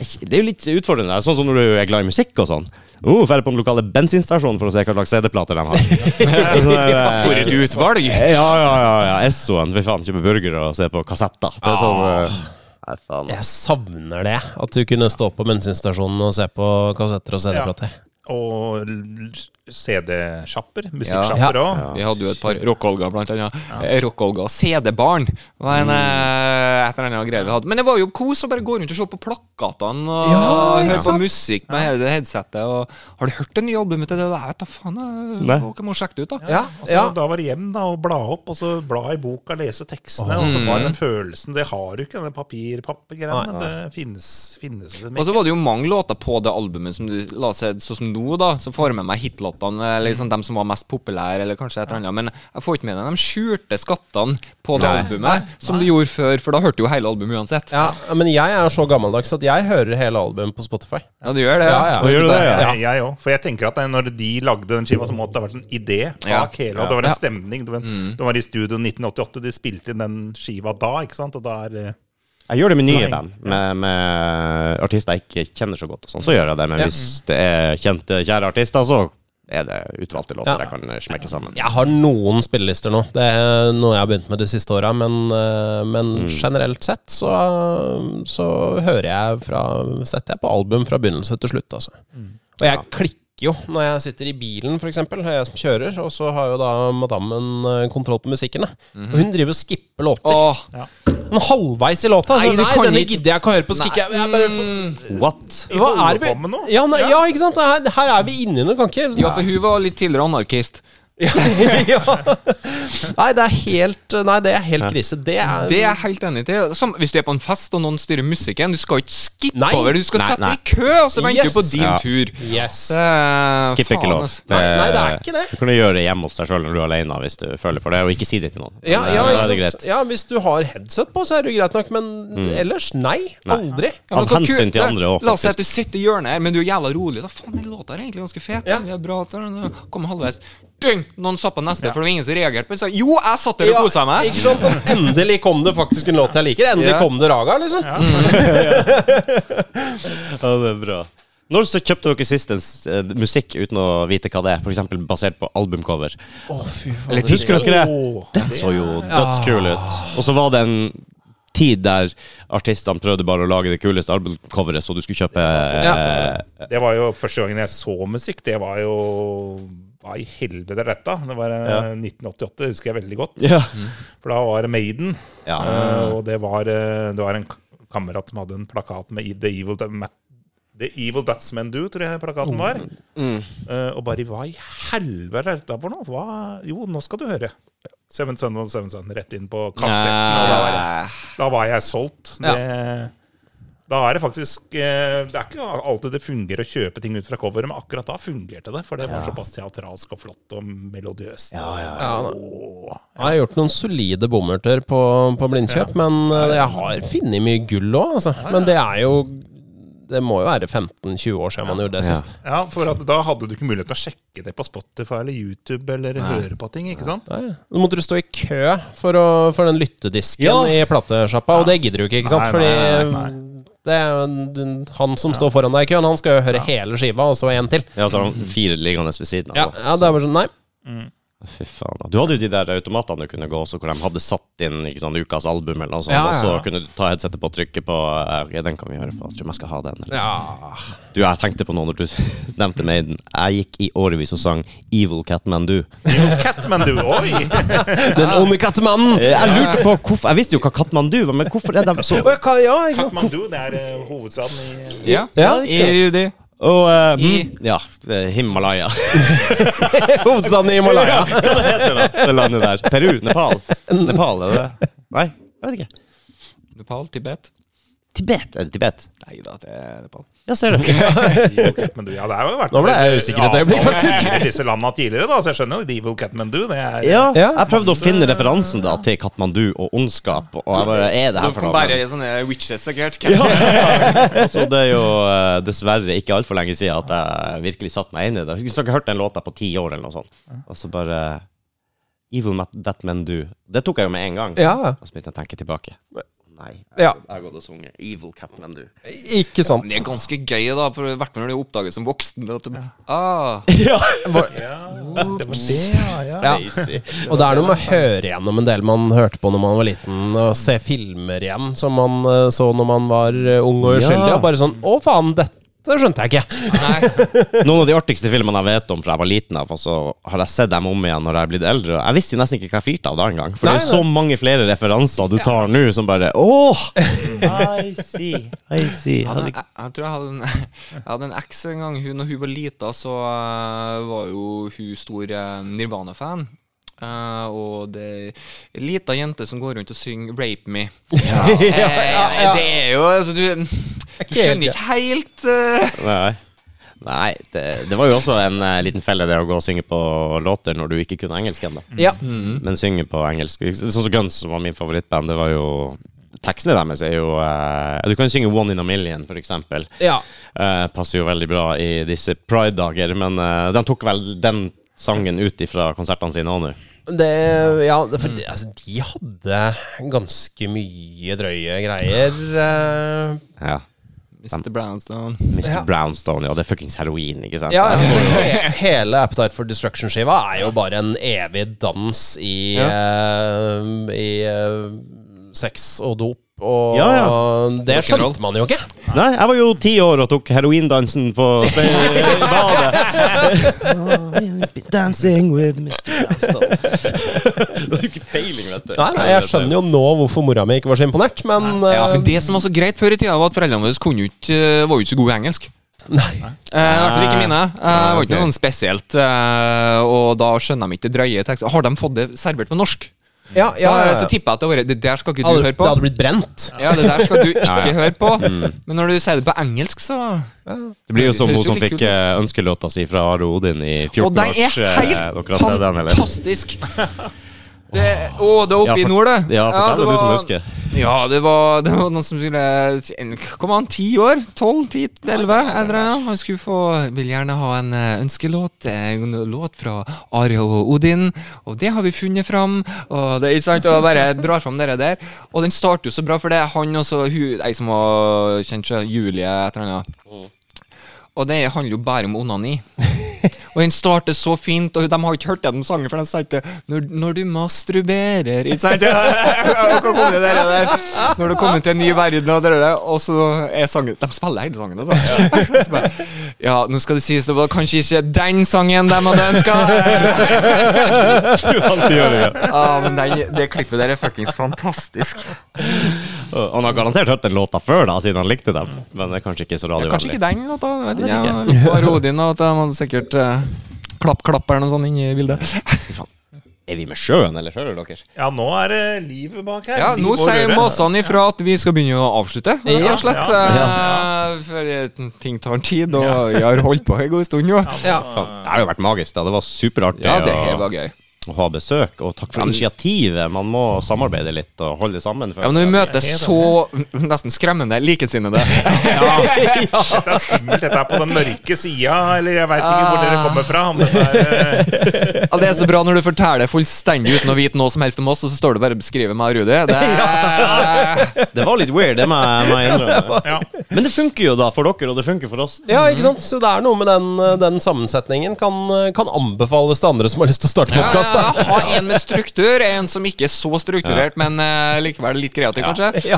[SPEAKER 1] Det er jo litt utfordrende, sånn som når du er glad i musikk og sånn. Oh, Drar på den lokale bensinstasjonen for å se hva slags CD-plater de har. Sånn der, eh,
[SPEAKER 2] For et utvalg!
[SPEAKER 1] Ja, ja, ja. ja. Essoen. Fy faen, kjøpe burgere og se på kassetter. Det er sånn eh, Nei, faen.
[SPEAKER 4] Jeg savner det. At du kunne stå på bensinstasjonen og se på kassetter og CD-plater.
[SPEAKER 3] Og l- CD-sjapper. Musikksjapper
[SPEAKER 4] Ja.
[SPEAKER 3] òg.
[SPEAKER 2] Vi hadde jo et par Rock-Olga, blant annet. Eh, Rock-Olga og CD-barn var
[SPEAKER 1] Mm.
[SPEAKER 2] en eh, et eller annet greie vi hadde. Men det var jo kos å bare gå rundt og se på plakatene og
[SPEAKER 4] Ja, ikke
[SPEAKER 2] høre på
[SPEAKER 4] sant?
[SPEAKER 2] musikk med hele det headsetet. Og har du hørt det nye albumet til det der? Da faen, eh,
[SPEAKER 1] Nei.
[SPEAKER 2] dere må sjekke det ut, da.
[SPEAKER 4] Ja,
[SPEAKER 3] Og så
[SPEAKER 4] ja.
[SPEAKER 3] Da var det hjem da, og bla opp, og så bla i boka, lese tekstene. Og
[SPEAKER 2] mm.
[SPEAKER 3] så var den følelsen Det har du ikke, den papirpappegreiene. Det finnes, finnes det
[SPEAKER 2] Og så var det jo mange låter på det albumet som du la seg sånn som nå, da. Så får jeg med meg hitlåtene, eller liksom dem som var mest populære, eller kanskje et eller annet. Men jeg får ikke med meg de skjulte skattene på det albumet, som du gjorde før, for da hørte du jo hele albumet uansett.
[SPEAKER 4] ja, men jeg er så gammeldags at jeg hører hele albumet på Spotify.
[SPEAKER 2] Ja, du gjør det, ja.
[SPEAKER 4] Ja, ja.
[SPEAKER 1] Nå gjør du det, ja.
[SPEAKER 3] Ja. Eh, Jeg òg. For jeg tenker at eh, når de lagde den skiva, så måtte det ha vært en idé bak
[SPEAKER 2] Ja.
[SPEAKER 3] hele. Og det var en stemning. Det var,
[SPEAKER 1] Mm.
[SPEAKER 3] en- det var i studio 1988, de spilte inn den skiva da, ikke sant. Og da er eh,
[SPEAKER 1] Jeg gjør det med nye
[SPEAKER 3] Nei.
[SPEAKER 1] band, med, med artister jeg ikke kjenner så godt. og sånn, så gjør jeg det, Men hvis det er kjente, kjære artister, så er det utvalgte låter
[SPEAKER 4] Ja.
[SPEAKER 1] jeg kan eh, smekke sammen.
[SPEAKER 4] Jeg har noen spillelister nå. Det er noe jeg har begynt med de siste åra. Men, eh, men
[SPEAKER 2] Mm.
[SPEAKER 4] generelt sett så, så hører jeg fra Setter jeg på album fra begynnelse til slutt, altså.
[SPEAKER 3] Mm.
[SPEAKER 4] Og jeg klikker jo når jeg sitter i bilen, f.eks. Jeg som kjører. Og så har jo da madammen eh, kontroll på musikken. da. Og hun driver og skipper låter.
[SPEAKER 2] Mhm. Åh,
[SPEAKER 4] Men halvveis i låta så,
[SPEAKER 2] Nei,
[SPEAKER 4] Nei,
[SPEAKER 2] du kan
[SPEAKER 4] denne
[SPEAKER 2] ikke-
[SPEAKER 4] gidder jeg ikke å høre på. Så
[SPEAKER 2] Nei.
[SPEAKER 4] kikker jeg, jeg bare,
[SPEAKER 2] Mm.
[SPEAKER 1] What?
[SPEAKER 4] hva er
[SPEAKER 3] holder
[SPEAKER 4] vi?
[SPEAKER 3] på med noe.
[SPEAKER 4] Ja, nei, ja, ikke sant? Her, her er vi inni noe, kan ikke
[SPEAKER 2] Ja, for hun var litt tidligere anarkist.
[SPEAKER 4] ja. Nei, det er helt Nei, det er helt krise. Det er,
[SPEAKER 2] Det er jeg helt enig til. Som, hvis du er på en fest og noen styrer musikken, du skal ikke skippe
[SPEAKER 4] Nei.
[SPEAKER 2] over. Du skal
[SPEAKER 1] Nei,
[SPEAKER 2] sette
[SPEAKER 1] nei.
[SPEAKER 2] deg i kø, og så venter
[SPEAKER 4] Yes.
[SPEAKER 2] du på din
[SPEAKER 1] Ja.
[SPEAKER 2] tur.
[SPEAKER 4] Yes.
[SPEAKER 2] Det-
[SPEAKER 1] Skipper ikke
[SPEAKER 2] faen,
[SPEAKER 1] lov.
[SPEAKER 2] ass.
[SPEAKER 4] altså. Nei, nei, det er ikke det.
[SPEAKER 1] Du kan jo gjøre det hjemme hos deg sjøl når du er alene hvis du føler for det, og ikke si det til noen.
[SPEAKER 4] Ja,
[SPEAKER 1] Men,
[SPEAKER 4] ja,
[SPEAKER 1] eh, da er det
[SPEAKER 4] ikke sant?
[SPEAKER 1] greit. Mm.
[SPEAKER 4] ja, hvis du har headset på, så er det jo greit nok, men ellers, nei. Aldri.
[SPEAKER 2] Ja, men
[SPEAKER 1] Av
[SPEAKER 2] hva
[SPEAKER 1] hensyn til
[SPEAKER 2] kult, det-
[SPEAKER 1] andre også,
[SPEAKER 2] La oss si
[SPEAKER 1] faktisk.
[SPEAKER 2] at du sitter i hjørnet her, men du er jævla rolig. Da faen, den låta er egentlig ganske fet.
[SPEAKER 4] Ja.
[SPEAKER 2] Den er bra. at Den kommer halvveis. Dyng! Noen satt på neste, for det var ingen som reagerte på den. Så jo, jeg satt der og kosa meg.
[SPEAKER 4] ikke sant? Og Endelig kom det faktisk en låt jeg liker. Endelig
[SPEAKER 2] Ja.
[SPEAKER 4] kom det Raga, liksom.
[SPEAKER 1] Ja, det er bra. Når så kjøpte dere sist en s- eh, musikk uten å vite hva det er, f.eks. basert på albumcover?
[SPEAKER 4] Å, fy faen.
[SPEAKER 2] Eller
[SPEAKER 1] Husker dere
[SPEAKER 2] tidligere.
[SPEAKER 1] det?
[SPEAKER 3] Åh,
[SPEAKER 1] Den så jo dødskul ut. Og så var det en tid der artistene prøvde bare å lage det kuleste albumcoveret, så du skulle kjøpe eh,
[SPEAKER 3] Det var jo første gangen jeg så musikk. Det var jo hva i helvete er dette? Det var eh,
[SPEAKER 1] Ja.
[SPEAKER 3] 1988, det husker jeg veldig godt.
[SPEAKER 1] Ja.
[SPEAKER 3] For da var det Maiden.
[SPEAKER 1] Ja.
[SPEAKER 3] eh, og det var, eh, det var en k- kamerat som hadde en plakat med i The Evil, Da- Ma- The Evil That's Men Do, tror jeg plakaten var. Eh, og bare hva i helvete er dette for noe? Hva? Jo, nå skal du høre. Seven Sun og Seven Sun rett inn på kassetten. Og da var det da var jeg solgt. Det, Da er det faktisk eh, Det er ikke alltid det fungerer å kjøpe ting ut fra coveret, men akkurat da fungerte det. For det var såpass teatralsk og flott og melodiøst. Ja,
[SPEAKER 4] Ja, Jeg har gjort noen solide bommerter på, på blindkjøp, men eh, jeg har funnet mye gull òg, altså. Men det er jo Det må jo være 15-20 år siden man gjorde det sist.
[SPEAKER 3] ja, for at da hadde du ikke mulighet til å sjekke det på Spotify eller YouTube eller høre på ting, ikke sant?
[SPEAKER 4] Nei. Nå måtte du stå i kø for, å, for den lyttedisken
[SPEAKER 1] Ja.
[SPEAKER 4] i platesjappa, og det gidder du ikke, ikke sant?
[SPEAKER 3] Nei, nei,
[SPEAKER 4] Fordi
[SPEAKER 3] nei,
[SPEAKER 4] det er jo en- han som står foran deg i køen, han skal jo høre hele skiva, og så en til.
[SPEAKER 1] Ja, så har de fire liggende ved siden
[SPEAKER 4] Ja,
[SPEAKER 1] av. da.
[SPEAKER 4] ja det er bare sånn, nei.
[SPEAKER 1] Fy faen. da. Du hadde jo de der automatene du kunne gå også, hvor de hadde satt inn ikke sant, ukas album, eller noe sånt,
[SPEAKER 2] Ja, ja, ja.
[SPEAKER 1] og så kunne du ta headsetet på og trykke på eh, Ok, den kan vi høre på. Jeg tror jeg skal ha den. Eller.
[SPEAKER 4] Ja.
[SPEAKER 1] Du, jeg tenkte på noe når du nevnte Maiden. Jeg gikk i årevis og sang Evil Catman Du.
[SPEAKER 3] Catman, du, oi!
[SPEAKER 4] Den onde kattemannen!
[SPEAKER 1] Eh, Jeg lurte på hvorfor Jeg visste jo hva Katmandu var, men hvorfor er de så
[SPEAKER 4] Å, hva- Ja, ikke sant?
[SPEAKER 3] Catman, du, det er eh, hovedstaden i
[SPEAKER 2] Ja.
[SPEAKER 4] Ja,
[SPEAKER 2] I det.
[SPEAKER 1] Og eh,
[SPEAKER 2] I-
[SPEAKER 1] Ja, Himalaya.
[SPEAKER 4] Hovedstaden i Himalaya.
[SPEAKER 1] Hva det heter det, det landet der? Peru? Nepal? Nepal, er det Nei, jeg vet ikke.
[SPEAKER 2] Nepal, Tibet.
[SPEAKER 1] Tibet? Er det Tibet?
[SPEAKER 2] Nei da, det er Nepal.
[SPEAKER 1] Ja, ser du.
[SPEAKER 3] Evil Catmandu. Ja, det har jo vært
[SPEAKER 4] Nå ble jeg usikker et øyeblikk, faktisk.
[SPEAKER 3] avtaler i disse landene tidligere, da, så jeg skjønner jo at Evil Catmandu, det er
[SPEAKER 1] Ja,
[SPEAKER 4] Ja.
[SPEAKER 1] jeg prøvde å finne referansen da til Katmandu og ondskap, og jeg bare Er det her for noe?
[SPEAKER 2] i sånne witches, sikkert.
[SPEAKER 1] Så det er jo eh, dessverre ikke altfor lenge siden at jeg virkelig satte meg inn i det. Hvis dere har hørt den låta på ti år eller noe sånt, og så bare Evil Mat- That Men Do. Det tok jeg jo med en gang.
[SPEAKER 4] Ja.
[SPEAKER 1] Og så begynte jeg å tenke tilbake. Nei,
[SPEAKER 4] Ja.
[SPEAKER 1] jeg har gått og sunget Evil Cat Men Do.
[SPEAKER 4] Ikke sant.
[SPEAKER 2] Det er ganske gøy, da, for i hvert fall når du oppdager som voksen. At du, ah,
[SPEAKER 3] Det var det, ja, ja.
[SPEAKER 4] Ja.
[SPEAKER 1] Easy.
[SPEAKER 4] Og det er noe med å høre gjennom en del man hørte på når man var liten, og se filmer igjen som man eh, så når man var eh, ung og uskyldig, og bare sånn Å, faen, dette skjønte jeg ikke.
[SPEAKER 1] Noen av de artigste filmene jeg vet om fra jeg var liten, av, og så har jeg sett dem om igjen når jeg er blitt eldre. og Jeg visste jo nesten ikke hva jeg flirte av da engang. For det
[SPEAKER 4] Nei,
[SPEAKER 1] er så mange flere referanser du tar nå som bare Åh! I see. I see.
[SPEAKER 2] jeg, hadde, jeg, jeg tror jeg hadde en, jeg hadde en eks en gang. Hun, når hun var lita, så eh, var jo hun stor eh, Nirvana-fan. Eh, og det er ei lita jente som går rundt og synger 'Rape Me'. Eh, Det er jo altså, du, du skjønner ikke helt eh,
[SPEAKER 1] Nei. Nei, det, det var jo også en eh, liten felle, det å gå og synge på låter når du ikke kunne engelsk ennå.
[SPEAKER 4] Ja.
[SPEAKER 1] Men synge på engelsk Sånn som Guns, som var min favorittband, det var jo Tekstene deres er jo eh, Du kan synge One in a Million, for eksempel.
[SPEAKER 4] ja.
[SPEAKER 1] Eh, passer jo veldig bra i disse pride-dager, men eh, de tok vel den sangen ut ifra konsertene sine òg nå.
[SPEAKER 4] Det, ja det,
[SPEAKER 2] Mm.
[SPEAKER 4] for, de- altså, de hadde ganske mye drøye greier. eh.
[SPEAKER 1] Ja.
[SPEAKER 2] Mr. Brownstone.
[SPEAKER 1] Mr. Brownstone, ja. Det er fuckings heroin, ikke sant?
[SPEAKER 4] Ja, altså, he- hele Appetite for Destruction-skiva er jo bare en evig dans i, eh, i eh, sex og dop, og
[SPEAKER 1] Ja, ja.
[SPEAKER 4] og det
[SPEAKER 2] Rock'n'roll.
[SPEAKER 4] skjønte man jo ikke.
[SPEAKER 1] Nei, jeg var jo ti år og tok heroindansen på spe- i badet. Dancing with Mr. Brownstone. Det er jo ikke peiling, vet du.
[SPEAKER 4] Nei, nei, jeg skjønner jo nå hvorfor mora mi ikke var så imponert, men
[SPEAKER 2] Ja,
[SPEAKER 4] eh,
[SPEAKER 2] men det som var så greit før i tida, var at foreldrene våre kunne jo ikke, eh, var jo ikke så gode i engelsk.
[SPEAKER 4] Nei.
[SPEAKER 2] Eh, I hvert fall ikke mine. Eh, det var
[SPEAKER 1] ok.
[SPEAKER 2] ikke noe sånn spesielt. eh, og da skjønner de ikke det drøye tekster. Har de fått det servert på norsk?
[SPEAKER 4] Ja, ja,
[SPEAKER 2] så,
[SPEAKER 4] ja,
[SPEAKER 2] så
[SPEAKER 4] ja.
[SPEAKER 2] tipper jeg at det, var, det der skal ikke du
[SPEAKER 4] Hadde-
[SPEAKER 2] høre
[SPEAKER 4] Det hadde
[SPEAKER 2] på.
[SPEAKER 4] blitt brent.
[SPEAKER 2] Ja, det der skal du ikke høre på.
[SPEAKER 1] Mm.
[SPEAKER 2] Men når du sier det på engelsk, så
[SPEAKER 1] Det blir jo som
[SPEAKER 2] Det
[SPEAKER 1] hun
[SPEAKER 2] høres jo
[SPEAKER 1] som
[SPEAKER 2] litt
[SPEAKER 1] fikk
[SPEAKER 2] kult ut.
[SPEAKER 1] eh, ønskelåta si fra Are Odin i
[SPEAKER 2] Og
[SPEAKER 1] 14
[SPEAKER 2] den
[SPEAKER 1] års
[SPEAKER 2] er
[SPEAKER 1] eh, Dere
[SPEAKER 2] helt
[SPEAKER 1] har sett den, eller?
[SPEAKER 2] fantastisk! Det, å, det er oppe
[SPEAKER 1] Ja,
[SPEAKER 2] i
[SPEAKER 1] fort-
[SPEAKER 2] nord, det.
[SPEAKER 1] ja, fortell det du som
[SPEAKER 2] var-
[SPEAKER 1] husker.
[SPEAKER 2] Ja, det var, det var noen som skulle en- Kom an, ti år? Tolv? Ti? Elleve? Jeg drar, ja. Han skulle få Vil gjerne ha en eh, ønskelåt. eh, En låt fra Ari og Odin. Og det har vi funnet fram. Og det er ikke sant, og bare drar fram dere der. Og den starter jo så bra, for det er han og så hun Ei som var kjent, seg, Julie, et eller annet. og det handler jo bare om onani. Og den starter så fint, og de har ikke hørt gjennom sangen, for de tenkte når, 'Når du masturberer' Ikke sant? Og hvor kom det der, der? Når du kommer til en ny verden, og, det der, og så er sangen De spiller hele sangen, altså. Så bare, Ja, nå skal det sies det var kanskje ikke den sangen de hadde ønska.
[SPEAKER 1] Du alltid gjør det. ja.
[SPEAKER 2] Ja, men den, det klippet der er fuckings fantastisk.
[SPEAKER 1] Og han har garantert hørt den låta før, da, siden han likte den. Men det er kanskje ikke så
[SPEAKER 2] Mm. Ja, kanskje
[SPEAKER 1] radiovennlig.
[SPEAKER 2] ikke den låta. jeg Vet ikke. jeg. Bare Odin og at de hadde sikkert eh, klapp-klapp eller noe sånt inni bildet.
[SPEAKER 1] Er vi med sjøen, eller hører dere?
[SPEAKER 3] Ja, nå er det livet bak her.
[SPEAKER 2] Ja, nå
[SPEAKER 3] Liv og
[SPEAKER 2] sier
[SPEAKER 3] røre.
[SPEAKER 2] Måsene ifra at vi skal begynne å avslutte, rett
[SPEAKER 4] Ja,
[SPEAKER 2] og slett.
[SPEAKER 3] ja,
[SPEAKER 2] eh, For eh, ting tar tid, og vi har holdt på en god stund nå.
[SPEAKER 1] Faen, Det har jo vært magisk. da, Det var superartig
[SPEAKER 2] Ja, det
[SPEAKER 1] å-
[SPEAKER 2] her var gøy.
[SPEAKER 1] å ha besøk. Og
[SPEAKER 2] Mm.
[SPEAKER 1] takk for initiativet. Man må samarbeide litt og holde sammen.
[SPEAKER 2] Ja, men Når vi møter så nesten skremmende likesinnede
[SPEAKER 3] Dette er skummelt. Dette er på den mørke sida, eller jeg veit ikke hvor dere kommer fra. Men det er, eh,
[SPEAKER 2] Ja, Det er så bra når du forteller fullstendig uten å vite noe som helst om oss, og så står du bare og beskriver meg og Rudi. Det er
[SPEAKER 1] Det var litt weird, det må jeg må jeg innrømme.
[SPEAKER 3] ja.
[SPEAKER 1] Men det funker jo da for dere, og det funker for oss.
[SPEAKER 4] Ja,
[SPEAKER 2] Mm.
[SPEAKER 4] ikke sant? Så det er noe med den, eh, den sammensetningen. Kan, eh, kan anbefales til andre som har lyst til å starte podkast.
[SPEAKER 2] Ja, ja, ja. Ha en med struktur, en som ikke er så strukturert, men eh, likevel litt kreativ, kanskje.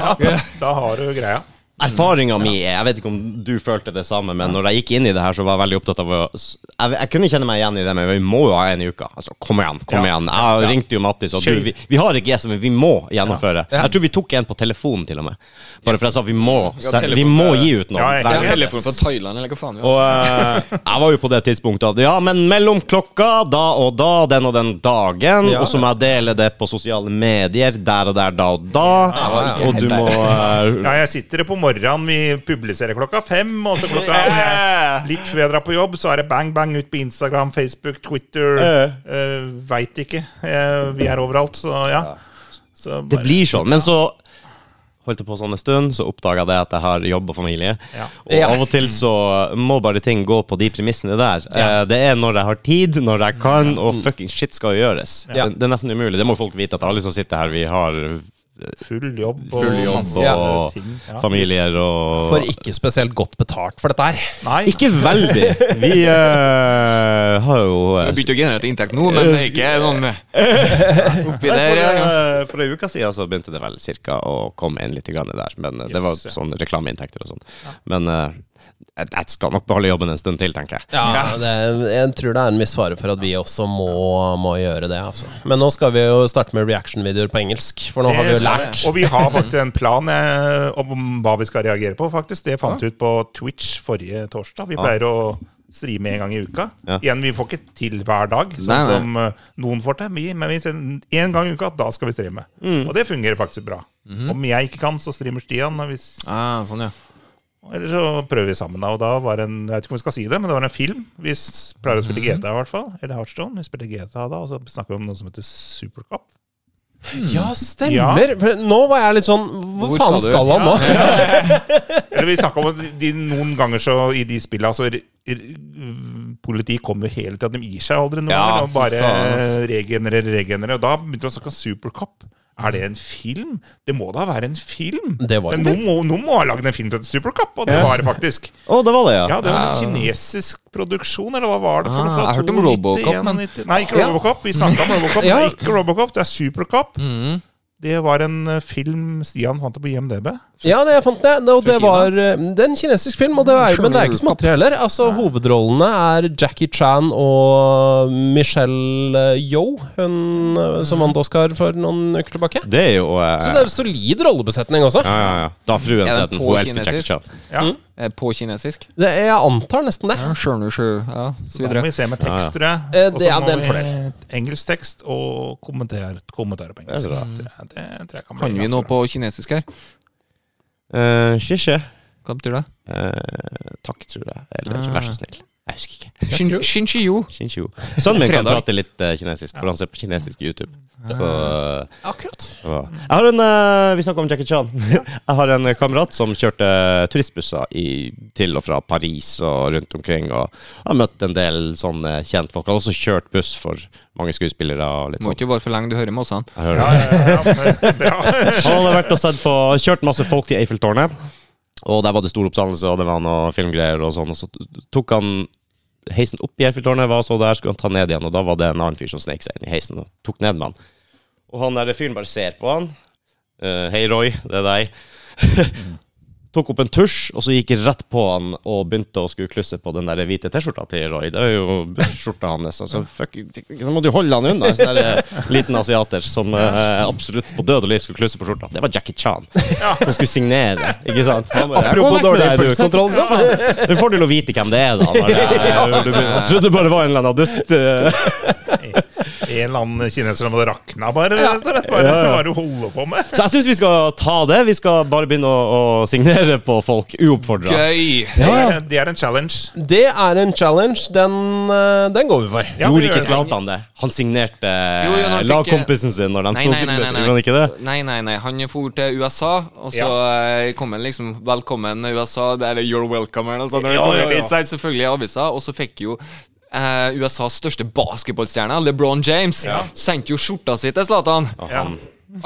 [SPEAKER 3] Da har du greia.
[SPEAKER 1] Erfaringa mi er Jeg vet ikke om du følte det samme, men når jeg gikk inn i det her, så var jeg veldig opptatt av å Jeg, jeg kunne kjenne meg igjen i det, men vi må jo ha en i uka. Altså, kom igjen, kom
[SPEAKER 3] Ja.
[SPEAKER 1] igjen. Jeg ringte jo Mattis, og du, vi, vi har ikke gjest, men vi må gjennomføre. Jeg tror vi tok en på telefonen, til og med. Bare for jeg sa vi må,
[SPEAKER 2] Ja, telefon-
[SPEAKER 1] vi må gi ut noe.
[SPEAKER 3] Ja, jeg-
[SPEAKER 2] Det
[SPEAKER 1] Hver-
[SPEAKER 2] er telefon fra Thailand, eller hva faen. vi har.
[SPEAKER 1] Og eh, jeg var jo på det tidspunktet at ja, men mellom klokka da og da, den og den dagen,
[SPEAKER 4] Ja.
[SPEAKER 1] og så må jeg dele det på sosiale medier der og der, da og da,
[SPEAKER 2] ikke
[SPEAKER 1] og
[SPEAKER 2] helt
[SPEAKER 1] du
[SPEAKER 2] der.
[SPEAKER 1] må eh,
[SPEAKER 3] Ja, jeg sitter det på morgenen, vi publiserer klokka fem, og så klokka eh, Litt før jeg drar på jobb, så er det bang, bang ut på Instagram, Facebook, Twitter.
[SPEAKER 1] Ja.
[SPEAKER 3] Eh, Veit ikke. Eh, vi er overalt, så ja. Så
[SPEAKER 1] Det
[SPEAKER 3] bare-
[SPEAKER 1] blir sånn. Men så holdt jeg på sånn en stund, så oppdaga jeg det at jeg har jobb og familie.
[SPEAKER 3] Ja.
[SPEAKER 1] Og av og til så må bare ting gå på de premissene der. Eh, Det er når jeg har tid, når jeg kan, og fucking shit skal gjøres.
[SPEAKER 4] Ja.
[SPEAKER 1] Det, det er nesten umulig. Det må folk vite, at alle som sitter her, vi har
[SPEAKER 3] Full jobb og
[SPEAKER 1] full jobb
[SPEAKER 3] masse
[SPEAKER 1] og
[SPEAKER 3] ting. Ja.
[SPEAKER 1] familier og
[SPEAKER 4] For ikke spesielt godt betalt for dette her.
[SPEAKER 3] Nei,
[SPEAKER 1] Ikke veldig. Vi eh, har jo eh,
[SPEAKER 2] Vi begynte å generere inntekt nå, men det er ikke noen oppi der.
[SPEAKER 1] for,
[SPEAKER 2] ja.
[SPEAKER 1] eh, for en uke siden så begynte det vel cirka å komme inn litt grann der. Men eh, det var
[SPEAKER 3] Yes.
[SPEAKER 1] sånn reklameinntekter og sånn. Men eh, jeg- jeg skal nok beholde jobben en stund til, tenker jeg.
[SPEAKER 4] Ja, det, jeg tror det er en viss fare for at vi også må, må gjøre det. Altså. Men nå skal vi jo starte med reaction-videoer på engelsk, for nå har vi
[SPEAKER 3] Det
[SPEAKER 4] jo
[SPEAKER 3] skal
[SPEAKER 4] lært.
[SPEAKER 3] vi. Og vi har faktisk en plan eh, om hva vi skal reagere på, faktisk. Det fant vi ut på Twitch forrige torsdag. Vi pleier å streame en gang i uka.
[SPEAKER 1] Ja.
[SPEAKER 3] Igjen, vi får ikke til hver dag, sånn
[SPEAKER 2] Nei, nei.
[SPEAKER 3] som eh, noen får til. Vi, men vi sier en gang i uka, da skal vi streame. Og det fungerer faktisk bra. Om jeg ikke kan, så streamer Stian. og Hvis,
[SPEAKER 2] Ah, sånn, ja.
[SPEAKER 3] eller så prøver vi sammen. da. Og da var en, jeg vet ikke om vi skal si det, men det var en film. Vi s- pleier å spille GTA, i hvert fall. Eller Heartstone. Vi spiller GTA da, og så snakker vi om noe som heter Supercop.
[SPEAKER 4] Ja, stemmer! For Nå var jeg litt sånn Hvor,
[SPEAKER 2] Hvor
[SPEAKER 4] faen
[SPEAKER 2] skal du?
[SPEAKER 4] skal han nå?
[SPEAKER 3] Eller vi snakket om at de, noen ganger så i de spillene så r- r- Politiet kommer jo hele tiden. De gir seg aldri noen
[SPEAKER 2] Ja,
[SPEAKER 3] ganger. Og
[SPEAKER 2] for
[SPEAKER 3] bare
[SPEAKER 2] faen, ass.
[SPEAKER 3] regenererer, regenererer. Og da begynte vi å snakke om Supercop. Er det en film? Det må da være en film?
[SPEAKER 4] Det var en
[SPEAKER 3] Men Noen, må, noen må ha lagd en film til Supercop, og det var det faktisk.
[SPEAKER 1] Å, det var det, ja.
[SPEAKER 3] Ja, det var en
[SPEAKER 2] Ja.
[SPEAKER 3] kinesisk produksjon, eller hva var det? for noe
[SPEAKER 2] Ah,
[SPEAKER 3] fra
[SPEAKER 2] jeg hørte om
[SPEAKER 3] 92,
[SPEAKER 2] Robocop, men-
[SPEAKER 3] 91? Nei, ikke Robocop. Vi snakka om Robocop,
[SPEAKER 4] Ja.
[SPEAKER 3] det er ikke Robocop. Det er Supercop. Det var en eh, film Stian fant det på IMDb.
[SPEAKER 4] Ja, det jeg fant det. det- Og det
[SPEAKER 2] Fra
[SPEAKER 4] var eh, Det er en kinesisk film, og det er, men det er ikke så materiell heller. Altså, hovedrollene er Jackie Chan og Michelle Yo, hun eh, som vant Oscar for noen uker tilbake.
[SPEAKER 1] Det er jo eh,
[SPEAKER 4] Så det er en solid rollebesetning også.
[SPEAKER 1] ja, ja, ja. Da har fruen
[SPEAKER 2] Er den
[SPEAKER 1] sett den.
[SPEAKER 2] på
[SPEAKER 1] Hun elsker Jackie
[SPEAKER 2] kinesisk?
[SPEAKER 1] Chan.
[SPEAKER 3] Ja.
[SPEAKER 2] Eh, På kinesisk.
[SPEAKER 4] Det, jeg antar nesten det.
[SPEAKER 2] Ja, skjønner du, sjø- ja, så
[SPEAKER 3] Da må
[SPEAKER 2] videre.
[SPEAKER 3] vi se med tekst, tror jeg.
[SPEAKER 4] Eh,
[SPEAKER 3] Og
[SPEAKER 4] det
[SPEAKER 3] så
[SPEAKER 4] er
[SPEAKER 3] må
[SPEAKER 4] den
[SPEAKER 3] vi-
[SPEAKER 4] fordelen.
[SPEAKER 3] Engelsk tekst og kommenter, kommentarer på engelsk.
[SPEAKER 1] Det er bra.
[SPEAKER 3] Det, det tror jeg kan bli
[SPEAKER 2] Kan vi
[SPEAKER 3] ganske
[SPEAKER 2] noe
[SPEAKER 3] bra.
[SPEAKER 2] på kinesisk her?
[SPEAKER 1] Eh, Shishe.
[SPEAKER 2] Hva betyr det?
[SPEAKER 1] Eh, takk, tror jeg. Eller
[SPEAKER 2] Ah.
[SPEAKER 1] vær så snill. Jeg husker ikke.
[SPEAKER 2] Shin- Shinchiyo.
[SPEAKER 1] Shinshio. Sønnen min kan
[SPEAKER 2] Fredag.
[SPEAKER 1] prate litt eh, kinesisk, for han ser på kinesisk YouTube. Så eh,
[SPEAKER 4] Akkurat.
[SPEAKER 1] Ja. Jeg har en, eh, Vi snakker om Jackie Chan. Jeg har en kamerat som kjørte turistbusser i, til og fra Paris og rundt omkring. Og har møtt en del sånne kjentfolk. Han har også kjørt buss for mange skuespillere. og litt
[SPEAKER 2] Må
[SPEAKER 1] sånt.
[SPEAKER 2] ikke være for lenge du hører Måsan.
[SPEAKER 1] Jeg hører det.
[SPEAKER 3] Ja, ja, ja, men det er bra.
[SPEAKER 1] Han hadde vært og sett på, kjørt masse folk til Eiffeltårnet. Og der var det stor oppstandelse, og det var noe filmgreier og sånn. Og så tok han heisen opp i Eiffeltårnet, var så der, skulle han ta ned igjen. Og da var det en annen fyr som snek seg inn i heisen og tok ned med han. Og han der fyren bare ser på han. Eh, Hei, Roy, det er deg. tok opp en tusj, og så gikk rett på han og begynte å skulle klusse på den der hvite T-skjorta til Roy. Det er jo skjorta hans, og så fuck, så måtte du holde han unna. En sånn der, eh, liten asiater som eh, absolutt på død og liv skulle klusse på skjorta. Det var Jackie Chan. Som skulle signere, ikke sant? Han bare,
[SPEAKER 4] Apropos
[SPEAKER 1] «Jeg går vekk med
[SPEAKER 4] dårlig
[SPEAKER 1] deg, du».
[SPEAKER 4] impulskontroll, så.
[SPEAKER 1] Ja. Du får til å vite hvem det er, da. Når det er, når du begynner. jeg trodde det bare var en eller annen dust. eh.
[SPEAKER 3] En eller annen kineser som hadde rakna, bare. rett og slett, bare, Hva er det du holder på med?
[SPEAKER 1] Så jeg syns vi skal ta det. Vi skal bare begynne å, å signere på folk uoppfordra.
[SPEAKER 2] Gøy!
[SPEAKER 3] Det er- Det er en challenge.
[SPEAKER 4] Det er en challenge. Den, eh, den går vi for.
[SPEAKER 3] Ja, det
[SPEAKER 1] Gjorde
[SPEAKER 3] gjør
[SPEAKER 1] ikke
[SPEAKER 3] det.
[SPEAKER 1] Zlatan det? Han signerte eh,
[SPEAKER 2] Jo, jo, når han fikk, eh,
[SPEAKER 1] lagkompisen sin når de
[SPEAKER 2] Nei,
[SPEAKER 1] sto
[SPEAKER 2] nei, nei, nei,
[SPEAKER 1] Gjorde han ikke det?
[SPEAKER 2] nei. nei, nei, nei. Han for til USA, og så eh, kom han liksom 'Velkommen, USA', det er det 'You're welcome' eller noe sånt. Når det
[SPEAKER 1] Ja,
[SPEAKER 2] kom
[SPEAKER 1] ja,
[SPEAKER 2] ut
[SPEAKER 1] ja.
[SPEAKER 2] dit, så er det selvfølgelig i avisa, og så fikk jo eh, USAs største basketballstjerne, LeBron James, sendte jo skjorta si til Zlatan.
[SPEAKER 3] Ja.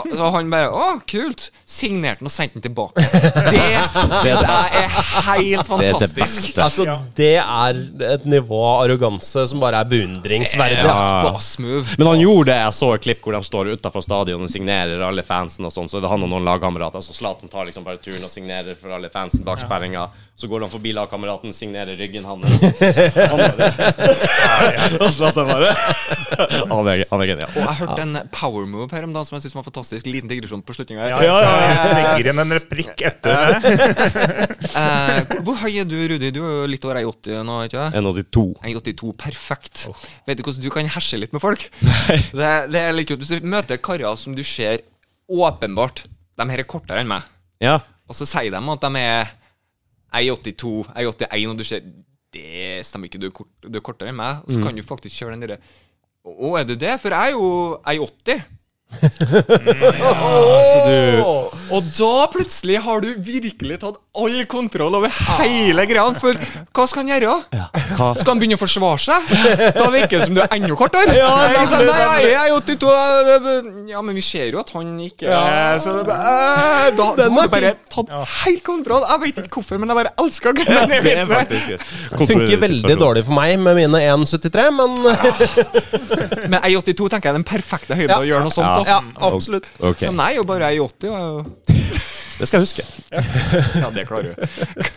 [SPEAKER 2] Så han bare 'Å, kult'. Signerte den og sendte den tilbake. Det, det er helt
[SPEAKER 1] Det er det
[SPEAKER 2] fantastisk.
[SPEAKER 1] beste.
[SPEAKER 4] Altså, Det er et nivå av arroganse som bare er beundringsverdig.
[SPEAKER 2] Ja.
[SPEAKER 4] altså.
[SPEAKER 2] Bass-move.
[SPEAKER 1] Men han gjorde det. Jeg så et klipp hvor de står utafor stadion og signerer alle fansen. og sånn, Så det er han og noen lagkamerater. Så Zlatan tar liksom bare turen og signerer for alle fansen bak sperringa. Så går han forbi lagkameraten, signerer ryggen hans. Han og Zlatan bare Han er, han er genial.
[SPEAKER 2] Jeg hørte en power move her om dagen som jeg synes var fantastisk. Liten digresjon på slutninga.
[SPEAKER 3] Ja, Jeg legger igjen en replikk etter det.
[SPEAKER 2] Eh, hvor høy er du, Rudi? Du er jo litt over 1,80 nå, ikke sant?
[SPEAKER 1] 1,82.
[SPEAKER 2] 1,82, perfekt.
[SPEAKER 1] Oh.
[SPEAKER 2] Vet du hvordan du kan herse litt med folk? Det, det er litt kult. Hvis du møter karer som du ser åpenbart De her er kortere enn meg,
[SPEAKER 1] Ja.
[SPEAKER 2] og så sier de at de er E 1,82, 1,81, og du ser Det stemmer ikke, du er, kort, du er kortere enn meg. Og så kan du faktisk kjøre den derre Å, er du det? For jeg er jo E 1,80.
[SPEAKER 1] Så
[SPEAKER 2] Og da plutselig har du virkelig tatt all kontroll over hele greia. For hva skal han gjøre?
[SPEAKER 1] hva?
[SPEAKER 2] Skal han begynne å forsvare seg? Da virker det som du er enda kortere. Ja, nei, altså, nei, jeg er 82 jeg- jeg- Ja, men vi ser jo at han ikke så det, eh, Da da har du bare tatt helt kontroll. Jeg vet ikke hvorfor, men jeg bare elsker grønne
[SPEAKER 1] du Det er faktisk
[SPEAKER 4] Det funker veldig dårlig for meg med mine 1,73, men
[SPEAKER 2] Men 1,82 tenker jeg er den perfekte høyden å gjøre noe sånt på.
[SPEAKER 4] ja, absolutt.
[SPEAKER 1] Ok,
[SPEAKER 2] Men jeg er jo bare 1,80. og jeg
[SPEAKER 1] Det skal jeg huske.
[SPEAKER 2] er jo- Ja, det klarer du.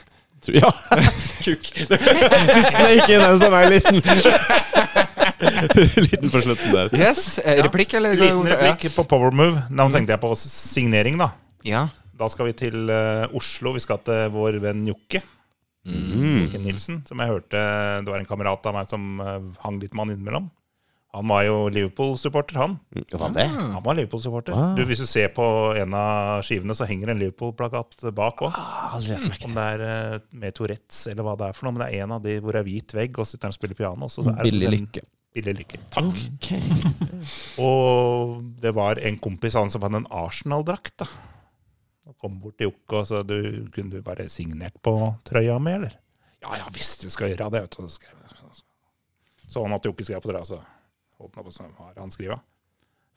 [SPEAKER 1] Ja. Kuk. Du sneik inn en sånn her liten Liten på slutten der.
[SPEAKER 2] Yes, eh, replikk, eller?
[SPEAKER 3] Liten replikk på power move. Da tenkte jeg på signering, da.
[SPEAKER 2] Ja.
[SPEAKER 3] Da skal vi til eh, Oslo. Vi skal til vår venn Jokke. Jokke Nilsen, som jeg hørte det var en kamerat av meg som eh, hang litt med han innimellom. Han var jo Liverpool-supporter, han.
[SPEAKER 1] Hva det?
[SPEAKER 3] Han var Liverpool-supporter. Du, Hvis du ser på en av skivene, så henger en Liverpool-plakat bak òg. Om det er eh, med Tourettes eller hva det er for noe, men det er en av de hvor det er hvit vegg, og så sitter han og spiller piano. Så det er
[SPEAKER 4] Billig
[SPEAKER 3] en-
[SPEAKER 4] lykke.
[SPEAKER 3] Billig lykke. Takk. Og det var en kompis han som hadde en Arsenal-drakt, da. Og kom bort til Jokke og sa du, kunne du bare signert på trøya mi, eller? Ja, ja visst, du skal gjøre det. Vet du. Så skrev jeg. Så han at Jokke skrev på trøya, så holdt han opp og sa hva har han skriva?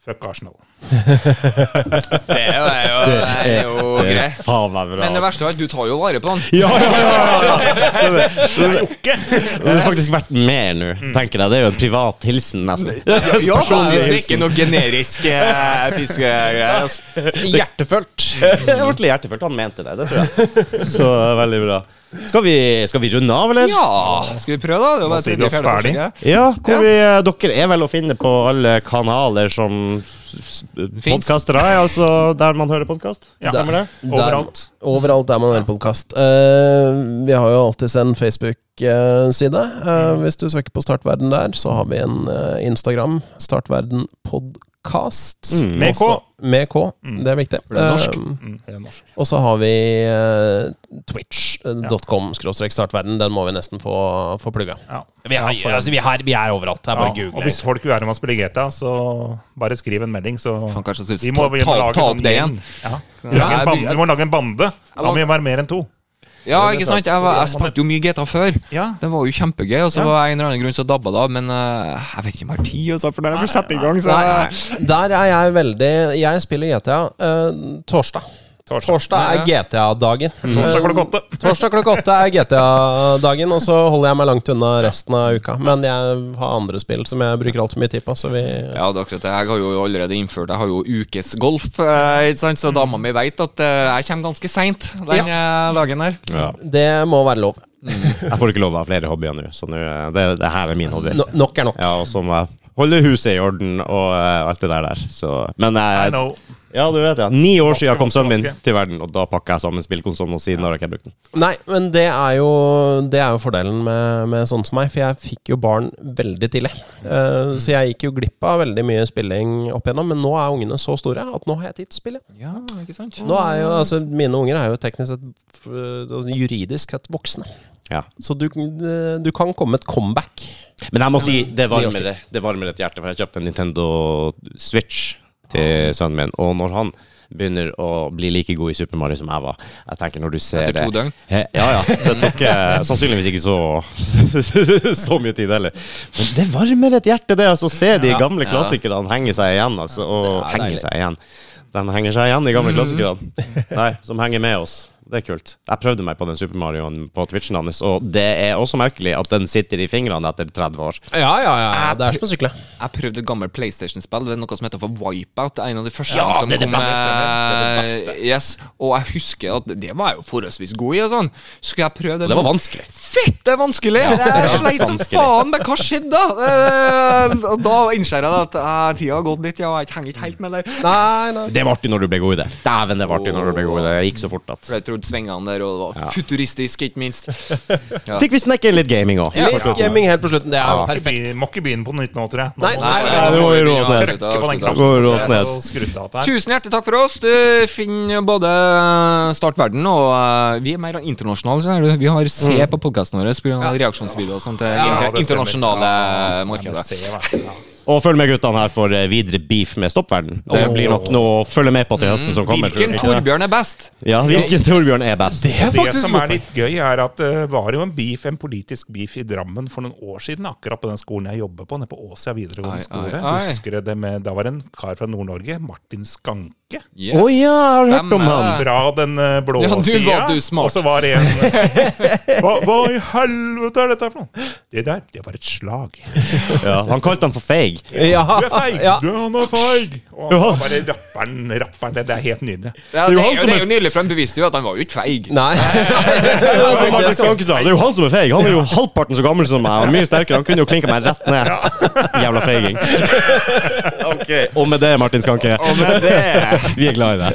[SPEAKER 3] Fuck Arsenal.
[SPEAKER 2] Det er jo, det er jo, det er jo greit.
[SPEAKER 1] Eh, faen meg bra. altså.
[SPEAKER 2] Men det verste av alt, du tar jo vare på han.
[SPEAKER 1] Ja, ja, ja! ja, ja. Det, det, det, det har faktisk vært mer nå,
[SPEAKER 2] Mm.
[SPEAKER 1] tenker jeg. Det er jo en privat hilsen, nesten.
[SPEAKER 2] Ja, ja det
[SPEAKER 1] Personlig
[SPEAKER 2] er
[SPEAKER 1] hilsen.
[SPEAKER 2] ikke noe generisk eh, fiskegreier. altså.
[SPEAKER 4] Hjertefølt.
[SPEAKER 1] Det er ordentlig hjertefølt. Han mente det, det tror jeg. Så eh, veldig bra. Skal vi, skal vi runde av, eller?
[SPEAKER 2] Ja, skal vi prøve, da? Det er jo bare
[SPEAKER 3] sier vi oss
[SPEAKER 2] tredje, fjerde
[SPEAKER 3] ferdig.
[SPEAKER 2] forsøket.
[SPEAKER 1] Ja, hvor vi, eh, Dere er vel å finne på alle kanaler som
[SPEAKER 2] Finns.
[SPEAKER 1] podkaster er, altså der man hører podkast?
[SPEAKER 3] Ja,
[SPEAKER 4] Der-
[SPEAKER 3] kommer det? Overalt.
[SPEAKER 4] Der, overalt der man hører podkast. Eh, vi har jo alltids en Facebook-side. Eh, hvis du søker på Startverden der, så har vi en eh, Instagram. Startverden podcast.
[SPEAKER 1] Mm.
[SPEAKER 3] Med K.
[SPEAKER 4] Også- Med K, det er viktig.
[SPEAKER 2] For det er norsk.
[SPEAKER 4] Eh,
[SPEAKER 3] Mm, det er norsk.
[SPEAKER 4] og så har vi eh, twitch.com startverden. Den må vi nesten få, få plugga.
[SPEAKER 3] Ja.
[SPEAKER 4] Vi, har- altså, vi, har- vi er overalt. Det er bare å
[SPEAKER 3] Ja,
[SPEAKER 4] google.
[SPEAKER 3] og hvis folk vil være med å spille GTA, så bare skriv en melding, så
[SPEAKER 2] Faen, kanskje jeg synes-
[SPEAKER 3] Vi må
[SPEAKER 2] ta- ta-
[SPEAKER 3] lage
[SPEAKER 2] ta
[SPEAKER 3] en
[SPEAKER 2] opp det igjen.
[SPEAKER 3] gjeng. Ja. Lage en bande. Vi må lage en bande. Da må vi være mer enn to.
[SPEAKER 2] Ja, ikke sant? Jeg, var- jeg spilte jo mye GTA før.
[SPEAKER 3] Ja.
[SPEAKER 2] Det var jo kjempegøy, og så var jeg en eller annen grunn så dabba det av. Men eh, jeg vet ikke om jeg har tid, altså, for det er for å sette i gang. Så
[SPEAKER 4] Nei, der er jeg veldig Jeg spiller GTA eh, torsdag.
[SPEAKER 3] Torsdag.
[SPEAKER 4] Torsdag er GTA-dagen.
[SPEAKER 3] Mm. Torsdag klokka åtte.
[SPEAKER 4] Eh, Torsdag klokka åtte er GTA-dagen, og så holder jeg meg langt unna resten av uka. Men jeg har andre spill som jeg bruker altfor mye tid på, så vi
[SPEAKER 2] Ja, det er akkurat det. Jeg har jo allerede innført Jeg har jo ukesgolf, eh, ikke sant? så dama mi vet at eh, jeg kommer ganske seint den eh, dagen her.
[SPEAKER 1] Ja.
[SPEAKER 4] Det må være lov.
[SPEAKER 1] Jeg får ikke lov å ha flere hobbyer nå, så nå, eh, det, det her er min hobby.
[SPEAKER 4] No, nok er nok.
[SPEAKER 1] Ja, og så må jeg holde huset i orden og eh, alt det der der. Så, men eh,
[SPEAKER 3] I
[SPEAKER 1] jeg,
[SPEAKER 3] know.
[SPEAKER 1] ja, du vet det. Ni år
[SPEAKER 3] Vaske,
[SPEAKER 1] siden kom
[SPEAKER 3] vaske,
[SPEAKER 1] sønnen min
[SPEAKER 3] vaske.
[SPEAKER 1] til verden, og da pakka jeg sammen spillkonsollen, og siden har jeg ikke brukt den.
[SPEAKER 4] Nei, men det er jo, det er jo fordelen med, med sånn som meg, for jeg fikk jo barn veldig tidlig. Eh, så jeg gikk jo glipp av veldig mye spilling opp igjennom, men nå er ungene så store at nå har jeg tid til å spille.
[SPEAKER 2] Ja, ikke sant?
[SPEAKER 4] Nå er jo, altså, mine unger er jo teknisk sett f- altså, juridisk sett voksne.
[SPEAKER 1] Ja.
[SPEAKER 4] Så du, eh, du kan komme med et comeback.
[SPEAKER 1] Men jeg må si det
[SPEAKER 4] Ni
[SPEAKER 1] varmer, det varmer et hjerte, for jeg kjøpte en Nintendo Switch til sønnen min. Og når han begynner å bli like god i Super Mario som jeg var Jeg tenker når du ser
[SPEAKER 2] Etter to
[SPEAKER 1] det-
[SPEAKER 2] døgn?
[SPEAKER 1] He, ja, ja. Det tok eh, sannsynligvis ikke så Så mye tid heller. Men det varmer et hjerte, det. Altså, å se de gamle klassikerne henge seg igjen. Altså, og
[SPEAKER 4] Det er
[SPEAKER 1] henge
[SPEAKER 4] deilig.
[SPEAKER 1] seg igjen. De henger seg igjen, de
[SPEAKER 2] Mm.
[SPEAKER 1] gamle klassikerne. Nei, som henger med oss. Det er kult. Jeg prøvde meg på den Super Marioen på Twitchen hans, og det er også merkelig at den sitter i fingrene etter 30 år.
[SPEAKER 4] Ja, ja, ja. Ah, Det er som å sykle.
[SPEAKER 2] Jeg prøvde et gammelt PlayStation-spill. Det er noe som heter for Wipeout. Det er En av de første
[SPEAKER 1] Ja,
[SPEAKER 2] som
[SPEAKER 1] det er det
[SPEAKER 2] kom
[SPEAKER 1] beste.
[SPEAKER 2] med-
[SPEAKER 1] Det er det beste.
[SPEAKER 2] Yes, Og jeg husker at det var jeg jo forholdsvis god i. og sånn Skulle jeg prøve det?
[SPEAKER 1] Det var
[SPEAKER 2] nå?
[SPEAKER 1] vanskelig.
[SPEAKER 2] Fett, det er vanskelig! Jeg sleit som
[SPEAKER 1] vanskelig.
[SPEAKER 2] faen, men hva skjedde da? Eh, Og da innser jeg at eh, tida har gått litt, ja, og jeg henger ikke helt med der.
[SPEAKER 4] Nei, nei.
[SPEAKER 1] Det var artig når du ble god i det. Dæven, det var artig når du ble god i det. Det gikk så fort at
[SPEAKER 2] For jeg trodde svingene der, og det var futuristisk, ikke minst. Ja.
[SPEAKER 1] Fikk vi snekke inn litt gaming òg?
[SPEAKER 2] Ja.
[SPEAKER 4] Litt gaming helt på slutten. Det er jo
[SPEAKER 1] Ja.
[SPEAKER 4] perfekt.
[SPEAKER 3] Vi må ikke begynne på nytt nå, tror jeg. Nå
[SPEAKER 4] Nei,
[SPEAKER 3] må vi-
[SPEAKER 4] nei,
[SPEAKER 1] nei, det må vi roe oss ned.
[SPEAKER 3] Trykke på den
[SPEAKER 1] Gå og roe oss
[SPEAKER 3] knappen.
[SPEAKER 1] ned.
[SPEAKER 3] Så skrudd av det her.
[SPEAKER 2] Tusen hjertelig takk for oss. Du finner både Start verden og eh, Vi er mer internasjonale, ser du. Vi har C
[SPEAKER 1] Mm.
[SPEAKER 2] på podkasten vår pga. reaksjonsvideoer og sånt til
[SPEAKER 3] Ja,
[SPEAKER 2] inter
[SPEAKER 3] det stemmer.
[SPEAKER 2] internasjonale
[SPEAKER 3] Ja,
[SPEAKER 2] markedet.
[SPEAKER 3] Se, hva er det? Ja.
[SPEAKER 1] Og følg med guttene her for eh, videre beef med Stoppverden. Det blir nok noe å følge med på til høsten som kommer. tror
[SPEAKER 2] Hvilken
[SPEAKER 1] jeg.
[SPEAKER 2] Torbjørn er best?
[SPEAKER 1] Ja, hvilken Torbjørn er best?
[SPEAKER 4] Det er
[SPEAKER 3] Det
[SPEAKER 4] faktisk
[SPEAKER 3] som er litt gøy, er at eh, det var jo en beef, en politisk beef i Drammen for noen år siden, akkurat på den skolen jeg jobber på, nede på Åsia videregående
[SPEAKER 2] Ai,
[SPEAKER 3] skole.
[SPEAKER 2] ai, ai.
[SPEAKER 3] Husker jeg det med, Da var det en kar fra Nord-Norge, Martin Skanke.
[SPEAKER 2] Yes,
[SPEAKER 1] Å ja, jeg har hørt om
[SPEAKER 2] stemmer.
[SPEAKER 1] han.
[SPEAKER 3] Fra den eh, blå
[SPEAKER 2] Ja,
[SPEAKER 3] sida.
[SPEAKER 2] du var du smart.
[SPEAKER 3] Og så var det en hva, hva i helvete er dette for noe? Det der, det var et slag.
[SPEAKER 1] Ja, han kalte han for feig.
[SPEAKER 4] Ja.
[SPEAKER 3] Du er feig!
[SPEAKER 4] Ja.
[SPEAKER 3] Du han er feig! Og han var bare rapperen, rapperen. Det, det er helt nydelig.
[SPEAKER 2] Ja,
[SPEAKER 1] Det er
[SPEAKER 2] det,
[SPEAKER 1] jo
[SPEAKER 2] er
[SPEAKER 1] han
[SPEAKER 2] jo,
[SPEAKER 1] som
[SPEAKER 2] det
[SPEAKER 1] er-
[SPEAKER 2] er jo nydelig, for han beviste jo at han var jo ikke feig.
[SPEAKER 4] Nei.
[SPEAKER 1] Det er jo han som er feig. Han er jo halvparten så gammel som meg og mye sterkere. Han kunne jo klinka meg rett ned. Jævla feiging. Ok, Og med det, Martin Skanke,
[SPEAKER 2] Og med det
[SPEAKER 1] vi er glad i deg.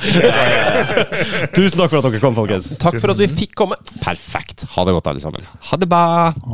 [SPEAKER 1] Tusen takk for at dere kom, folkens.
[SPEAKER 4] Takk for at vi fikk komme.
[SPEAKER 1] Perfekt. Ha det godt, alle sammen.
[SPEAKER 2] Ha det bra.